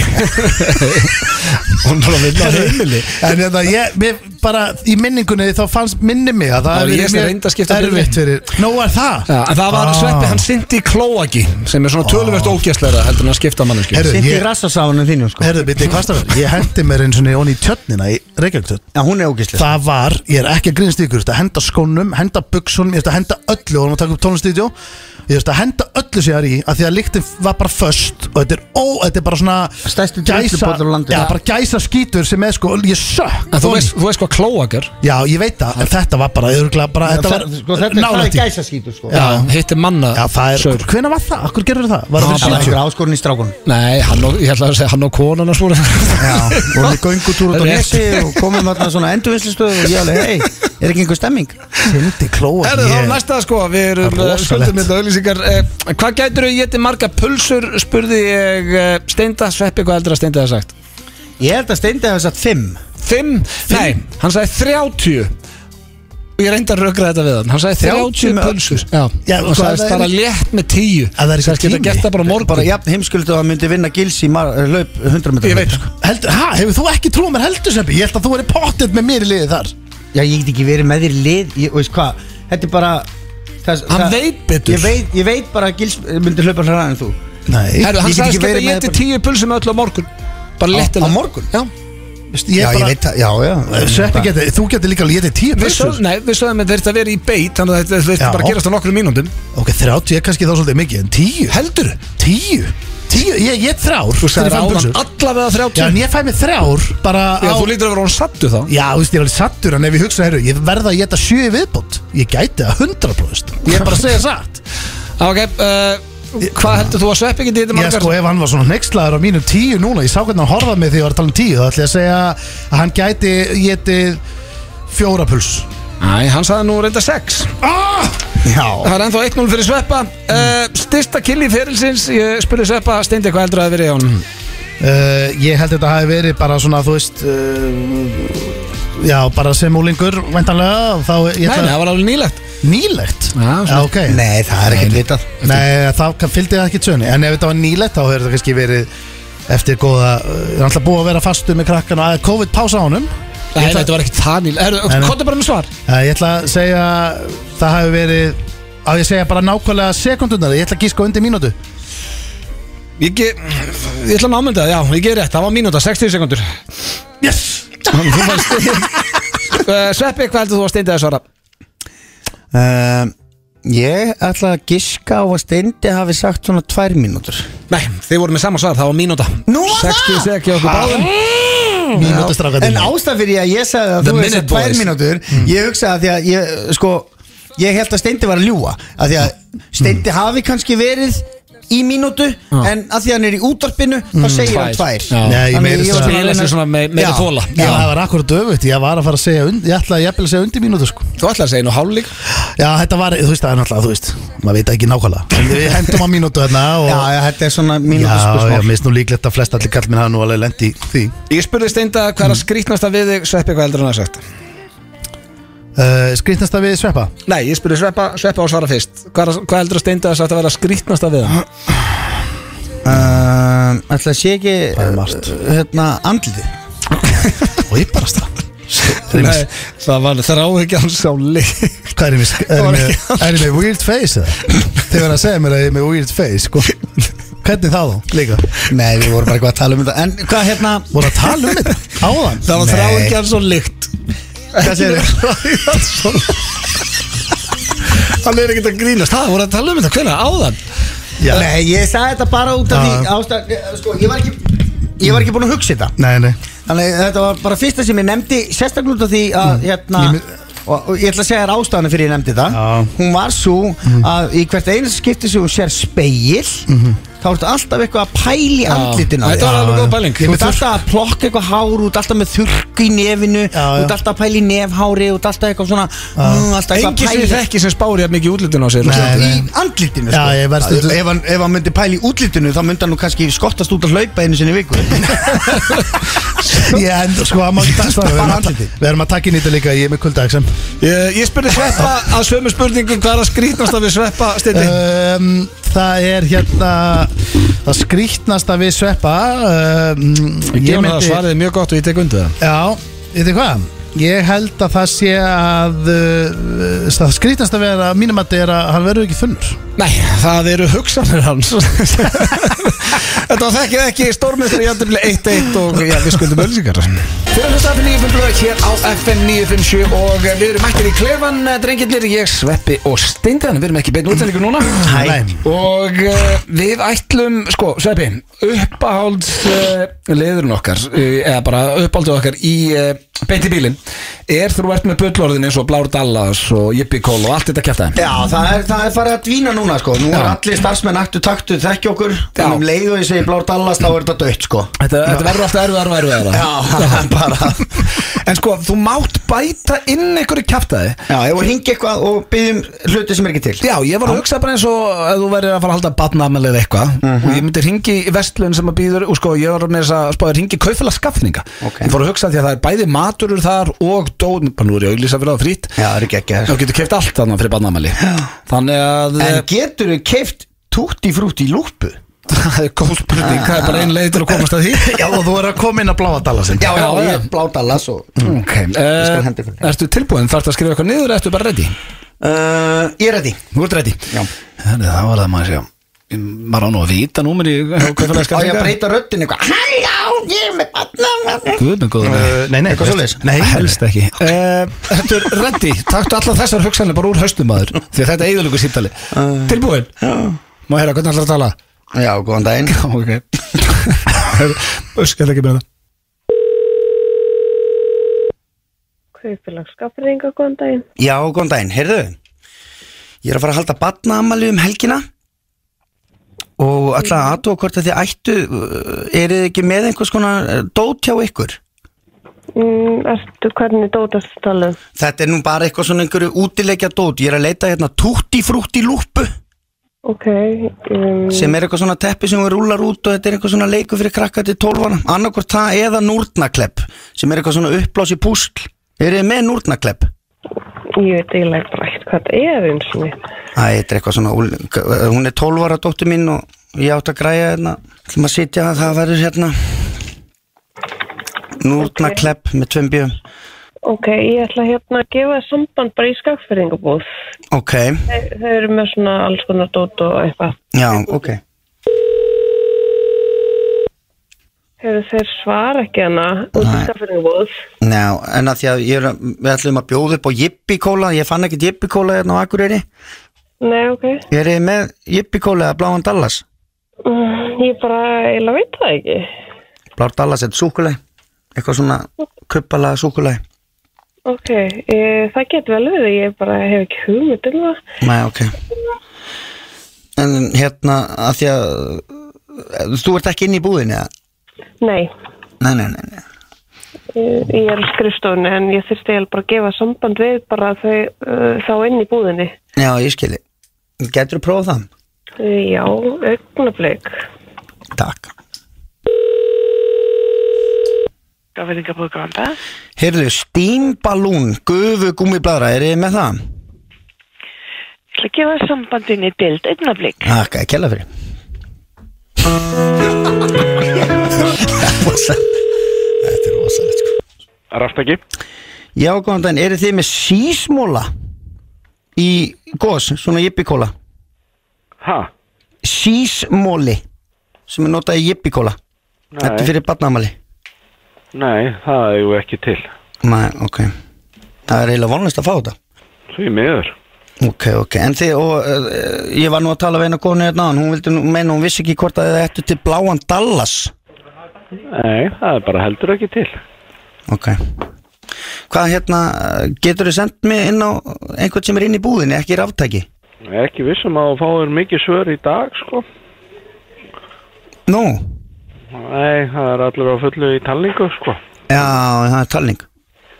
[SPEAKER 1] Hún er að vinna á heimili
[SPEAKER 3] En þetta, ég, mér, bara í minningunni þá fannst minni mig að það
[SPEAKER 1] Það var
[SPEAKER 3] hafi
[SPEAKER 1] ég sem
[SPEAKER 3] verið
[SPEAKER 1] reyndi að skipta um
[SPEAKER 3] erfitt fyrir Nú er það?
[SPEAKER 1] Já, en það var
[SPEAKER 3] Ah.
[SPEAKER 1] sveppi, hann syndi í klóaki sem er svona töluvert ógæstleira heldur en að skipta manneski
[SPEAKER 3] Herru,
[SPEAKER 2] Sint í
[SPEAKER 3] ég,
[SPEAKER 2] rassasáðunum þínum sko
[SPEAKER 3] herru, byrju, hvað stafur? Ég hendi mér eins og niður í tjörnina í Reykjavíktjörn
[SPEAKER 2] Já, hún er ógislega
[SPEAKER 3] Hérna, Það var, ég er ekki að grínast í ykkur, þú veist, að henda skónum, henda buksunum, ég veist, að henda öllu og hann að taka upp tónlistvídeó, ég veist, að henda öllu sér í að því að líktin var bara föst og þetta er ó, þetta er bara svona
[SPEAKER 2] Stærsti drullubollar á landinu.
[SPEAKER 3] já, bara gæsa skítur sem er sko, ég sökk
[SPEAKER 1] En þú veist, þú veist hvað klóak er
[SPEAKER 3] Já, ég veit það, en þetta var bara, örugglega bara þetta var
[SPEAKER 2] sko, þetta er hvað
[SPEAKER 3] nálægt í.
[SPEAKER 2] gæsa skýtur sko
[SPEAKER 3] Já.
[SPEAKER 1] Hittir manna
[SPEAKER 3] Já, það er,
[SPEAKER 1] saur.
[SPEAKER 3] hvenær var það? Akkur gerur það? Var
[SPEAKER 1] Það
[SPEAKER 2] Það
[SPEAKER 3] það fyrir
[SPEAKER 2] var
[SPEAKER 3] 70?
[SPEAKER 2] einhver áskorun í strákunum
[SPEAKER 1] Nei, hann og, ég ætla að segja hann og konan að svúra
[SPEAKER 2] Já, og við göngutúr út á
[SPEAKER 1] Rétt.
[SPEAKER 2] nesi og komum þarna svona endurvinnslistöð og ég alveg, hei, er ekki einhver stemming?
[SPEAKER 3] Tindi klóa
[SPEAKER 1] Herru, þá er næsta sko, við erum
[SPEAKER 3] Það er
[SPEAKER 1] eh, skuldum
[SPEAKER 3] rosalegt.
[SPEAKER 1] þetta auðlýsingar eh, Hvað gætur þú getið marga pulsur spurði ég eh, Steinda, sveppi, hvað heldur að Steinda hafa sagt?
[SPEAKER 2] Ég held að Steindi hafa satt fimm
[SPEAKER 1] Fimm? Nei, hann sagði 30 ég reyndi að rökra þetta við hann hann sagði
[SPEAKER 2] 30
[SPEAKER 1] 30
[SPEAKER 2] með-
[SPEAKER 1] pulsur já,
[SPEAKER 3] Já,
[SPEAKER 1] og
[SPEAKER 3] hvað er
[SPEAKER 1] sagðist
[SPEAKER 3] það
[SPEAKER 1] bara létt með 10
[SPEAKER 3] það er ekki
[SPEAKER 1] Sagðist geta
[SPEAKER 3] tími.
[SPEAKER 1] gert það bara á morgun
[SPEAKER 2] Bara jafn heimskuldu að hann myndi vinna gils í mar, laup 100 metra
[SPEAKER 3] Ég veit sko Held, ha, Hefur þú ekki trúið mér heldur sem Ég held að þú er pottet með mér í liði þar
[SPEAKER 2] Já, ég get ekki verið með þér í lið ég, og veist hvað, þetta er bara það,
[SPEAKER 1] Hann veit betur.
[SPEAKER 2] ég veit, ég veit bara að Gils myndi hlaupa hraðar en þú
[SPEAKER 3] Nei
[SPEAKER 1] Herru, hann
[SPEAKER 2] Ég get
[SPEAKER 1] sagðist
[SPEAKER 2] ekki
[SPEAKER 1] geta
[SPEAKER 2] verið með
[SPEAKER 1] getið
[SPEAKER 2] bara-
[SPEAKER 1] 10 pulsur með öllu á morgun bara létt
[SPEAKER 2] á morgun?
[SPEAKER 1] já
[SPEAKER 3] veist, ég
[SPEAKER 2] Já,
[SPEAKER 3] bara,
[SPEAKER 2] ég veit það, já, já
[SPEAKER 3] Sveppi geti, þú getur líka að getið tíu
[SPEAKER 1] Við
[SPEAKER 3] pulsur
[SPEAKER 1] sögðum, nei, við sögðum að þetta verið í beit þannig að þetta verið
[SPEAKER 3] Já.
[SPEAKER 1] bara að gerast á nokkrum mínúndum
[SPEAKER 3] Ok, 30 er kannski þá svolítið mikið En 10
[SPEAKER 1] Heldur?
[SPEAKER 3] Tíu Tíu, ég get þrjár Þú
[SPEAKER 1] Það er áðan allavega
[SPEAKER 3] Já,
[SPEAKER 1] 30
[SPEAKER 3] en ég fæ mig þrjár Bara
[SPEAKER 1] Já,
[SPEAKER 3] á
[SPEAKER 1] þú lítur að vera hún sattu þá
[SPEAKER 3] Já, þú veist, ég er alveg sattur En ef ég hugsa, herru, ég verða að geta sjö í viðbót Ég gæti að 100% Ég er bara að segja satt
[SPEAKER 1] Ah, Ok, uh, hvað heldur þú að sveppi getið þetta
[SPEAKER 3] Ég
[SPEAKER 1] margar?
[SPEAKER 3] sko, ef hann var svona neykslaður á mínum tíu núna Ég sá hvernig hann horfaði mig þegar ég var að tala um tíu Þá ætla ég að segja að hann gæti getið fjóra puls
[SPEAKER 1] Nei, hann sagði nú reynda 6
[SPEAKER 3] ah! Já
[SPEAKER 1] Það er ennþá 1-0 fyrir sveppa uh, Styrsta killi ferilsins Ég spurði sveppa, Steindi, hvað heldur að það verið á
[SPEAKER 3] Mm,
[SPEAKER 1] hann?
[SPEAKER 3] uh, Ég held þetta hafi verið bara svona, þú veist uh, Já, bara sem úlingur Væntanlega Þá ég
[SPEAKER 1] Nei, nei,
[SPEAKER 3] ætla
[SPEAKER 1] það var alveg nýlegt
[SPEAKER 3] Nýlegt
[SPEAKER 1] Já, svona-
[SPEAKER 3] ok
[SPEAKER 2] Nei, það er ekkert vitað
[SPEAKER 3] Nei, þá kann- fylgdi það ekki tjöni En ef þetta var nýlegt þá hefur þetta kannski verið Eftir góða, uh, það er alltaf búið að vera fastu með krakkan og að COVID pása á honum
[SPEAKER 1] Nei, þetta var ekkert það nýlegt
[SPEAKER 3] Nei, nei.
[SPEAKER 1] Kottu bara með svar
[SPEAKER 3] Já, ég ætla að segja það hafi verið á ég að segja bara nákvæmlega sekundunar ég ætla að gíska á undir mínútu
[SPEAKER 1] Ég, ge, ég ætla að námynda, það, já, ég ger rétt, það var mínúta, 60 sekundur
[SPEAKER 3] yes!
[SPEAKER 1] uh, Sveppi, hvað heldur þú að steindi að svara?
[SPEAKER 2] uh, Ég ætla að giska á að Steindi hafi sagt svona tvær mínútur
[SPEAKER 1] Nei, þið voru með sama svar, það var mínúta
[SPEAKER 2] Nú
[SPEAKER 1] 60
[SPEAKER 2] var það?
[SPEAKER 1] segi okkur báðum
[SPEAKER 2] En
[SPEAKER 3] mínútu strafgæðin
[SPEAKER 2] ástæð fyrir að ég sagði að
[SPEAKER 1] The
[SPEAKER 2] þú hefði
[SPEAKER 1] Minute
[SPEAKER 2] sagt tvær
[SPEAKER 1] Boys.
[SPEAKER 2] mínútur Ég hugsaði að því að ég, sko Ég held að Steindi var að ljúa að Því að Steindi hafi kannski verið í mínútu En að því að hann er í útvarpinu Þá segir hann
[SPEAKER 1] Tvær.
[SPEAKER 2] Mm.
[SPEAKER 1] Já.
[SPEAKER 2] tvær
[SPEAKER 3] Nei, ég meira
[SPEAKER 2] Þannig var
[SPEAKER 3] þess
[SPEAKER 2] bara að
[SPEAKER 3] að-
[SPEAKER 1] Spila sig
[SPEAKER 2] reyna-
[SPEAKER 1] svona me- meira
[SPEAKER 2] Já.
[SPEAKER 1] þola.
[SPEAKER 3] Já, það var akkurat öfugt, ég var að fara að segja und, ég ætla að jafnvel að segja undir mínútu sko
[SPEAKER 1] Þú ætlar að segja nú hálfleik
[SPEAKER 3] Já, þetta var, þú veist það er náttúrulega, þú veist maður veit ekki nákvæmlega En Við hendum á mínútu þarna og
[SPEAKER 2] Já, já, þetta er svona
[SPEAKER 3] já,
[SPEAKER 2] mínútu
[SPEAKER 3] já,
[SPEAKER 2] spörsmál
[SPEAKER 3] mér finnst nú líklegt að flest allir kallminn hafa nú alveg lendi því
[SPEAKER 1] Ég spurði steinda hvað er að skrýtnasta við þig Sveppi, hvað heldur hann að sagt?
[SPEAKER 3] uh, Skrýtnast að við sveppa
[SPEAKER 1] Nei, ég spurði Sveppa, Sveppa á svara fyrst Hvað, er- hvað heldur að steinda að sagt að vera skrýtnasta við hann?
[SPEAKER 2] Ætla Ehm, að sé ekki
[SPEAKER 3] Það er margt.
[SPEAKER 2] uh, hérna, andliti
[SPEAKER 3] Eh, Og ég bara stað
[SPEAKER 1] Nei, það var þráhyggjan sá leik
[SPEAKER 3] Hvað er ég með, sk- er ég með, er ég með weird face eða? Þið verða að segja mér að ég er með weird face sko. Hvernig þá þá líka?
[SPEAKER 2] Nei, við vorum bara eitthvað að tala um þetta En hvað hérna
[SPEAKER 3] Voru að tala um þetta? Áðan?
[SPEAKER 1] Það var
[SPEAKER 2] Nei.
[SPEAKER 1] þráhyggjan svo leikt
[SPEAKER 2] Hvað segir þau?
[SPEAKER 1] Hann er ekkert að grínast, það voru að tala um þetta, hvenær áðan?
[SPEAKER 3] Já.
[SPEAKER 2] Nei, ég sagði þetta bara út af
[SPEAKER 3] Já.
[SPEAKER 2] því ástæð, sko, ég, var ekki, ég var ekki búin að hugsa þetta
[SPEAKER 3] Nei, nei
[SPEAKER 2] Þannig að þetta var bara fyrsta sem ég nefndi Sérstaklega út af því að hérna
[SPEAKER 3] Ég
[SPEAKER 2] og, og ég ætla að segja þér ástæðana fyrir ég nefndi það
[SPEAKER 3] Já.
[SPEAKER 2] Hún var svo að í hvert einu skipti sem hún sér speil Þá ertu alltaf eitthvað að pæli andlitina
[SPEAKER 1] Þetta var alveg góð pæling
[SPEAKER 2] Þú ert alltaf að plokka eitthvað hár Þú ert alltaf með þurrku í nefinu
[SPEAKER 3] Já, já.
[SPEAKER 2] Þú ert alltaf að pæla í nefhári Þú ert alltaf eitthvað svona mm, alltaf eitthvað
[SPEAKER 1] Engi
[SPEAKER 2] að
[SPEAKER 1] sem ég
[SPEAKER 2] pæla-
[SPEAKER 1] þekki sem spári að mikið útlutin á sér
[SPEAKER 3] Nei,
[SPEAKER 2] í
[SPEAKER 3] nei.
[SPEAKER 2] andlitinu
[SPEAKER 3] Já, ég verð
[SPEAKER 2] sko.
[SPEAKER 3] stundum-
[SPEAKER 2] ef, hann, ef hann myndi pæla í útlitinu þá myndi hann nú kannski skottast út að hlaupa einu sinni í viku
[SPEAKER 3] Ég endur sko að maður dagstar Við erum að- við erum að taka inn í þetta líka Ég er með kuldagsam
[SPEAKER 1] Ég, ég spurði Sveppa að sömu spurningum hvað er að skrýtnast að við Sveppa steindi
[SPEAKER 3] um, Það er hérna Það skrýtnast að við sveppa um,
[SPEAKER 1] Ég gef hann það svarið er mjög gott og ég tek undir það
[SPEAKER 3] Já, veitir hvað? Ég held að það sé að uh, það skrýtnast að vera að mínum að þetta er að hann verður ekki funnur
[SPEAKER 1] Nei, það eru hugsanir hans Þetta var þekkið ekki stórmestri í andumlega 1-1 og já, við skuldum ölsingar Fyrir að hlusta FM 957 hér á FM 957 og við erum mættir í klefan drengillir, ég Sveppi og Steindan við erum ekki beinn útsendingu núna
[SPEAKER 3] Hæ.
[SPEAKER 1] og uh, við ætlum sko, Sveppi, uppáhalds uh, leðurinn okkar uh, eða bara uppáhaldið okkar í uh, beinti bílinn, er þú ert með bullorðin eins og blár dallas og jippikól og allt þetta kjæftaði
[SPEAKER 2] Já, það er, það er farið að dvína nú núna sko Nú er
[SPEAKER 1] Já.
[SPEAKER 2] allir starfsmenn aktu taktu þekki okkur En um leið og ég segi blár dallast þá er þetta dött sko
[SPEAKER 1] Þetta, þetta verður alltaf erfiðar og erfiðar
[SPEAKER 2] Já, það er bara
[SPEAKER 1] En sko, þú mátt bæta inn einhverju kjaftaði
[SPEAKER 2] Já, ég voru hringi eitthvað og byggjum hluti sem er ekki til
[SPEAKER 1] Já, ég var að hugsa bara eins og að þú verður að fara að halda batnaðamæli eða eitthvað
[SPEAKER 2] Mhm.
[SPEAKER 1] og ég myndi ringi í vestlun sem að býður og sko, ég var með þess að spáði ringi kaufélags skaffninga
[SPEAKER 2] Ok.
[SPEAKER 1] Ég fór að hugsa því að það er bæði maturur þar og dóð, bara nú er ég að auglýsa fyrir það frýtt
[SPEAKER 2] Já, það er ekki ekki
[SPEAKER 1] Þú getur keft allt þannig fyrir batnaðamæli Þannig að eh,
[SPEAKER 2] En getur þau keift tutti frútt í lúpu?
[SPEAKER 1] það er góð spurning, það er bara ein leið til að komast að því
[SPEAKER 3] Já, og þú er að koma inn að bláa dala sinn
[SPEAKER 2] Já, já, Mm.
[SPEAKER 1] Já, já.
[SPEAKER 2] ég blár dallast og
[SPEAKER 1] Ok,
[SPEAKER 2] Ég skal hendi fyrir
[SPEAKER 1] uh, ertu tilbúin? Þarftu að skrifa eitthvað niður eða ertu bara ready?
[SPEAKER 2] Uh, Ég er ready
[SPEAKER 1] Þú ert ready?
[SPEAKER 2] Já.
[SPEAKER 1] Þannig það var það maður sjá maður á nú að vita númer í kaupfélags
[SPEAKER 2] Á ég að breyta röddin eitthvað Hæjá, ég er með batna
[SPEAKER 1] Guð með góður
[SPEAKER 3] Uh, nei, nei,
[SPEAKER 2] Eitthvað svoleiðis?
[SPEAKER 3] Nei,
[SPEAKER 1] helst ekki uh, Þetta er reddi, taktu allar þessar hugsanir bara úr haustum maður því að þetta er eigðalöku síptali Tilbúin, má heyra hvernig allar að tala
[SPEAKER 2] Já, góðan daginn
[SPEAKER 1] Ok Öskar ekki með það
[SPEAKER 5] Kaupfélag skapringa, góðan daginn.
[SPEAKER 2] Já, góðan daginn, heyrðu Ég er að fara að halda batnaamali um helgina og alltaf aðtóa hvort að þið ættu uh, eru þið ekki með einhvers konar uh, dót hjá ykkur?
[SPEAKER 5] Mm, ertu hvernig dótast talað?
[SPEAKER 2] Þetta er nú bara eitthvað svona einhverju útilegja dót ég er að leita hérna tutti frútti lúpu
[SPEAKER 5] Ok, um,
[SPEAKER 2] sem er eitthvað svona teppi sem við rúlar út og þetta er eitthvað svona leiku fyrir krakka til tólvana annarkvort það eða núrnaklepp sem er eitthvað svona uppblási púsl eru þið með núrnaklepp?
[SPEAKER 5] ég veit eiginlega bara ekkert hvað það er eins og mér.
[SPEAKER 2] Æ, þetta er eitthvað svona, úl- hún er 12 ára dóttir mín og ég átt að græja hérna, ætlum að sitja að það verður hérna núrna
[SPEAKER 5] Ok.
[SPEAKER 2] klepp með tveim bjöfum.
[SPEAKER 5] Ok, ég ætla hérna að gefa þér samband bara í skapfyrringabúð.
[SPEAKER 2] Ok,
[SPEAKER 5] Þau eru með svona alls konar dót og eitthvað.
[SPEAKER 2] já, ok.
[SPEAKER 5] Hefur þeir svara ekki hana út í skapfyrringabúð?
[SPEAKER 2] Ná, en að því að ég er, að- við ætlum að bjóða upp á jippikóla, ég fann ekkert jippikóla hérna á Akureyri.
[SPEAKER 5] Nei, ok.
[SPEAKER 2] Er þið með jippikóla eða bláan Dallas?
[SPEAKER 5] Mm, ég bara eiginlega veit það ekki.
[SPEAKER 2] Blár Dallas er súkuleg, eitthvað svona kuppala súkuleg.
[SPEAKER 5] Ok, e, það getur vel verið, ég bara hef ekki hugmynd um það.
[SPEAKER 2] Nei, ok En hérna, að því að Þú ert ekki inn í búðinni eða?
[SPEAKER 5] Nei,
[SPEAKER 2] Nei, nei, nei, nei.
[SPEAKER 5] Ég ég er á skrifstofunni en ég þurfti eiginlega bara að gefa samband við bara þau, uh, þá inn í búðinni.
[SPEAKER 2] Já, ég skilji Getur þú prófað það?
[SPEAKER 5] Uh, já, augnablik.
[SPEAKER 2] Takk
[SPEAKER 5] Gafirðingabúð góðan dag.
[SPEAKER 2] Heyrðu, steamballoon, gufu gummibladra, er þið með það?
[SPEAKER 5] Ég ætla að gefa sambandinni dild augnablik.
[SPEAKER 2] Takk, ekki hella fyrir Þetta er rosalegt sko
[SPEAKER 6] Rafbæki,
[SPEAKER 2] Já, góðan daginn, eru þið með sísmóla í gos, svona jippikóla?
[SPEAKER 6] ha?
[SPEAKER 2] sísmóli sem er notað í jippikóla þetta er fyrir barnaamali
[SPEAKER 6] Nei, það er ju ekki til
[SPEAKER 2] Nei, ok það er eiginlega vonlist að fá þetta
[SPEAKER 6] Því miður
[SPEAKER 2] ok, ok, en þið og uh, ég var nú að tala við eina konu hérna áðan, hún vildi nú meina, hún vissi ekki hvort að þið ættu til bláan Dallas
[SPEAKER 6] Nei, það er bara heldur ekki til
[SPEAKER 2] ok hvað hérna, eh, getur þið sendt mig inn á einhvern sem er inn í búðinni, ekki í ráftæki
[SPEAKER 6] Ég er Ekki vissum að þú fáir mikið svör í dag, sko
[SPEAKER 2] nú,
[SPEAKER 6] Nei, það er allir á fullu í talningu, sko
[SPEAKER 2] já, það er talning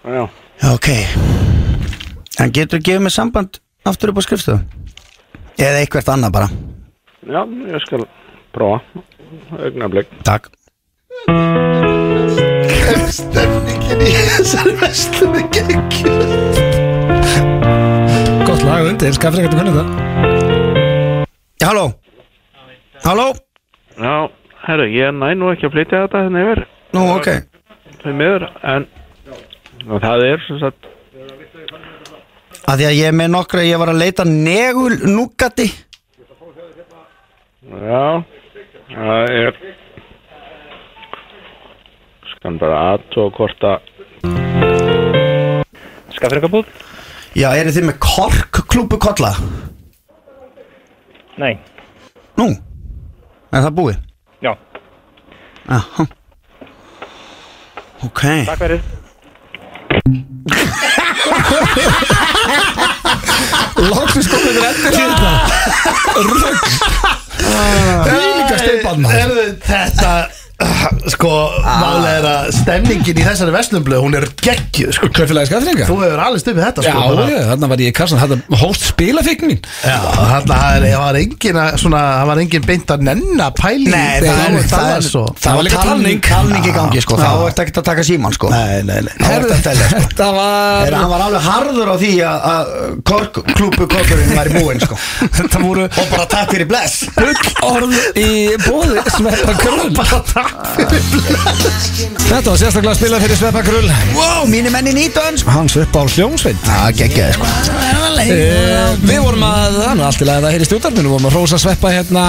[SPEAKER 6] Já,
[SPEAKER 2] Já, ok en getur þið gefið mig samband aftur upp á skrifstöðu eða eitthvert annað bara
[SPEAKER 6] já, ég skal prófa Augnablik
[SPEAKER 2] Takk Stemningin í þessari vestlunni geggjur
[SPEAKER 1] Gott lag undir, skaffir ekki að kunna það
[SPEAKER 2] Halló Halló
[SPEAKER 6] Já, herru, ég næ nú ekki að flytja þetta hérna yfir
[SPEAKER 2] Nú, ok
[SPEAKER 6] Því miður, en og það er sem sagt
[SPEAKER 2] Að því að ég er með nokkra, ég var að leita negul núgati
[SPEAKER 6] Já, það er Skan bara aðtóa hvort að Skafringabúð?
[SPEAKER 2] Já, eru þið með korkklúpu kolla?
[SPEAKER 7] Nei,
[SPEAKER 2] Nú, er það búið?
[SPEAKER 7] já,
[SPEAKER 2] Aha Ok
[SPEAKER 7] takk fyrir
[SPEAKER 1] Lóksins komið fyrir endur í þetta Rögg Því líka steipan maður
[SPEAKER 3] Herðu, Eh, Þetta ah, Sko, málega er að stemningin í þessari vestlumblöð Hún er geggjuð, sko
[SPEAKER 1] Kaufélagi skafringa
[SPEAKER 3] Þú hefur alveg stupið þetta,
[SPEAKER 1] Já,
[SPEAKER 3] sko bara-
[SPEAKER 1] já, þarna var ég í kassan Þarna hóst spilafíkn mín
[SPEAKER 3] Já, þarna það er- það var engin að, svona, það var engin beint að nenna pæli
[SPEAKER 2] Nei, það er- það er-
[SPEAKER 3] svo
[SPEAKER 1] Það var líka talning.
[SPEAKER 2] Talning í gangi, sko,
[SPEAKER 3] Já.
[SPEAKER 2] þá ert ekki að taka síman, sko
[SPEAKER 3] Nei, nei, nei
[SPEAKER 2] Þá ert að telja, sko
[SPEAKER 1] Þetta var
[SPEAKER 2] Þegar hann var alveg harður á því að- að kork, klúpu korkurinn væri búinn, sko
[SPEAKER 1] Þetta voru
[SPEAKER 2] Og bara takk fyrir bless
[SPEAKER 1] Bull orð í bóði Sveppa Krull Þetta var sérstaklega spilað fyrir Sveppa Krull
[SPEAKER 2] Wow, mínu menni nýtun, sko
[SPEAKER 1] Hans upp á hljómsveit
[SPEAKER 2] Það geggjaði, sko
[SPEAKER 1] Eh, Við vorum að, það er nú allt í lagið að heyri stjórnarminu vorum að rósa sveppa hérna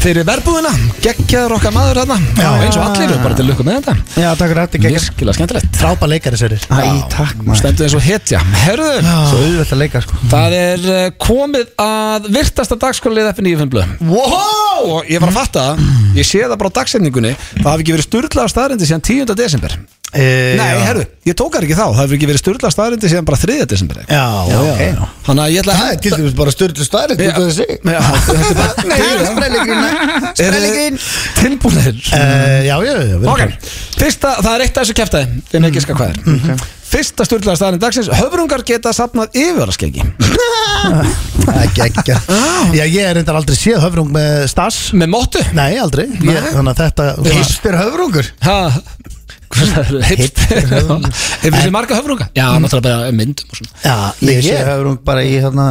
[SPEAKER 1] fyrir verbúðina geggjaður okkar maður hérna eins og allir, bara til lukku með þetta
[SPEAKER 2] Já, takk fyrir þetta
[SPEAKER 1] virkilega skemmtilegt
[SPEAKER 3] Frápa leikari sérir
[SPEAKER 2] Æ, takk maður
[SPEAKER 1] stendur eins og hetja Herðu,
[SPEAKER 2] Svo auðvitað leika, sko
[SPEAKER 1] það er eh, komið að virtasta dagskólið F95 blöð wow! og ég var að fatta það, ég sé það bara á dagsetningunni það hafi ekki verið styrlaða staðrendi síðan 10. desember
[SPEAKER 3] e,
[SPEAKER 1] Nei, herðu, ég tók það ekki þá, það hefur ekki verið styrlaða staðrendi síðan bara 3. desember
[SPEAKER 3] Já, já,
[SPEAKER 2] ok.
[SPEAKER 3] já, já.
[SPEAKER 1] Þannig að ég ætla að
[SPEAKER 2] Það er til dæmis bara styrlu stærri
[SPEAKER 1] Já.
[SPEAKER 2] Þetta er sig
[SPEAKER 1] Já, þetta er bara-
[SPEAKER 2] Sprelligrín Sprelligrín
[SPEAKER 1] Tilbúinir
[SPEAKER 2] Eh,
[SPEAKER 3] Uh, já, já, já, við erum
[SPEAKER 1] eh, Ok, fyrsta, það er eitt af þessu kæftæði Þeim ekki skar hvað er
[SPEAKER 2] Mhm.
[SPEAKER 1] Fyrsta styrlaða staðarinn dagsins Höfrungar geta safnað yfirvaraskeggi
[SPEAKER 2] Mhm. Það er geggja
[SPEAKER 3] klár. Já, ég er reyndar aldrei séð höfrung með stas
[SPEAKER 1] Með móttu
[SPEAKER 3] Nei, aldrei ég, Þannig að þetta
[SPEAKER 2] Hipster höfrungur
[SPEAKER 1] Hefur þessi marga höfrunga? Já, náttúrulega bara myndum og svona
[SPEAKER 3] Já,
[SPEAKER 2] Ég
[SPEAKER 3] ég
[SPEAKER 2] sé
[SPEAKER 3] séð
[SPEAKER 2] höfrung bara í hérna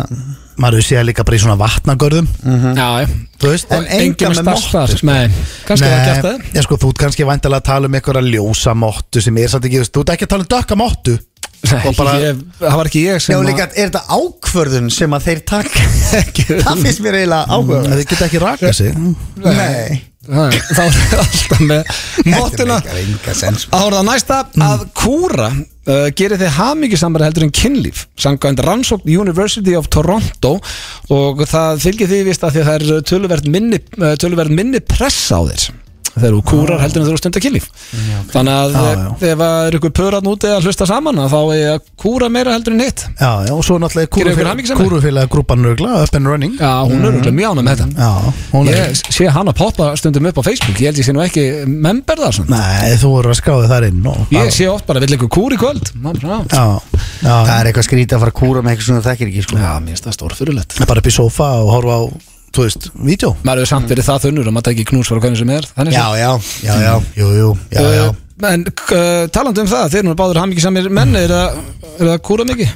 [SPEAKER 3] Maður hefur séð líka bara í svona vatnagörðum
[SPEAKER 1] Já, já
[SPEAKER 3] Þú veist
[SPEAKER 2] Mm. En enga
[SPEAKER 1] Engin
[SPEAKER 2] með
[SPEAKER 1] starf
[SPEAKER 2] mottu, sko.
[SPEAKER 1] þar. Nei, kannski var kæftæði
[SPEAKER 3] Nei, en sko, þú ert kannski væntalega að tala um einhverja ljósa móttu sem er samt ekki, þú veist, þú ert ekki að tala um dökka móttu
[SPEAKER 1] Nei,
[SPEAKER 3] Og bara-
[SPEAKER 1] ég- það var ekki ég
[SPEAKER 2] Já,
[SPEAKER 1] sem að-
[SPEAKER 2] líka, er þetta ákvörðun sem að þeir taka
[SPEAKER 1] Ekki.
[SPEAKER 2] Það finnst mér eiginlega
[SPEAKER 3] Það
[SPEAKER 2] ákvörðun
[SPEAKER 3] geta ekki rakað sig
[SPEAKER 2] Mm. Nei
[SPEAKER 1] Það þá er það alltaf með móttuna
[SPEAKER 2] Þetta meikar enga sens.
[SPEAKER 1] Áraða næsta
[SPEAKER 3] Mm.
[SPEAKER 1] að kúra uh, gerir þið hamingisamari heldur en kynlíf samkvæmt rannsókn University of Toronto og það fylgir því vist að því að það er töluvert minni, uh, töluvert minni pressa á þér þegar þú kúrar heldur en þú stundar kynlíf þannig að
[SPEAKER 3] Ah. Mm, Já,
[SPEAKER 1] ah, ef að er ykkur pöran úti að hlusta saman að þá er að kúra meira heldur en hitt
[SPEAKER 3] Já, já, og svo
[SPEAKER 1] Gerir ykkur
[SPEAKER 3] náttúrulega
[SPEAKER 1] hamingjusamari?
[SPEAKER 3] kúrufélag grúpan rögla, up and running
[SPEAKER 1] Já, hún er auðvitað mjög ánum með þetta
[SPEAKER 3] Já, Mm. hún er
[SPEAKER 1] Ég sé hann að poppa stundum upp á Facebook ég held ég sé nú ekki member þar svona
[SPEAKER 3] Nei, þú voru að skráði þar inn og,
[SPEAKER 1] Ég sé oft bara, vill einhver kúr í kvöld Man, já.
[SPEAKER 3] Já, já,
[SPEAKER 2] Það er eitthvað skrítið að fara að kúra með um eitthvað sem þú þekkir ekki, sko
[SPEAKER 1] já, mér finnst það stórfyrulegt
[SPEAKER 3] bara upp í sófa og horfa á, þú veist, vídeo
[SPEAKER 1] Maður hefur samt verið það þunnur að maður tekið knús fyrir hvernig sem er Þannig
[SPEAKER 2] Já,
[SPEAKER 1] séð.
[SPEAKER 2] já, já, já
[SPEAKER 3] Jú, jú, já, já
[SPEAKER 2] Eh.
[SPEAKER 1] Uh, En uh, talandi um það, þeir eru nú báður hamingi samir menn Er það, er það að kúra mikið?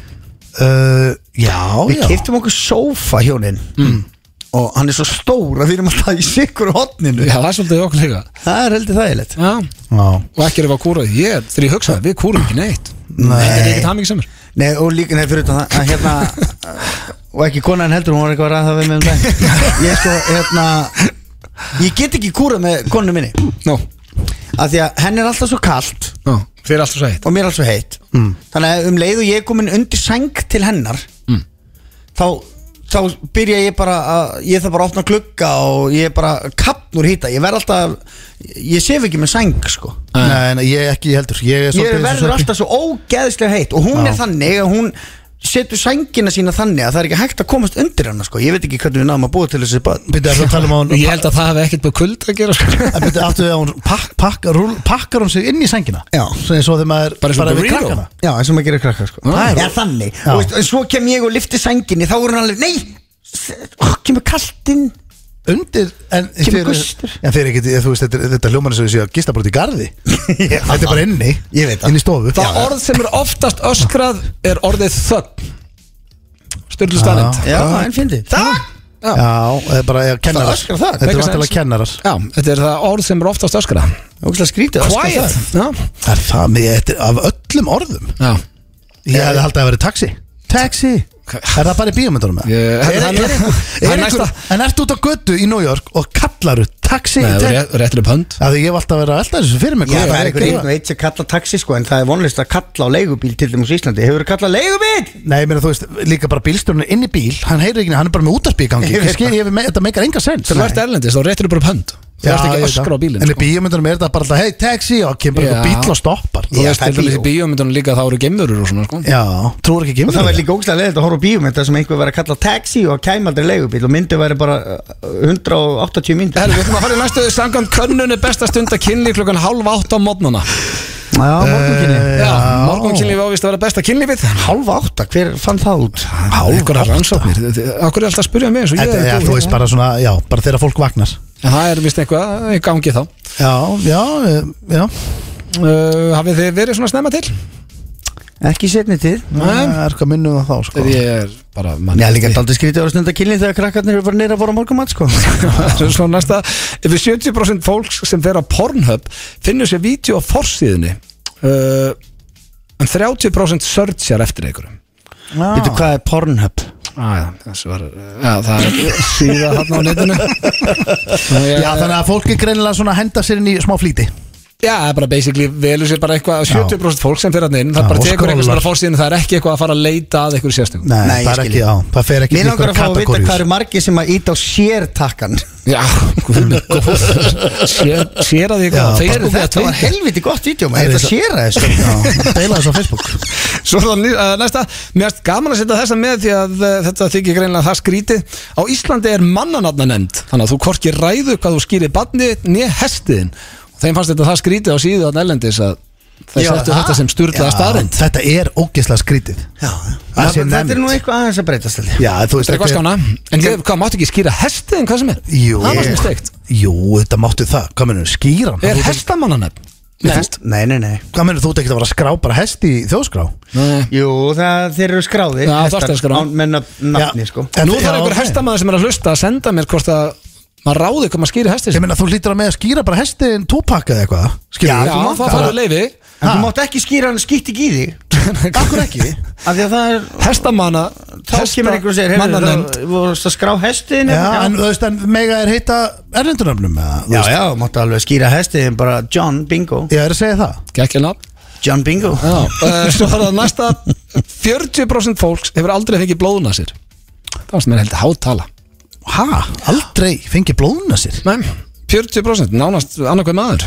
[SPEAKER 3] uh, Já,
[SPEAKER 2] Við
[SPEAKER 3] já Mm.
[SPEAKER 2] kiptum okkur sófa hjónin Og hann er svo stór að við erum alltaf í sikkur hotninu
[SPEAKER 1] Já, það er svolítið okkur líka
[SPEAKER 2] Það er heldur þægilegt
[SPEAKER 1] Já,
[SPEAKER 3] Já,
[SPEAKER 1] og ekki erum við að kúra Ég, þegar ég hugsaði, við kúrum ekki neitt
[SPEAKER 2] Nei.
[SPEAKER 1] Þetta er ekkert hamingi samir
[SPEAKER 2] Nei, og líka nefnir fyrir utan það að hérna Og ekki konan heldur, hún var eitthvað að ræða það við með um dag Ég sko, hérna Ég get ekki kúra með konu minni
[SPEAKER 1] Nó,
[SPEAKER 2] Af því að henni er alltaf svo kalt
[SPEAKER 1] nó, þeir eru alltaf svo heitt
[SPEAKER 2] Og mér er alltaf svo heitt mm. Þannig að um leið og ég er komin undir sæng til hennar
[SPEAKER 3] Mm.
[SPEAKER 2] Þá Þá byrja ég bara að Ég þarf bara að opna glugga og ég er bara Kappn úr hýta, ég verð alltaf Ég sef ekki með sæng, sko
[SPEAKER 3] nei, nei, ég ekki heldur Ég
[SPEAKER 2] Ég
[SPEAKER 3] er
[SPEAKER 2] er
[SPEAKER 3] svolítið eins og
[SPEAKER 2] verður
[SPEAKER 3] sveppi.
[SPEAKER 2] alltaf svo ógeðslega heitt Og hún
[SPEAKER 3] Já.
[SPEAKER 2] er þannig að hún setur sængina sína þannig að það er ekki hægt að komast undir hana sko. Ég veit ekki hvernig við náðum að búa til þessi bönn
[SPEAKER 3] Byrju, ertu að tala um að hún
[SPEAKER 1] Ég held að það hefði ekkert með kuld að gera sko.
[SPEAKER 3] En byrju, aftur við að hún pak, pak, rúl, pakkar hún sig inn í sængina
[SPEAKER 2] Já.
[SPEAKER 3] Svo eins og þegar maður
[SPEAKER 1] Bara eins og
[SPEAKER 3] við
[SPEAKER 1] burrito.
[SPEAKER 3] krakkana
[SPEAKER 2] Já, eins og maður gerir krakkar sko.
[SPEAKER 3] Það er-
[SPEAKER 2] Já, þannig
[SPEAKER 3] Já.
[SPEAKER 2] Og veist, en svo kem ég og lifti sænginni Þá er hún alveg, nei, s- ó, kemur kaltinn
[SPEAKER 3] Undir, en
[SPEAKER 2] Kemur
[SPEAKER 3] þið-
[SPEAKER 2] gustur.
[SPEAKER 3] En þeir ekki, þú veist, þetta, þetta hljómanir sem við séu að gista bara út í garði Þetta er bara inni
[SPEAKER 2] Ég veit það.
[SPEAKER 3] Inni í stofu
[SPEAKER 1] Það orð sem er oftast öskrað er orðið þögn Sturlu staðnind
[SPEAKER 2] Já, en fyndi Það?
[SPEAKER 3] Já, það er bara ja, kennarar
[SPEAKER 2] Það öskrar það,
[SPEAKER 3] Þetta er
[SPEAKER 1] make
[SPEAKER 3] vantilega
[SPEAKER 1] sense.
[SPEAKER 3] kennarar
[SPEAKER 1] Já, þetta er það orð sem er oftast öskrað
[SPEAKER 2] Ógæslega skrítið öskar það.
[SPEAKER 1] Já,
[SPEAKER 3] Það er það, mér, þetta er af öllum orðum
[SPEAKER 1] já
[SPEAKER 3] Ég hefði haldið að vera taxi Taxi Er það bara í bíómyndunum með?
[SPEAKER 1] Ég-
[SPEAKER 3] er, er,
[SPEAKER 1] Það er
[SPEAKER 3] er, er
[SPEAKER 1] næsta.
[SPEAKER 3] einhver, en ertu út á götu í New York og kallaru taxi
[SPEAKER 1] Nei,
[SPEAKER 3] taxi?
[SPEAKER 1] ré- réttur upp hönd
[SPEAKER 3] Af því ég hef alltaf verið að velta þessu fyrir mig
[SPEAKER 2] Já,
[SPEAKER 3] hvað
[SPEAKER 2] það er
[SPEAKER 3] ég-
[SPEAKER 2] einhver einn og eitt sem kalla taxi sko En það er vonlist að kalla á leigubíl til dæmis í Íslandi Hefur þú kallað leigubíl?
[SPEAKER 3] Nei, mér þú veist, líka bara bílstjórn er inn í bíl Hann heyrir ekki, hann er bara með útarpi í gangi
[SPEAKER 2] Ég
[SPEAKER 3] Ég
[SPEAKER 2] veit
[SPEAKER 3] skil, ég, hef- þetta meikar enga sens
[SPEAKER 1] Þegar þú ert erlendis þá réttur upp bara upp hönd Þú þarft ekki að öskra á bílinn,
[SPEAKER 3] En í
[SPEAKER 1] sko.
[SPEAKER 3] bíómyndunum er þetta bara alltaf Hei, taxi Og kemur
[SPEAKER 1] Já.
[SPEAKER 3] einhver bíl og stoppar
[SPEAKER 1] Þú
[SPEAKER 3] Já,
[SPEAKER 1] veist til dæmis í bíómyndunum líka að það eru gemurur og svona sko
[SPEAKER 3] Já, trúir ekki
[SPEAKER 2] Og það
[SPEAKER 3] gemur
[SPEAKER 2] var líka ógstæðlega leðilt að horfa á bíómynd þar sem einhver var að kalla taxi og kæm aldrei leigubíl og myndi væri bara uh, 180 myndir
[SPEAKER 1] Herru, við ætlum að fara í næstu samkvæmt könnunni besta stund að kynli klukkan halv átt á mótnana
[SPEAKER 2] Já,
[SPEAKER 3] Eh,
[SPEAKER 2] morgunkinni
[SPEAKER 1] Já, morgunkynli við ávist að vera besta kynlífið
[SPEAKER 2] Halva átta, hver fann það út?
[SPEAKER 1] Hálfur rannsóknir Akkur er alltaf að spyrja mig eins og ég
[SPEAKER 3] Þetta,
[SPEAKER 1] er
[SPEAKER 3] já,
[SPEAKER 1] góður.
[SPEAKER 3] þú veist bara svona, já, bara þegar fólk vagnar
[SPEAKER 1] En það er vist eitthvað í gangi þá
[SPEAKER 3] Já, já, eh, já
[SPEAKER 1] uh, Hafið þið verið svona snemma til?
[SPEAKER 2] Ekki setni til
[SPEAKER 1] Nei.
[SPEAKER 3] Það er eitthvað minnum að þá, sko
[SPEAKER 1] Ég er bara mann
[SPEAKER 2] Já, líka daldi skrítið að stunda kynni þegar krakkarnir eru bara neyra að bora morgumat sko
[SPEAKER 1] Svo næsta Yfir 70% fólks sem fer á Pornhub finnur sér vídeo á forsíðinni uh, En 30% searchar eftir einhverjum
[SPEAKER 2] Veitu hvað er Pornhub?
[SPEAKER 1] Æja, þessu var uh, Já, það er síða hann á netinu
[SPEAKER 3] Já, þannig að fólk er greinilega svona að henda sér inn í smá flýti
[SPEAKER 1] Já, það er bara basically velur sér bara eitthvað 70% fólk sem fyrir hann inn, það
[SPEAKER 3] Já,
[SPEAKER 1] bara
[SPEAKER 3] og
[SPEAKER 1] tekur eitthvað sem
[SPEAKER 3] scrollar.
[SPEAKER 1] er á fórsíðinu, það er ekki eitthvað að fara að leita að eitthvað sérstökum
[SPEAKER 3] Nei,
[SPEAKER 2] Nei,
[SPEAKER 3] það
[SPEAKER 2] ég
[SPEAKER 3] er
[SPEAKER 2] skil
[SPEAKER 3] ekki,
[SPEAKER 2] ég.
[SPEAKER 3] já, það fer ekki
[SPEAKER 2] Mér langar að fá að vita hvað um- eru margir sem að íta á sér takkan
[SPEAKER 1] Já, guð minn góður Sér, sér að um. því
[SPEAKER 3] Já,
[SPEAKER 1] eitthvað á
[SPEAKER 2] Heyrðu,
[SPEAKER 1] Facebook eða
[SPEAKER 2] Þetta var
[SPEAKER 1] Twitter
[SPEAKER 2] helviti gott vídeo
[SPEAKER 3] Heyrðu,
[SPEAKER 2] maður, þetta
[SPEAKER 3] þetta-
[SPEAKER 2] sér að þessu
[SPEAKER 3] Deila þessu á Facebook
[SPEAKER 1] Svo er það ný- eh, næsta, mér erst gaman að setja þessa með því að eh, þetta þykir greinlega það skrítið Á Íslandi er mannanatna nefnd Þannig að þú korki ræðu hvað þú skýrir badni né hestiðin Og þeim fannst þetta það skrítið á síðu að nælendis að þeir
[SPEAKER 2] Já,
[SPEAKER 1] settu
[SPEAKER 2] það?
[SPEAKER 1] þetta sem sturlaða starrend
[SPEAKER 3] Þetta er ógeðslega skrítið
[SPEAKER 2] Já,
[SPEAKER 3] Það
[SPEAKER 2] Þetta
[SPEAKER 3] sé
[SPEAKER 2] er
[SPEAKER 3] nefnt.
[SPEAKER 2] nú eitthvað aðeins að breytast held ég.
[SPEAKER 3] Já, þú veist
[SPEAKER 1] Þetta er eitthvað skána En ég, hvað, máttu ekki skýra hestiðin hvað sem er?
[SPEAKER 3] Jú,
[SPEAKER 1] það var
[SPEAKER 3] ég-
[SPEAKER 1] sem steikt
[SPEAKER 3] Jú, þetta máttu það, hvað mennur, skýran
[SPEAKER 1] Er hestamannanefn?
[SPEAKER 2] Nei, Nei, nei, nei
[SPEAKER 3] Hvað mennur, þú ert ekki að vera að skrá bara hest í þjóðskrá
[SPEAKER 1] Nei
[SPEAKER 2] Jú, það, þeir eru skráði
[SPEAKER 1] Já, þú ert að skrá.
[SPEAKER 2] Menna nafni sko
[SPEAKER 1] En nú þarf einhver hestamann sem er að hlusta að senda mér hvort að maður ráði hvað maður skýri hestið
[SPEAKER 3] Ég meina, þú lítur að með að skýra bara hestin tópakka eða eitthvað Skilur
[SPEAKER 1] Já,
[SPEAKER 3] við?
[SPEAKER 1] já það
[SPEAKER 3] bara-
[SPEAKER 1] farið leifi
[SPEAKER 2] En þú mátt ekki skýra hann skýtt ekki í þig Akkur ekki Af því að það er
[SPEAKER 1] Hestamanna
[SPEAKER 2] Þá kemur einhver og segir Heyrðu,
[SPEAKER 1] Mannanefnd
[SPEAKER 2] það voru að skrá hestin
[SPEAKER 3] Já, en þú veist, en mega er heita erlendunöfnum eða, þú
[SPEAKER 2] Já,
[SPEAKER 3] veist.
[SPEAKER 2] já, máttu alveg skýra hestin Bara John Bingo
[SPEAKER 3] Ég er að segja það
[SPEAKER 1] Gekkjana
[SPEAKER 2] John Bingo
[SPEAKER 1] Já eh, Svo er það næsta 40% fólks hefur aldrei fengið blóðuna sér Það var sem er heldur hátala
[SPEAKER 3] Ha, aldrei fengi blóðuna sér
[SPEAKER 1] Nei 40% nánast annarkveð maður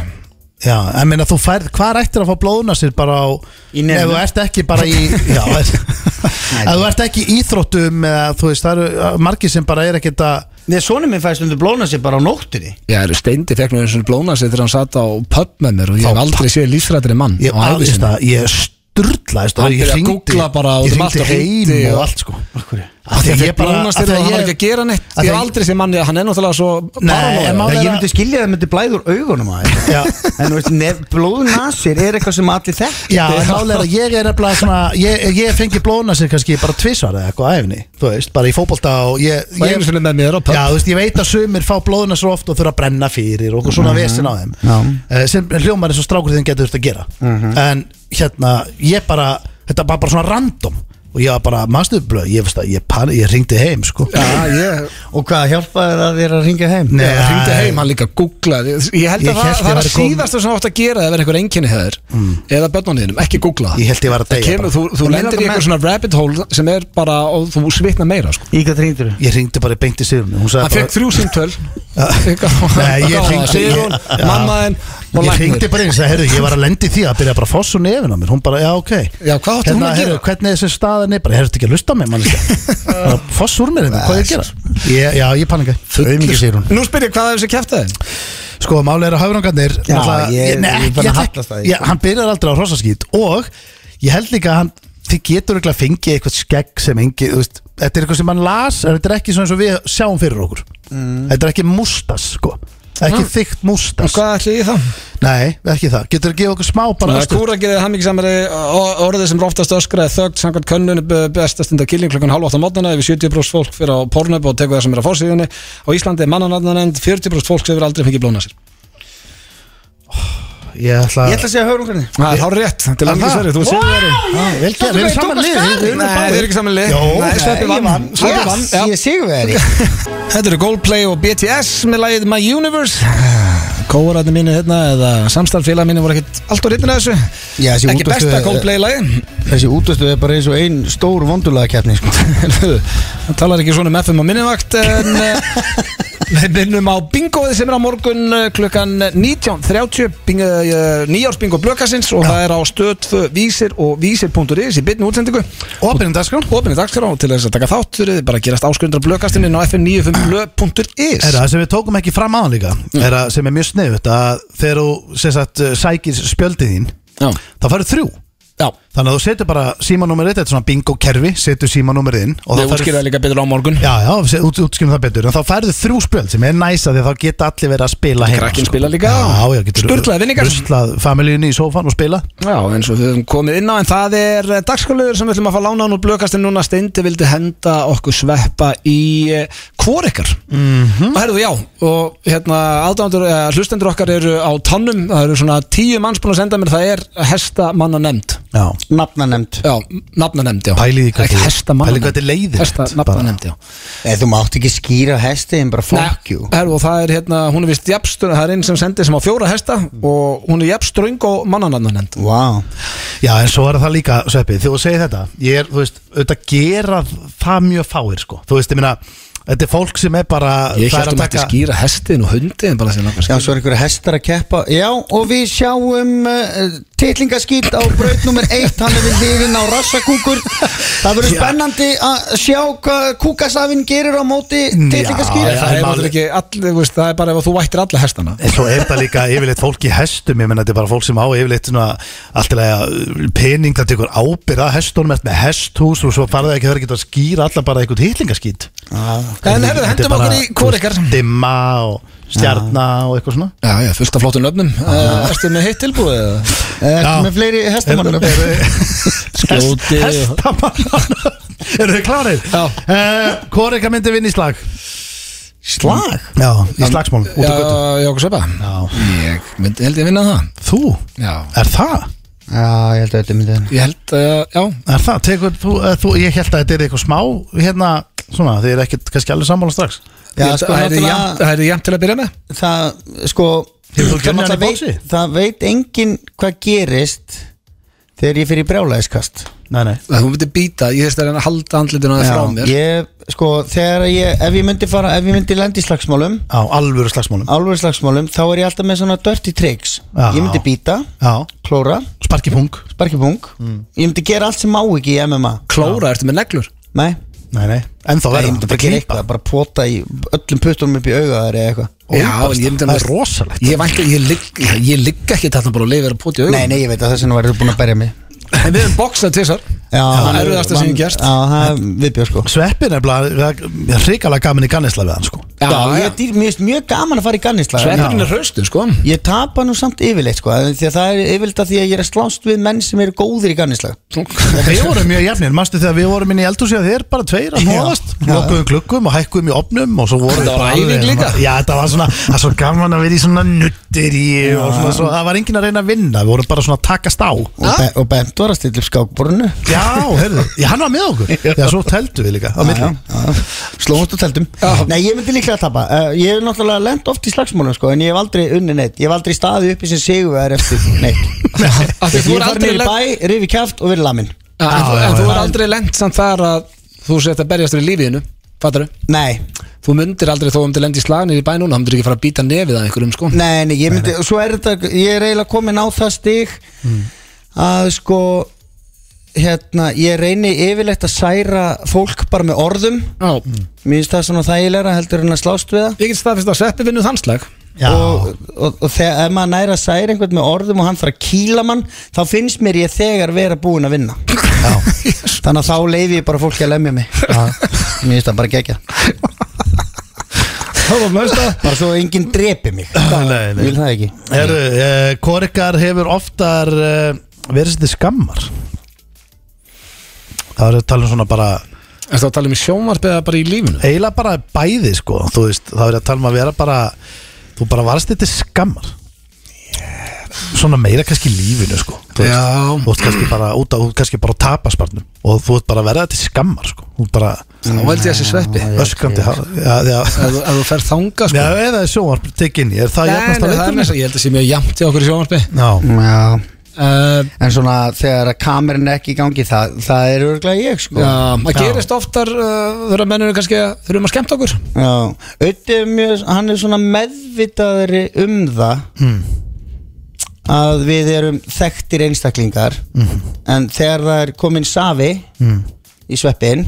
[SPEAKER 3] Já, en meina, þú færð, hvað ættir að fá blóðuna sér bara á
[SPEAKER 2] Í nefinu.
[SPEAKER 3] Ef þú ert ekki bara í Já, ef ef þú ert ekki í íþróttum eða, þú veist, það eru uh, margir sem bara er ekkert að
[SPEAKER 2] Þegar sonum minn fæst undir blóna sér bara á nóttinni
[SPEAKER 1] Já, eru steindi fekk nú eins og blóðuna sér þegar hann satt á pub með mér og ég hef aldrei séð lífsrættri mann á
[SPEAKER 3] Ég,
[SPEAKER 1] ævi
[SPEAKER 3] aðeins
[SPEAKER 1] sinni.
[SPEAKER 3] það, ég sturlaðist og
[SPEAKER 1] Hann
[SPEAKER 3] ég
[SPEAKER 1] byrjaði að
[SPEAKER 3] hringdi-
[SPEAKER 1] googla bara og
[SPEAKER 3] Ég
[SPEAKER 1] um allt
[SPEAKER 3] hringdi
[SPEAKER 1] og
[SPEAKER 3] heim
[SPEAKER 1] hringdi
[SPEAKER 3] og
[SPEAKER 1] og-
[SPEAKER 3] allt sko
[SPEAKER 1] Af því að ég bara Blóðuna sér og hann er ekki að gera neitt
[SPEAKER 3] af því
[SPEAKER 1] Ég hef
[SPEAKER 3] að-
[SPEAKER 1] aldrei séð manni að hann er náttúrulega svo
[SPEAKER 3] en
[SPEAKER 1] paranoid
[SPEAKER 3] má-
[SPEAKER 2] Ég
[SPEAKER 3] vera-
[SPEAKER 2] myndi skilja það myndi blæður augunum að
[SPEAKER 3] Já.
[SPEAKER 2] En þú veist, nef, blóðnasir er eitthvað sem allir þekk
[SPEAKER 3] Já, en málega er að ég er nefnilega svona Ég, ég fengi blóðuna sér kannski bara tvisvar eða eitthvað á æfni Þú veist, bara í fótbolta og ég,
[SPEAKER 1] Og
[SPEAKER 3] ég
[SPEAKER 1] einu sinni með mér á pub
[SPEAKER 3] Já, þú veist, ég veit að sumir fá blóðuna sér oft og þurfa að brenna fyrir og okkur svona vesin á þeim
[SPEAKER 2] Já.
[SPEAKER 3] Eh, sem hljómar eins og strákur þinn getur þurft að gera En hérna, ég bara Þetta var bara svona random og ég var bara maðurblöð, ég veist að ég, pan- ég ringdi heim sko
[SPEAKER 1] Já, ég
[SPEAKER 2] Og hvað hjálpaði þér að þér að ringja heim?
[SPEAKER 3] Nei.
[SPEAKER 1] Nei, það hringdi heim, hann líka googlaði Ég held að
[SPEAKER 3] Ég
[SPEAKER 1] það,
[SPEAKER 3] hélt ég
[SPEAKER 1] það er
[SPEAKER 3] væri
[SPEAKER 1] að
[SPEAKER 3] komin-
[SPEAKER 1] síðasta sem þú átt að gera ef er einhver einkenni hefur mm. eða börnunniðinum, ekki googla það.
[SPEAKER 3] Ég hélt ég væri að
[SPEAKER 1] Það
[SPEAKER 3] deyja
[SPEAKER 1] kemur,
[SPEAKER 3] bara.
[SPEAKER 1] Þú, þú
[SPEAKER 2] En mig
[SPEAKER 1] lendir í
[SPEAKER 2] langar
[SPEAKER 1] einhver
[SPEAKER 2] með-
[SPEAKER 1] svona rabbit hole sem er bara og þú svitna meira sko.
[SPEAKER 2] Í hvað ringdur
[SPEAKER 3] Ég ringdi bara í beint í Sigrun Hún
[SPEAKER 1] Hann
[SPEAKER 3] sagði
[SPEAKER 1] fekk
[SPEAKER 3] bara
[SPEAKER 1] þrjú símtöl
[SPEAKER 3] Nei, ég hringdi-
[SPEAKER 1] Sigrun,
[SPEAKER 3] Já.
[SPEAKER 1] mammaðinn og
[SPEAKER 3] Ég
[SPEAKER 1] læknir
[SPEAKER 3] ringdi bara eins að, herru, ég var að lendi því að byrja bara að fossa hún nefin á mér Hún bara, já, ok
[SPEAKER 1] Já, hvað átti hún
[SPEAKER 3] Hérna,
[SPEAKER 1] að
[SPEAKER 3] herru,
[SPEAKER 1] gera?
[SPEAKER 3] hvernig er þessi staðan er bara, herru, þetta ekki að lusta á mig, mannskja Foss úr mér hérna, hvað er að gera? Ég, já, ég panika Auðmingi sér hún
[SPEAKER 1] Nú spyr ég hvað er þessi kæftæði?
[SPEAKER 3] Sko, máli er að hafrangarnir
[SPEAKER 2] Já,
[SPEAKER 3] náttúrulega-
[SPEAKER 2] ég-
[SPEAKER 3] nei,
[SPEAKER 2] ég er búin að
[SPEAKER 3] ég-
[SPEAKER 2] hallast að því.
[SPEAKER 3] ég- Hann byrjar aldrei á hrossaskýt og ég held líka að hann þið getur ekki að fengi eitthvað skegg sem engi, þú veist, þetta er eitthvað sem hann las en þetta er ekki svona eins og við sjáum fyrir okkur
[SPEAKER 1] Mm.
[SPEAKER 3] þetta er ekki mústas, sko ekki þykkt mústas
[SPEAKER 1] Hvað ætli ég þá?
[SPEAKER 3] Nei, ekki það, getur að gefa okkur smá bara stutt-
[SPEAKER 1] Kúra gerði hann mikið samari orðið sem er oftast öskraði þögt samkvæmt könnun bestast undar killing klukkan halv 8 á mótnana yfir 70% fólk fyrir á pornöp og tekur það sem er á fórsíðinni á Íslandi er mannanarnanend 40% fólk sem hefur aldrei fengið blóna sér
[SPEAKER 3] Ég ætla
[SPEAKER 2] Ég ætla að segja hörungarni
[SPEAKER 1] Það er hár rétt, til að mikið sverið, þú séu verið
[SPEAKER 3] að Ah, Vel gert, við erum saman lið við- við erum
[SPEAKER 1] Nei,
[SPEAKER 3] báðir.
[SPEAKER 1] þeir eru ekki saman lið
[SPEAKER 3] Jó,
[SPEAKER 1] Nei, Sveppi
[SPEAKER 2] Ég
[SPEAKER 1] vann
[SPEAKER 2] vann.
[SPEAKER 1] Sveppi vann,
[SPEAKER 2] Yes,
[SPEAKER 1] já.
[SPEAKER 2] Ég sigurveri
[SPEAKER 1] Þetta eru Goldplay og BTS með lagið My Universe Kóraðni mínu hérna eða samstarfélag mínu voru ekkert allt á reyndinu þessu
[SPEAKER 2] Já, þessi
[SPEAKER 1] Ekki
[SPEAKER 2] útvarpsstöð-
[SPEAKER 1] besta Goldplay lagið
[SPEAKER 2] Þessi útastuð er bara eins og ein stór vondulaðakeppni sko.
[SPEAKER 1] Hann talar ekki svona um FM á minnivakt en eh, Við minnum á bingoið sem er á morgun eh, klukkan 19.30 bing- eh, nýjársbingo blökasins og það er á stöðfö vísir og vísir.is í byrni útsendingu
[SPEAKER 3] Opinum dagskrá
[SPEAKER 1] Opinni dagskrá og til þess að taka þátt þurfið þið bara að gerast áskjöndra blökastinn inn á fn95blö.is
[SPEAKER 3] Er það sem við tókum ekki fram aðan líka Er það sem er mjög sniðut að þegar þú sem sagt, sækir spjöldið þín
[SPEAKER 1] Já,
[SPEAKER 3] þá færðu þrjú
[SPEAKER 1] já
[SPEAKER 3] Þannig að þú setur bara símanúmerið, þetta er svona bingo kerfi setur símanúmerið inn og þá
[SPEAKER 1] Við
[SPEAKER 3] færðu-
[SPEAKER 1] útskýrðum það líka betur á morgun
[SPEAKER 3] Já, já, se- út, útskýrum það betur En þá færðu þrjú spjöld sem er næsa því að þá geta allir verið að spila heima
[SPEAKER 1] krakkinn
[SPEAKER 3] sko.
[SPEAKER 1] spila líka.
[SPEAKER 3] Já, já, getur
[SPEAKER 1] Sturlaðir vinningar.
[SPEAKER 3] Sturlað familíunni í sófan og spila
[SPEAKER 1] Já, eins og við höfum komið inn á en það er dagskáluður sem við ætlum að fá lána hann úr blökastinn núna steindi vildi henda okkur sveppa í eh, hvor ykkar
[SPEAKER 3] Mhm.
[SPEAKER 1] og herðu já og hérna aðdándur, eh, hlustendur okkar eru á tannum, það eru svona tíu manns búin að senda mér, það er hesta manna nefnd
[SPEAKER 3] Já
[SPEAKER 2] Nafna nefnd
[SPEAKER 1] já, nafna nefnd, já
[SPEAKER 3] Pælið í hvað
[SPEAKER 1] ekki
[SPEAKER 3] þið-
[SPEAKER 1] hesta manna
[SPEAKER 3] pælið í hvað þetta er leiðilegt,
[SPEAKER 1] hesta nafna
[SPEAKER 3] bara.
[SPEAKER 1] nefnd, já
[SPEAKER 2] Eða þú mátt ekki skýra hesti en bara fuck you
[SPEAKER 1] Herru, og það er hérna, hún er vist jafnströng, það er einn sem sendi sem á fjóra hesta og hún er jafnströng og mannanafna nefnd
[SPEAKER 2] Vá
[SPEAKER 3] Já, en svo er það líka, Sveppi, þegar þú segir þetta Ég er, þú veist, auðvitað gera það mjög fáir, sko Þú veist, ég meina, þetta er fólk sem er bara
[SPEAKER 1] Ég
[SPEAKER 3] það er
[SPEAKER 1] held um að þetta skýra hestin og hundin bara sem langar að
[SPEAKER 2] Já,
[SPEAKER 1] skýra
[SPEAKER 2] svo er einhverja hestar að keppa Já, og við sjáum uh, titlingaskýt á braut nummer 1 Hann er við liðin á rassakúkur Það verður
[SPEAKER 3] Já.
[SPEAKER 2] spennandi að sjá hvað kúkasafinn gerir á móti
[SPEAKER 3] Já,
[SPEAKER 1] Það
[SPEAKER 2] titlingaskýt
[SPEAKER 3] já. er
[SPEAKER 1] er
[SPEAKER 3] málið.
[SPEAKER 1] náttúrulega ekki allir, þú veist, það er bara ef þú vættir alla hestana
[SPEAKER 3] En svo er það líka yfirleitt fólk í hestum Ég menn þetta er bara fólk sem á yfirleitt svona Alltilega uh, pening, það tekur ábyrða hestunum Ert með hesthús og svo farðu ekki Það er ekki að skýra allar bara eitthvað hýtlingaskýt
[SPEAKER 1] En
[SPEAKER 2] hérna-
[SPEAKER 1] herðu, hendum okkur í hvor ykkar
[SPEAKER 3] Dimma og stjarna og eitthvað svona
[SPEAKER 1] Já, já, fullt af flottum Eh, löfnum Erstu með heitt tilbúið? eða?
[SPEAKER 2] Ertu
[SPEAKER 3] Já.
[SPEAKER 2] með fleiri hestamannum?
[SPEAKER 1] Skjóti
[SPEAKER 3] Hestamann Eru þið klárið?
[SPEAKER 1] Já.
[SPEAKER 3] uh, Hvor ykkar myndi vinna í slag?
[SPEAKER 2] Slag?
[SPEAKER 3] Já, í slagsmálum, út
[SPEAKER 1] Já,
[SPEAKER 3] á götu
[SPEAKER 1] já, okkur sepa
[SPEAKER 3] Já.
[SPEAKER 1] Ég myndi, held ég vinna það
[SPEAKER 3] Þú?
[SPEAKER 1] Já
[SPEAKER 3] Er það?
[SPEAKER 2] Já, ég held að þetta myndi hann
[SPEAKER 1] Ég held, uh, já
[SPEAKER 3] Er það? Tekur, þú, eh, þú, ég held að þetta er eitthvað smá hérna, svona, þið er ekkert kannski alveg sammála strax
[SPEAKER 2] Já,
[SPEAKER 1] Ég-
[SPEAKER 2] sko,
[SPEAKER 1] Það er
[SPEAKER 2] náttúrulega-
[SPEAKER 1] jafnt- það er jæmt til að byrja með
[SPEAKER 2] Það, sko
[SPEAKER 3] Hefur þú
[SPEAKER 2] það
[SPEAKER 3] kennið hann í
[SPEAKER 2] náttúrulega
[SPEAKER 3] bóksi?
[SPEAKER 2] veit, það veit engin hvað gerist Þegar ég fyrir brjálæðiskast
[SPEAKER 3] Nei, nei
[SPEAKER 1] Það þú myndir býta, ég þess að reyna að halda andlitinu aðeins
[SPEAKER 2] Já,
[SPEAKER 1] frá mér
[SPEAKER 2] ég, sko, þegar ég, ef ég myndi fara, ef ég myndi lendi í slagsmálum
[SPEAKER 3] Á alvöru slagsmálum
[SPEAKER 2] alveg slagsmálum, þá er ég alltaf með svona dirty tricks
[SPEAKER 3] Já.
[SPEAKER 2] ég myndi býta,
[SPEAKER 3] Já,
[SPEAKER 2] klóra,
[SPEAKER 3] sparki pung
[SPEAKER 2] sparkipung ég myndi gera allt sem má ekki í MMA
[SPEAKER 1] Klóra, ertu með neglur?
[SPEAKER 2] nei,
[SPEAKER 3] Nei, nei, ennþá
[SPEAKER 2] Nei, ég
[SPEAKER 3] verður
[SPEAKER 2] myndi bara gera eitthvað bara pota í öllum puttunum upp í auga þær eða eitthvað
[SPEAKER 1] Já, en ég myndi
[SPEAKER 3] Það er
[SPEAKER 1] alveg-
[SPEAKER 3] rosalegt
[SPEAKER 1] Ég vænti, ég ligg- ég ligg ekki þarna bara og leifir að poti augun
[SPEAKER 2] nei, nei, ég veit að þess vegna værið þú búin að berja mig
[SPEAKER 1] En við höfum boksað tvisar
[SPEAKER 2] já,
[SPEAKER 1] Það er erfiðasta sem ég hef gert.
[SPEAKER 2] já, það er viðbjör sko
[SPEAKER 3] Sveppin er bara hrikalega gaman í gannisla við hann sko
[SPEAKER 2] já, ég er dýr, mér finnst mjög gaman að fara í gannisla
[SPEAKER 1] Sveppurinn er hraustur sko
[SPEAKER 2] ég tapa nú samt yfirleitt sko því að það er yfirleitt að því að ég er að slást við menn sem eru góðir í gannisla
[SPEAKER 3] Við vorum mjög jafnir, manstu þegar við vorum inn í eldhúsi að þeir bara tveir að hnoðast
[SPEAKER 2] Já.
[SPEAKER 3] Lokuðum klukkum og hækkuðum í opnum og svo vorum
[SPEAKER 1] Þetta
[SPEAKER 3] við
[SPEAKER 1] var
[SPEAKER 3] bara
[SPEAKER 1] æfing
[SPEAKER 3] alveg-
[SPEAKER 1] líka.
[SPEAKER 3] Já, þetta var svona, það var svo gaman að vera í svona nuttir í og svona, svo, það var enginn að reyna að vinna, við vorum bara svona að takast á
[SPEAKER 2] og, be og Bent var að stilla upp skákborinu
[SPEAKER 3] Já, heyrðu, já, hann var með okkur Já, svo teldu við líka á milli
[SPEAKER 2] Slóðumst og teltum Nei, ég myndi líklega að tapa uh, Ég hef náttúrulega lent oft í slagsmálum sko, En ég hef aldrei unni neitt Ég hef aldrei staðið uppi sem sigurvegar eftir neitt
[SPEAKER 1] Af því
[SPEAKER 2] Ég
[SPEAKER 1] þú er
[SPEAKER 2] hef farin
[SPEAKER 1] aldrei
[SPEAKER 2] niður í
[SPEAKER 1] lent-
[SPEAKER 2] bæ, rifi kjáft og verið lamin
[SPEAKER 1] Já, en,
[SPEAKER 3] Já,
[SPEAKER 1] þú-
[SPEAKER 3] já,
[SPEAKER 1] en þú
[SPEAKER 3] já.
[SPEAKER 1] er aldrei lent samt þar að þú sett að berjast við lífiðinu fattar þú?
[SPEAKER 2] Nei,
[SPEAKER 1] Þú myndir aldrei þó um til lendi í slagnir í bæ núna þá myndir ekki fara að býta nefið að einhverjum sko
[SPEAKER 2] nei, nei, ég myndi Svo er þetta, ég er eiginlega komin á það stig
[SPEAKER 1] Mm.
[SPEAKER 2] Að sko Hérna, ég reyni yfirleitt að særa fólk bara með orðum
[SPEAKER 1] Já,
[SPEAKER 2] Mér finnst það svona þægilegra heldur en að slást við það
[SPEAKER 1] ég get staðfist að sveppi vinnu þannslag
[SPEAKER 3] Já,
[SPEAKER 2] og, og, og þegar ef maður næra særi einhvern með orðum og hann þarf að kýla mann þá finnst mér ég þegar vera búin að vinna þannig að þá leifi ég bara fólki að lemja mig mér finnst það bara gegja
[SPEAKER 1] Það var mörsta
[SPEAKER 2] bara svo enginn drepi mig
[SPEAKER 3] nei,
[SPEAKER 2] ég vil það ekki
[SPEAKER 3] Heyrðu, uh, Korikar hefur oftar uh, verið sér til skammar Það er að tala um svona bara
[SPEAKER 1] Það var að tala um í sjónvarp eða bara í lífinu
[SPEAKER 3] eiginlega bara bæði sko þú veist, það verið að tala um að vera bara þú bara varst þetta skammar svona meira kannski í lífinu sko þú veist,
[SPEAKER 1] Já.
[SPEAKER 3] þú veist kannski bara út á, þú ert kannski bara að tapa sparnum og þú ert bara að verða þetta skammar sko, þú ert bara
[SPEAKER 1] Þá held ég þessi sveppi
[SPEAKER 3] öskrandi já, já, já,
[SPEAKER 1] Ef þú- ef þú fer þanga
[SPEAKER 3] já,
[SPEAKER 1] sko
[SPEAKER 3] eða sjónvarp tekinn, er það
[SPEAKER 1] Nei, nei,
[SPEAKER 3] jafnast að
[SPEAKER 1] það er
[SPEAKER 3] leitum
[SPEAKER 1] næst Ég held að sé mjög jæmt í okkur í sjónvarpi
[SPEAKER 3] já,
[SPEAKER 2] já,
[SPEAKER 1] uh,
[SPEAKER 2] En svona þegar að kamerin er ekki í gangi Það, það er örglega ég sko
[SPEAKER 1] Já, það gerist oftar uh, þegar menn eru kannski að þurfum að skemmta okkur
[SPEAKER 2] Já. Auddi er mjög, hann er svona meðvitaðri um það
[SPEAKER 3] Mm.
[SPEAKER 2] Að við erum þekktir einstaklingar En þegar það er komin safi Í sveppin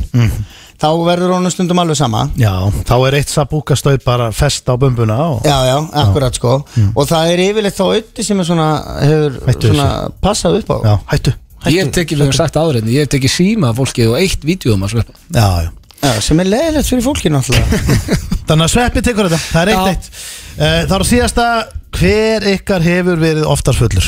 [SPEAKER 2] Þá verður honum stundum alveg sama
[SPEAKER 3] Já, þá er eitt sabúkastauð bara fest á bumbuna og
[SPEAKER 2] Já, já, akkurat sko Og það er yfirleitt þá Auddi sem er svona Hefur
[SPEAKER 3] Hættu
[SPEAKER 2] svona passað upp á
[SPEAKER 3] Já, hættu
[SPEAKER 1] Ég hef tekið, við hefum sagt áriðin, ég hef tekið síma af fólki og eitt vídjum að sveppa
[SPEAKER 3] Já, já
[SPEAKER 2] Já, sem er leiðilegt fyrir fólkinu alltaf
[SPEAKER 3] Þannig að sveppi tekur þetta, það er eitt
[SPEAKER 1] Já.
[SPEAKER 3] eitt Eh, Það er á síðasta, hver ykkar hefur verið oftar fullur?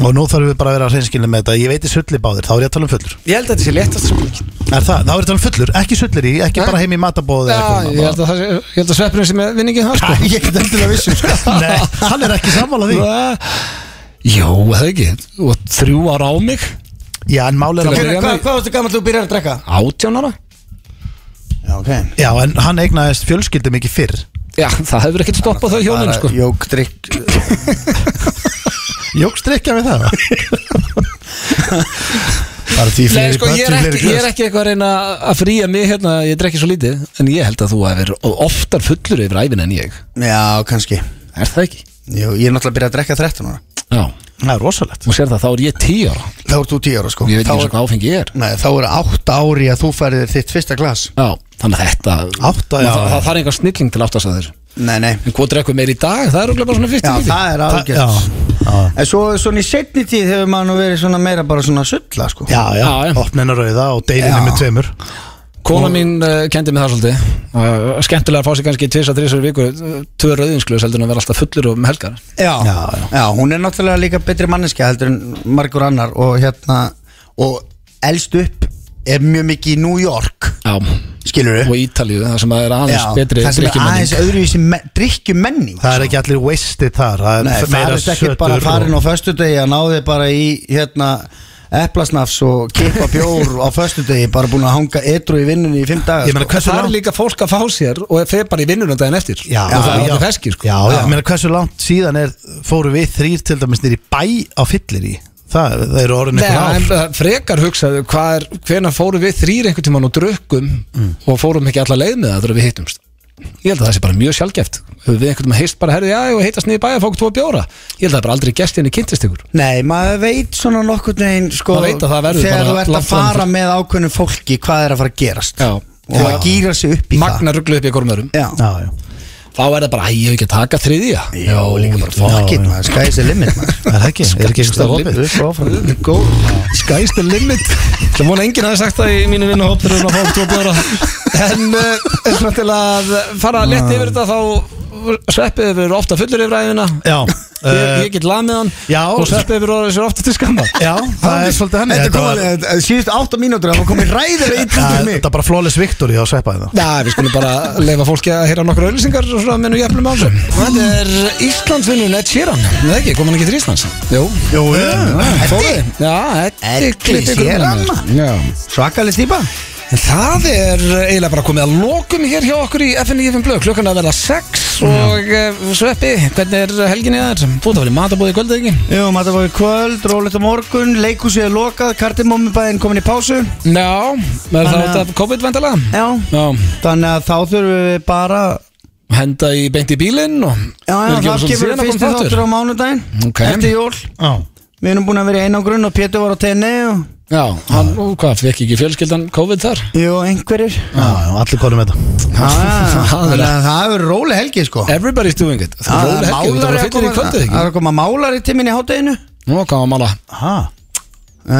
[SPEAKER 3] Og nú þarfum við bara að vera hreinskilin með þetta Ég veit í sulli báðir, þá er ég að tala um fullur
[SPEAKER 1] Ég held að þetta sé léttast sko. spurningin
[SPEAKER 3] Er það, þá er ég að tala um fullur, ekki sullir í, ekki
[SPEAKER 1] Nei.
[SPEAKER 3] bara heim í matabóð
[SPEAKER 1] Já, ég held að, það sé- ég held að sveppurinn sem er vinningin hans sko.
[SPEAKER 2] Ég get endilega vissum sko
[SPEAKER 3] Nei, hann er ekki sammála því
[SPEAKER 1] Jó, það ekki, og þrjú ára á mig
[SPEAKER 3] Já, en málega
[SPEAKER 1] Til að-
[SPEAKER 3] að
[SPEAKER 2] Hva, Hvað varstu gammal þú byrjar að drekka?
[SPEAKER 1] Átján ára
[SPEAKER 2] Já, ok
[SPEAKER 3] Já, en hann eignaðist fjölskyldu mikið fyrr
[SPEAKER 1] Já, það hefur ekkert stoppað þau hjónin sko.
[SPEAKER 2] Jók, drikk
[SPEAKER 3] Jókst ekki við það Bara því
[SPEAKER 1] Nei,
[SPEAKER 3] fleiri
[SPEAKER 1] sko,
[SPEAKER 3] börn,
[SPEAKER 1] ég er,
[SPEAKER 3] því
[SPEAKER 1] ekki, ég
[SPEAKER 3] fleiri
[SPEAKER 1] er
[SPEAKER 3] glös.
[SPEAKER 1] ekki eitthvað að reyna að fríja mig hérna, ég drekki svo lítið En ég held að þú hefur oftar fullur yfir æfin en ég
[SPEAKER 2] Já, kannski
[SPEAKER 1] Er það ekki?
[SPEAKER 2] Jú, Ég er náttúrulega byrjað að drekka 13 ára
[SPEAKER 1] Já,
[SPEAKER 3] Það er rosalegt
[SPEAKER 1] og sér það, þá er ég tíu ára
[SPEAKER 2] Þá er þú 10 ára sko
[SPEAKER 1] Ég veit
[SPEAKER 2] Þá
[SPEAKER 1] ekki
[SPEAKER 2] er-
[SPEAKER 1] hvað áfengi ég er
[SPEAKER 2] Nei, þá eru 8 ári að þú færið þér þitt fyrsta glas
[SPEAKER 1] Já, þannig að þetta
[SPEAKER 3] Átta, já.
[SPEAKER 1] það, það þarf einhver snilling til áttast að þér
[SPEAKER 2] Nei, nei
[SPEAKER 1] En hvað drekkum meir í dag, það er okkur bara svona
[SPEAKER 2] Já,
[SPEAKER 1] 50 lífi
[SPEAKER 2] það er
[SPEAKER 3] Já,
[SPEAKER 2] algjörð
[SPEAKER 3] já,
[SPEAKER 2] En svo, svona í setni tíð hefur maður nú verið svona meira bara svona sulla sko
[SPEAKER 3] já, já.
[SPEAKER 1] Já, já.
[SPEAKER 3] opnin að rauða og deilinu
[SPEAKER 2] Já.
[SPEAKER 3] með tveimur
[SPEAKER 1] Kona mín uh, kendi mig það svolítið uh, Skemmtilega að fá sig kannski tvis að þrísar viku uh, Tvö rauðinsklus heldur en að vera alltaf fullur um helgar
[SPEAKER 2] já,
[SPEAKER 3] Já, já.
[SPEAKER 2] já Hún er náttúrulega líka betri manneskja heldur en margur annar Og hérna, og elst upp er mjög mikið í New York
[SPEAKER 1] Já,
[SPEAKER 2] Skilur
[SPEAKER 1] og Ítalíu, það sem að er aðeins
[SPEAKER 2] Já,
[SPEAKER 1] betri
[SPEAKER 2] það sem er
[SPEAKER 1] drykkjumenning.
[SPEAKER 2] aðeins öðruvísi me drikkjumenning
[SPEAKER 3] Það er ekki allir wasted þar Það er
[SPEAKER 2] Nei, það
[SPEAKER 3] meira
[SPEAKER 2] er ekki
[SPEAKER 3] sötur
[SPEAKER 2] bara
[SPEAKER 3] og-
[SPEAKER 2] farin á föstudegi að náði bara í hérna eplasnafs og kippa bjór á föstudegi, bara búin að hanga edru í vinnunni í fimm daga sko.
[SPEAKER 3] Ég meina hversu
[SPEAKER 1] Það er
[SPEAKER 3] langt
[SPEAKER 1] líka fólk að fá sér og fer bara í vinnunum daginn eftir
[SPEAKER 3] Já,
[SPEAKER 1] og það er
[SPEAKER 3] já.
[SPEAKER 1] alveg feskir sko.
[SPEAKER 3] Já, já, ég meina hversu langt síðan er Fóru við þrýr til dæmis nýri bæ á fyllir í Það, það eru orðin
[SPEAKER 1] Nei, en
[SPEAKER 3] eitthvað ár
[SPEAKER 1] uh, frekar hugsaðu hvað er, hvenær fórum við þrýr einhvern tímann og drukkum og fórum ekki alla leið með það þegar við hittumst Ég held að það sé bara mjög sjálfgeft Höfum við einhvern tímann heist bara, herði, já, og heitast niður í bæja, fók tvo bjóra Ég held að það bara aldrei gestinni kynntist ykkur
[SPEAKER 2] Nei, maður veit svona nokkurn veginn sko,
[SPEAKER 1] Maður veit að það verður
[SPEAKER 2] þegar
[SPEAKER 1] bara
[SPEAKER 2] þú ert
[SPEAKER 1] langt
[SPEAKER 2] að
[SPEAKER 1] fram
[SPEAKER 2] fara
[SPEAKER 1] fyrir.
[SPEAKER 2] með ákveðnum fólki hvað er að fara að gerast
[SPEAKER 1] Já.
[SPEAKER 2] og maður gýra sig upp í
[SPEAKER 1] Magna rugglu upp í einhverjum örum
[SPEAKER 2] það Já,
[SPEAKER 3] Já, já
[SPEAKER 1] Þá er það bara, æ, ég hef ekki að taka þriðja
[SPEAKER 2] já líka bara
[SPEAKER 3] Já,
[SPEAKER 2] fokkin,
[SPEAKER 3] já.
[SPEAKER 2] það er skæðis er limit maður
[SPEAKER 3] Það er ekki, er ekki eitthvað opið
[SPEAKER 1] opið Sky's the limit Það vona enginn að það sagt það í mínu vinna hópur en að fá tvo bjóra En eh, svona til að fara létt yfir þetta þá sveppið yfir ofta fullur yfir æfina
[SPEAKER 3] Já,
[SPEAKER 1] ég,
[SPEAKER 3] eh,
[SPEAKER 1] ég get lað með hann
[SPEAKER 3] já.
[SPEAKER 1] og sveppið yfir orðið sér ofta til skamma
[SPEAKER 3] já, það er svolítið henni
[SPEAKER 2] Þetta
[SPEAKER 3] Þetta var-
[SPEAKER 2] kom, síðust átta mínútur, það var komið ræðilega
[SPEAKER 3] Já,
[SPEAKER 2] ítla til mig
[SPEAKER 3] Þetta er bara flawless victory á hérna. sveppaði það
[SPEAKER 1] Já, við skulum bara leifa fólki að heyra nokkur auðlýsingar og svona menn og jæfnum á þessu Þetta er Íslandsvinnun Ed Sheeran Nei ekki, kom hann ekki til Íslands? Jú,
[SPEAKER 2] Jú, jú.
[SPEAKER 1] fóði Já, Eddi
[SPEAKER 2] Eddi Sheeran, mann.
[SPEAKER 1] Já
[SPEAKER 2] Svakaleg stýpa
[SPEAKER 1] En það er eiginlega bara komið að lokum hér hjá okkur í FNIFM Blöð Klukkan er að verða 6 og uh, Sveppi, hvernig er helginni þar? Búið að vera í matabóði í kvöld eða ekki?
[SPEAKER 2] Jú, maður var í kvöld, rólegt á morgun, leikhúsið er lokað, kardimummibæðin komin í pásu
[SPEAKER 1] Já, er það
[SPEAKER 2] Þannig
[SPEAKER 1] út
[SPEAKER 2] að-
[SPEAKER 1] af COVID vendalega?
[SPEAKER 2] Já
[SPEAKER 1] Já,
[SPEAKER 2] Þannig að þá þurfum við bara
[SPEAKER 1] henda í beint í bílinn og
[SPEAKER 2] Já, já,
[SPEAKER 1] Við
[SPEAKER 2] það
[SPEAKER 1] gefum svolítið
[SPEAKER 2] kemur
[SPEAKER 1] síðan að
[SPEAKER 2] fyrsti
[SPEAKER 1] koma
[SPEAKER 2] þáttur á mánudaginn
[SPEAKER 1] Ok.
[SPEAKER 2] Eftir jól
[SPEAKER 3] Já,
[SPEAKER 2] Við erum búin að vera í einangrun og Pétur var á tenni og
[SPEAKER 1] Já, hann, og hvað, fekk ekki fjölskyldan COVID þar?
[SPEAKER 2] Jú, einhverjir Já,
[SPEAKER 3] já, já, allir konum þetta
[SPEAKER 2] já,
[SPEAKER 1] Það er-
[SPEAKER 2] Þannig að það hefur róleg helgi sko
[SPEAKER 1] Everybody's doing it
[SPEAKER 2] Já,
[SPEAKER 1] Það er helgi, þú
[SPEAKER 2] málari
[SPEAKER 1] þarf að fyllir
[SPEAKER 2] að
[SPEAKER 1] í
[SPEAKER 2] koma-
[SPEAKER 1] kvöldið
[SPEAKER 2] það
[SPEAKER 1] ekki?
[SPEAKER 2] er að koma málari til minni í hátæðinu
[SPEAKER 1] Nú, hvað var mála?
[SPEAKER 3] Aha.
[SPEAKER 2] Æ,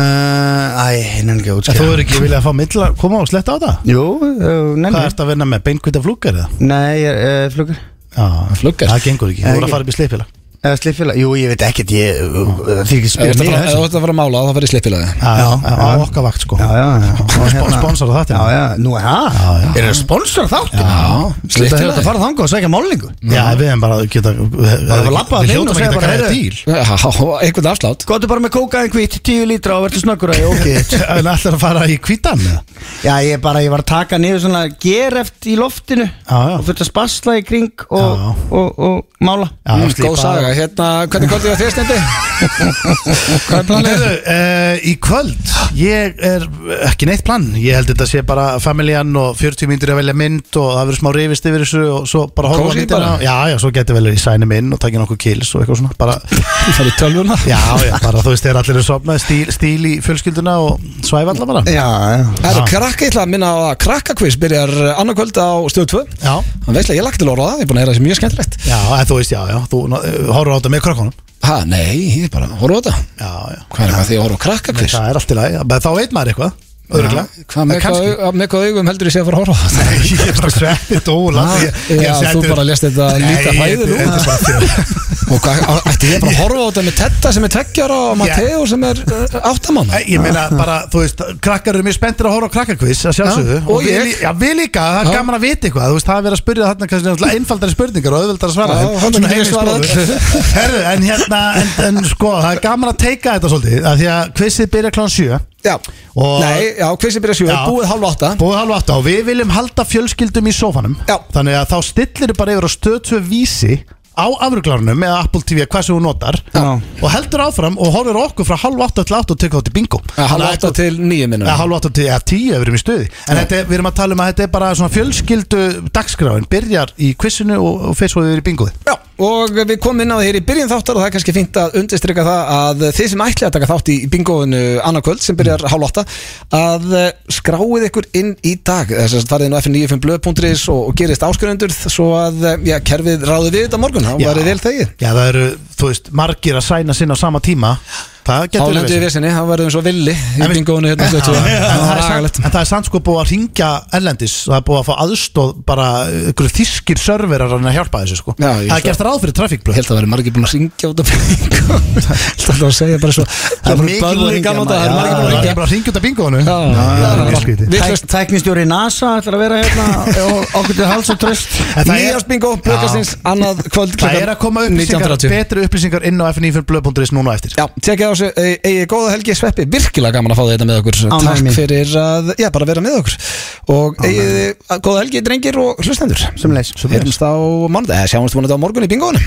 [SPEAKER 2] hennan ekki að
[SPEAKER 3] En Þú
[SPEAKER 2] útskýra
[SPEAKER 3] er ekki viljað að fá milla, koma og sletta á það
[SPEAKER 2] Jú, uh,
[SPEAKER 3] Hvað
[SPEAKER 2] nenni
[SPEAKER 3] ertu að vinna með, beinkvita flúkar eða?
[SPEAKER 2] Nei, ég er uh, flugur
[SPEAKER 3] Já,
[SPEAKER 1] Fluggar.
[SPEAKER 3] Það gengur ekki, þú voru
[SPEAKER 2] Ekki.
[SPEAKER 3] að fara upp í sleipila
[SPEAKER 2] Eða slipfélag, jú ég veit ekkert ég, eh, Það þýr ekki að
[SPEAKER 1] Ef
[SPEAKER 2] spyrja
[SPEAKER 1] þú
[SPEAKER 2] mig
[SPEAKER 1] ert
[SPEAKER 2] að
[SPEAKER 1] að fara- ef
[SPEAKER 2] þessu
[SPEAKER 1] þú ert að fara að mála, þá farið slipilega
[SPEAKER 3] Já, já,
[SPEAKER 2] já,
[SPEAKER 3] á okkar vakt sko
[SPEAKER 2] Já, já, já Og hérna-
[SPEAKER 3] Spon- sponsora þáttinn.
[SPEAKER 2] Já, já, nú er það
[SPEAKER 3] Já, já.
[SPEAKER 2] Er það sponsor þáttin?
[SPEAKER 1] Já,
[SPEAKER 2] Þetta hefur
[SPEAKER 1] slipilega
[SPEAKER 2] þetta farið þangað og sækja málingu
[SPEAKER 3] Já, við hefum bara geta
[SPEAKER 2] bara labbað
[SPEAKER 3] Við
[SPEAKER 2] inn og
[SPEAKER 3] hljóttum
[SPEAKER 2] segja
[SPEAKER 3] ekki að
[SPEAKER 2] bara,
[SPEAKER 3] græða
[SPEAKER 2] heyrðu.
[SPEAKER 3] dýl
[SPEAKER 1] Já, einhvern afslátt
[SPEAKER 2] Góttu bara með kókaðin hvít, 10 lítra og verður snöggur að ég ókið
[SPEAKER 3] En allir að fara í kvítan eða?
[SPEAKER 2] Já, ég bara, ég var að taka niður svona gereft í loftinu
[SPEAKER 3] Já, já.
[SPEAKER 2] Og þurfti að spasla í kring og,
[SPEAKER 3] Já, já.
[SPEAKER 2] og, og, mála
[SPEAKER 3] Já,
[SPEAKER 1] Mm,
[SPEAKER 3] slípa
[SPEAKER 1] góð saga. dag Hérna, hvernig kvöldið á þér stendi? Hvað er planið?
[SPEAKER 3] Heyrðu, uh, í kvöld Ég er ekki neitt plan Ég held þetta sé bara familjan og 40 myndir að velja mynd og það verður smá reyfist yfir þessu og svo bara horfa á
[SPEAKER 1] Kósí
[SPEAKER 3] myndina
[SPEAKER 1] bara.
[SPEAKER 3] Já, já, svo getur vel í sænum inn og takja nokkuð kils og eitthvað svona bara,
[SPEAKER 1] Þú færði tölvuna
[SPEAKER 3] Já, já, bara þú veist, þeir allir eru sofnað stíl, stíl í fjölskylduna og svæfa allar bara
[SPEAKER 2] Já, já
[SPEAKER 1] Það eru krakka, ég ætla að minna á að krakkakviss byrjar annarkvöld á stöð 2
[SPEAKER 3] Já,
[SPEAKER 1] Hann veist að ég lagt til orða það, ég er búin að heyra þessi mjög skemmtilegt
[SPEAKER 3] já, en þú veist, já, já Þú uh, horfur á þetta með krakkonum
[SPEAKER 1] Ha, nei, ég er bara, horfa á þetta
[SPEAKER 3] Já, já
[SPEAKER 1] Hvað er það því að horfa á krakkakviss?
[SPEAKER 3] Það er allt í lagi, bara þá veit maður eitthvað Örgulega
[SPEAKER 1] Hvað með hvað au- með hvað augum heldur ég sé að fara að horfa á þetta?
[SPEAKER 3] Ég er bara sveppi dóla
[SPEAKER 1] Ah,
[SPEAKER 3] Ég- ég
[SPEAKER 1] já,
[SPEAKER 3] setti
[SPEAKER 1] þú
[SPEAKER 3] upp-
[SPEAKER 1] bara lést þetta
[SPEAKER 3] Nei,
[SPEAKER 1] líta hræðið út.
[SPEAKER 3] þetta- þetta er bara þjóð.
[SPEAKER 1] Og hvað, á- ætti ég bara að horfa á þetta með Tetta sem er tveggjara og Matteo sem er eh, áttamanna?
[SPEAKER 3] Nei, Ég meina bara, þú veist, krakkar eru mjög spenntir að horfa á krakkakviss að sjálfsögðu
[SPEAKER 1] Já, og
[SPEAKER 3] við,
[SPEAKER 1] ég.
[SPEAKER 3] lí- Já, við líka, það er
[SPEAKER 1] Já.
[SPEAKER 3] gaman að vita eitthvað Þú veist, það er verið að spyrja þarna kannski náttúrulega einfaldari spurningar og auðveldar að svara
[SPEAKER 1] Já,
[SPEAKER 3] þeim.
[SPEAKER 1] hann
[SPEAKER 3] Svona
[SPEAKER 1] getur
[SPEAKER 3] heim í
[SPEAKER 1] svarað
[SPEAKER 3] stofu. Herðu, en hérna, en, en sko, það er gaman að teika þetta svolítið að Því að kvissið byrja klán 7
[SPEAKER 1] Já,
[SPEAKER 3] Og-
[SPEAKER 1] nei, já, kvissi byrja sjö,
[SPEAKER 3] Já.
[SPEAKER 1] búið hálf átta
[SPEAKER 3] Búið halv átta og við viljum halda fjölskyldum í sófanum
[SPEAKER 1] Já.
[SPEAKER 3] Þannig að þá stillir þið bara yfir á stötu vísi á afruglarunum eða Apple TV hvað sem hún notar
[SPEAKER 2] Já.
[SPEAKER 3] og heldur áfram og horfir á okkur frá halv átta til átta og tekur þátt í bingo
[SPEAKER 1] Já, Hálf
[SPEAKER 3] Þannig að
[SPEAKER 1] átta
[SPEAKER 3] eitthvað-
[SPEAKER 1] til nýju minnum
[SPEAKER 3] eða hálf átta til eða tíu ef við erum í stuði en þetta, er- við erum að tala um að þetta er bara svona fjölskyldu dagskráin byrjar í kvissinu og, og fyrst svo við erum í bingoði
[SPEAKER 1] Já, og við komum inn á það hér í byrjun þáttar og það er kannski fínt að undirstryka það að þið sem ætli að taka þátt í bingoinu annarkvöld sem byrjar mm. hálf átta að eh, skráið ykkur inn í dag þess að farið inn á fn95blöð.is og, og gerist áskrunendur svo að eh, já, kerfið ráði við þetta á morgun, þá
[SPEAKER 3] Já.
[SPEAKER 1] var þið vel þegið
[SPEAKER 3] Já, það eru, þú veist, margir að sæna sinna á sama tíma Það getur
[SPEAKER 1] Álendu í vissinni, það verðum svo villi í
[SPEAKER 3] En við-
[SPEAKER 1] bingoinu hérna
[SPEAKER 3] Já,
[SPEAKER 1] flötu
[SPEAKER 3] en
[SPEAKER 1] Það var
[SPEAKER 3] það er samt-
[SPEAKER 1] agalegt
[SPEAKER 3] en það er samt sko búið að ringja erlendis það er búið að fá aðstóð bara ykkur þýskir serverar að hjálpa þessu sko
[SPEAKER 1] Já, ég
[SPEAKER 3] það
[SPEAKER 1] sé.
[SPEAKER 3] er gert ráð fyrir trafikkblöð
[SPEAKER 1] Helt að það verið margir búin að ringja út af bingo Helt að það segja bara svo Það er mikið búin að ringja Það er margir búin að ringja
[SPEAKER 3] bara að ringja út af bingoðinu
[SPEAKER 1] Já, já, já. Við
[SPEAKER 2] Tæk,
[SPEAKER 1] hlust-
[SPEAKER 2] Tæknistjóri NASA ætlar að vera hérna og okkur til hals og tröst
[SPEAKER 1] Nýjársbingo, blökastins, annað kvöld
[SPEAKER 3] Það er að koma upplýsingar,
[SPEAKER 1] 19.30
[SPEAKER 3] betri upplýsingar inn á fnifnblöð.is núna á eftir
[SPEAKER 1] Já, tekja á þessu, e- eigi góða helgi sveppi Virkilega gaman að fá þið þetta með okkur
[SPEAKER 2] Ánægður
[SPEAKER 1] Takk
[SPEAKER 2] mín.
[SPEAKER 1] fyrir að, já, bara vera með okkur Og e, eigið þið góða helgi, drengir og hlustendur
[SPEAKER 2] Sömuleiðis.
[SPEAKER 1] Heyrumst á mánudag, eða sjáumst vonandi á morgun í bingoðunum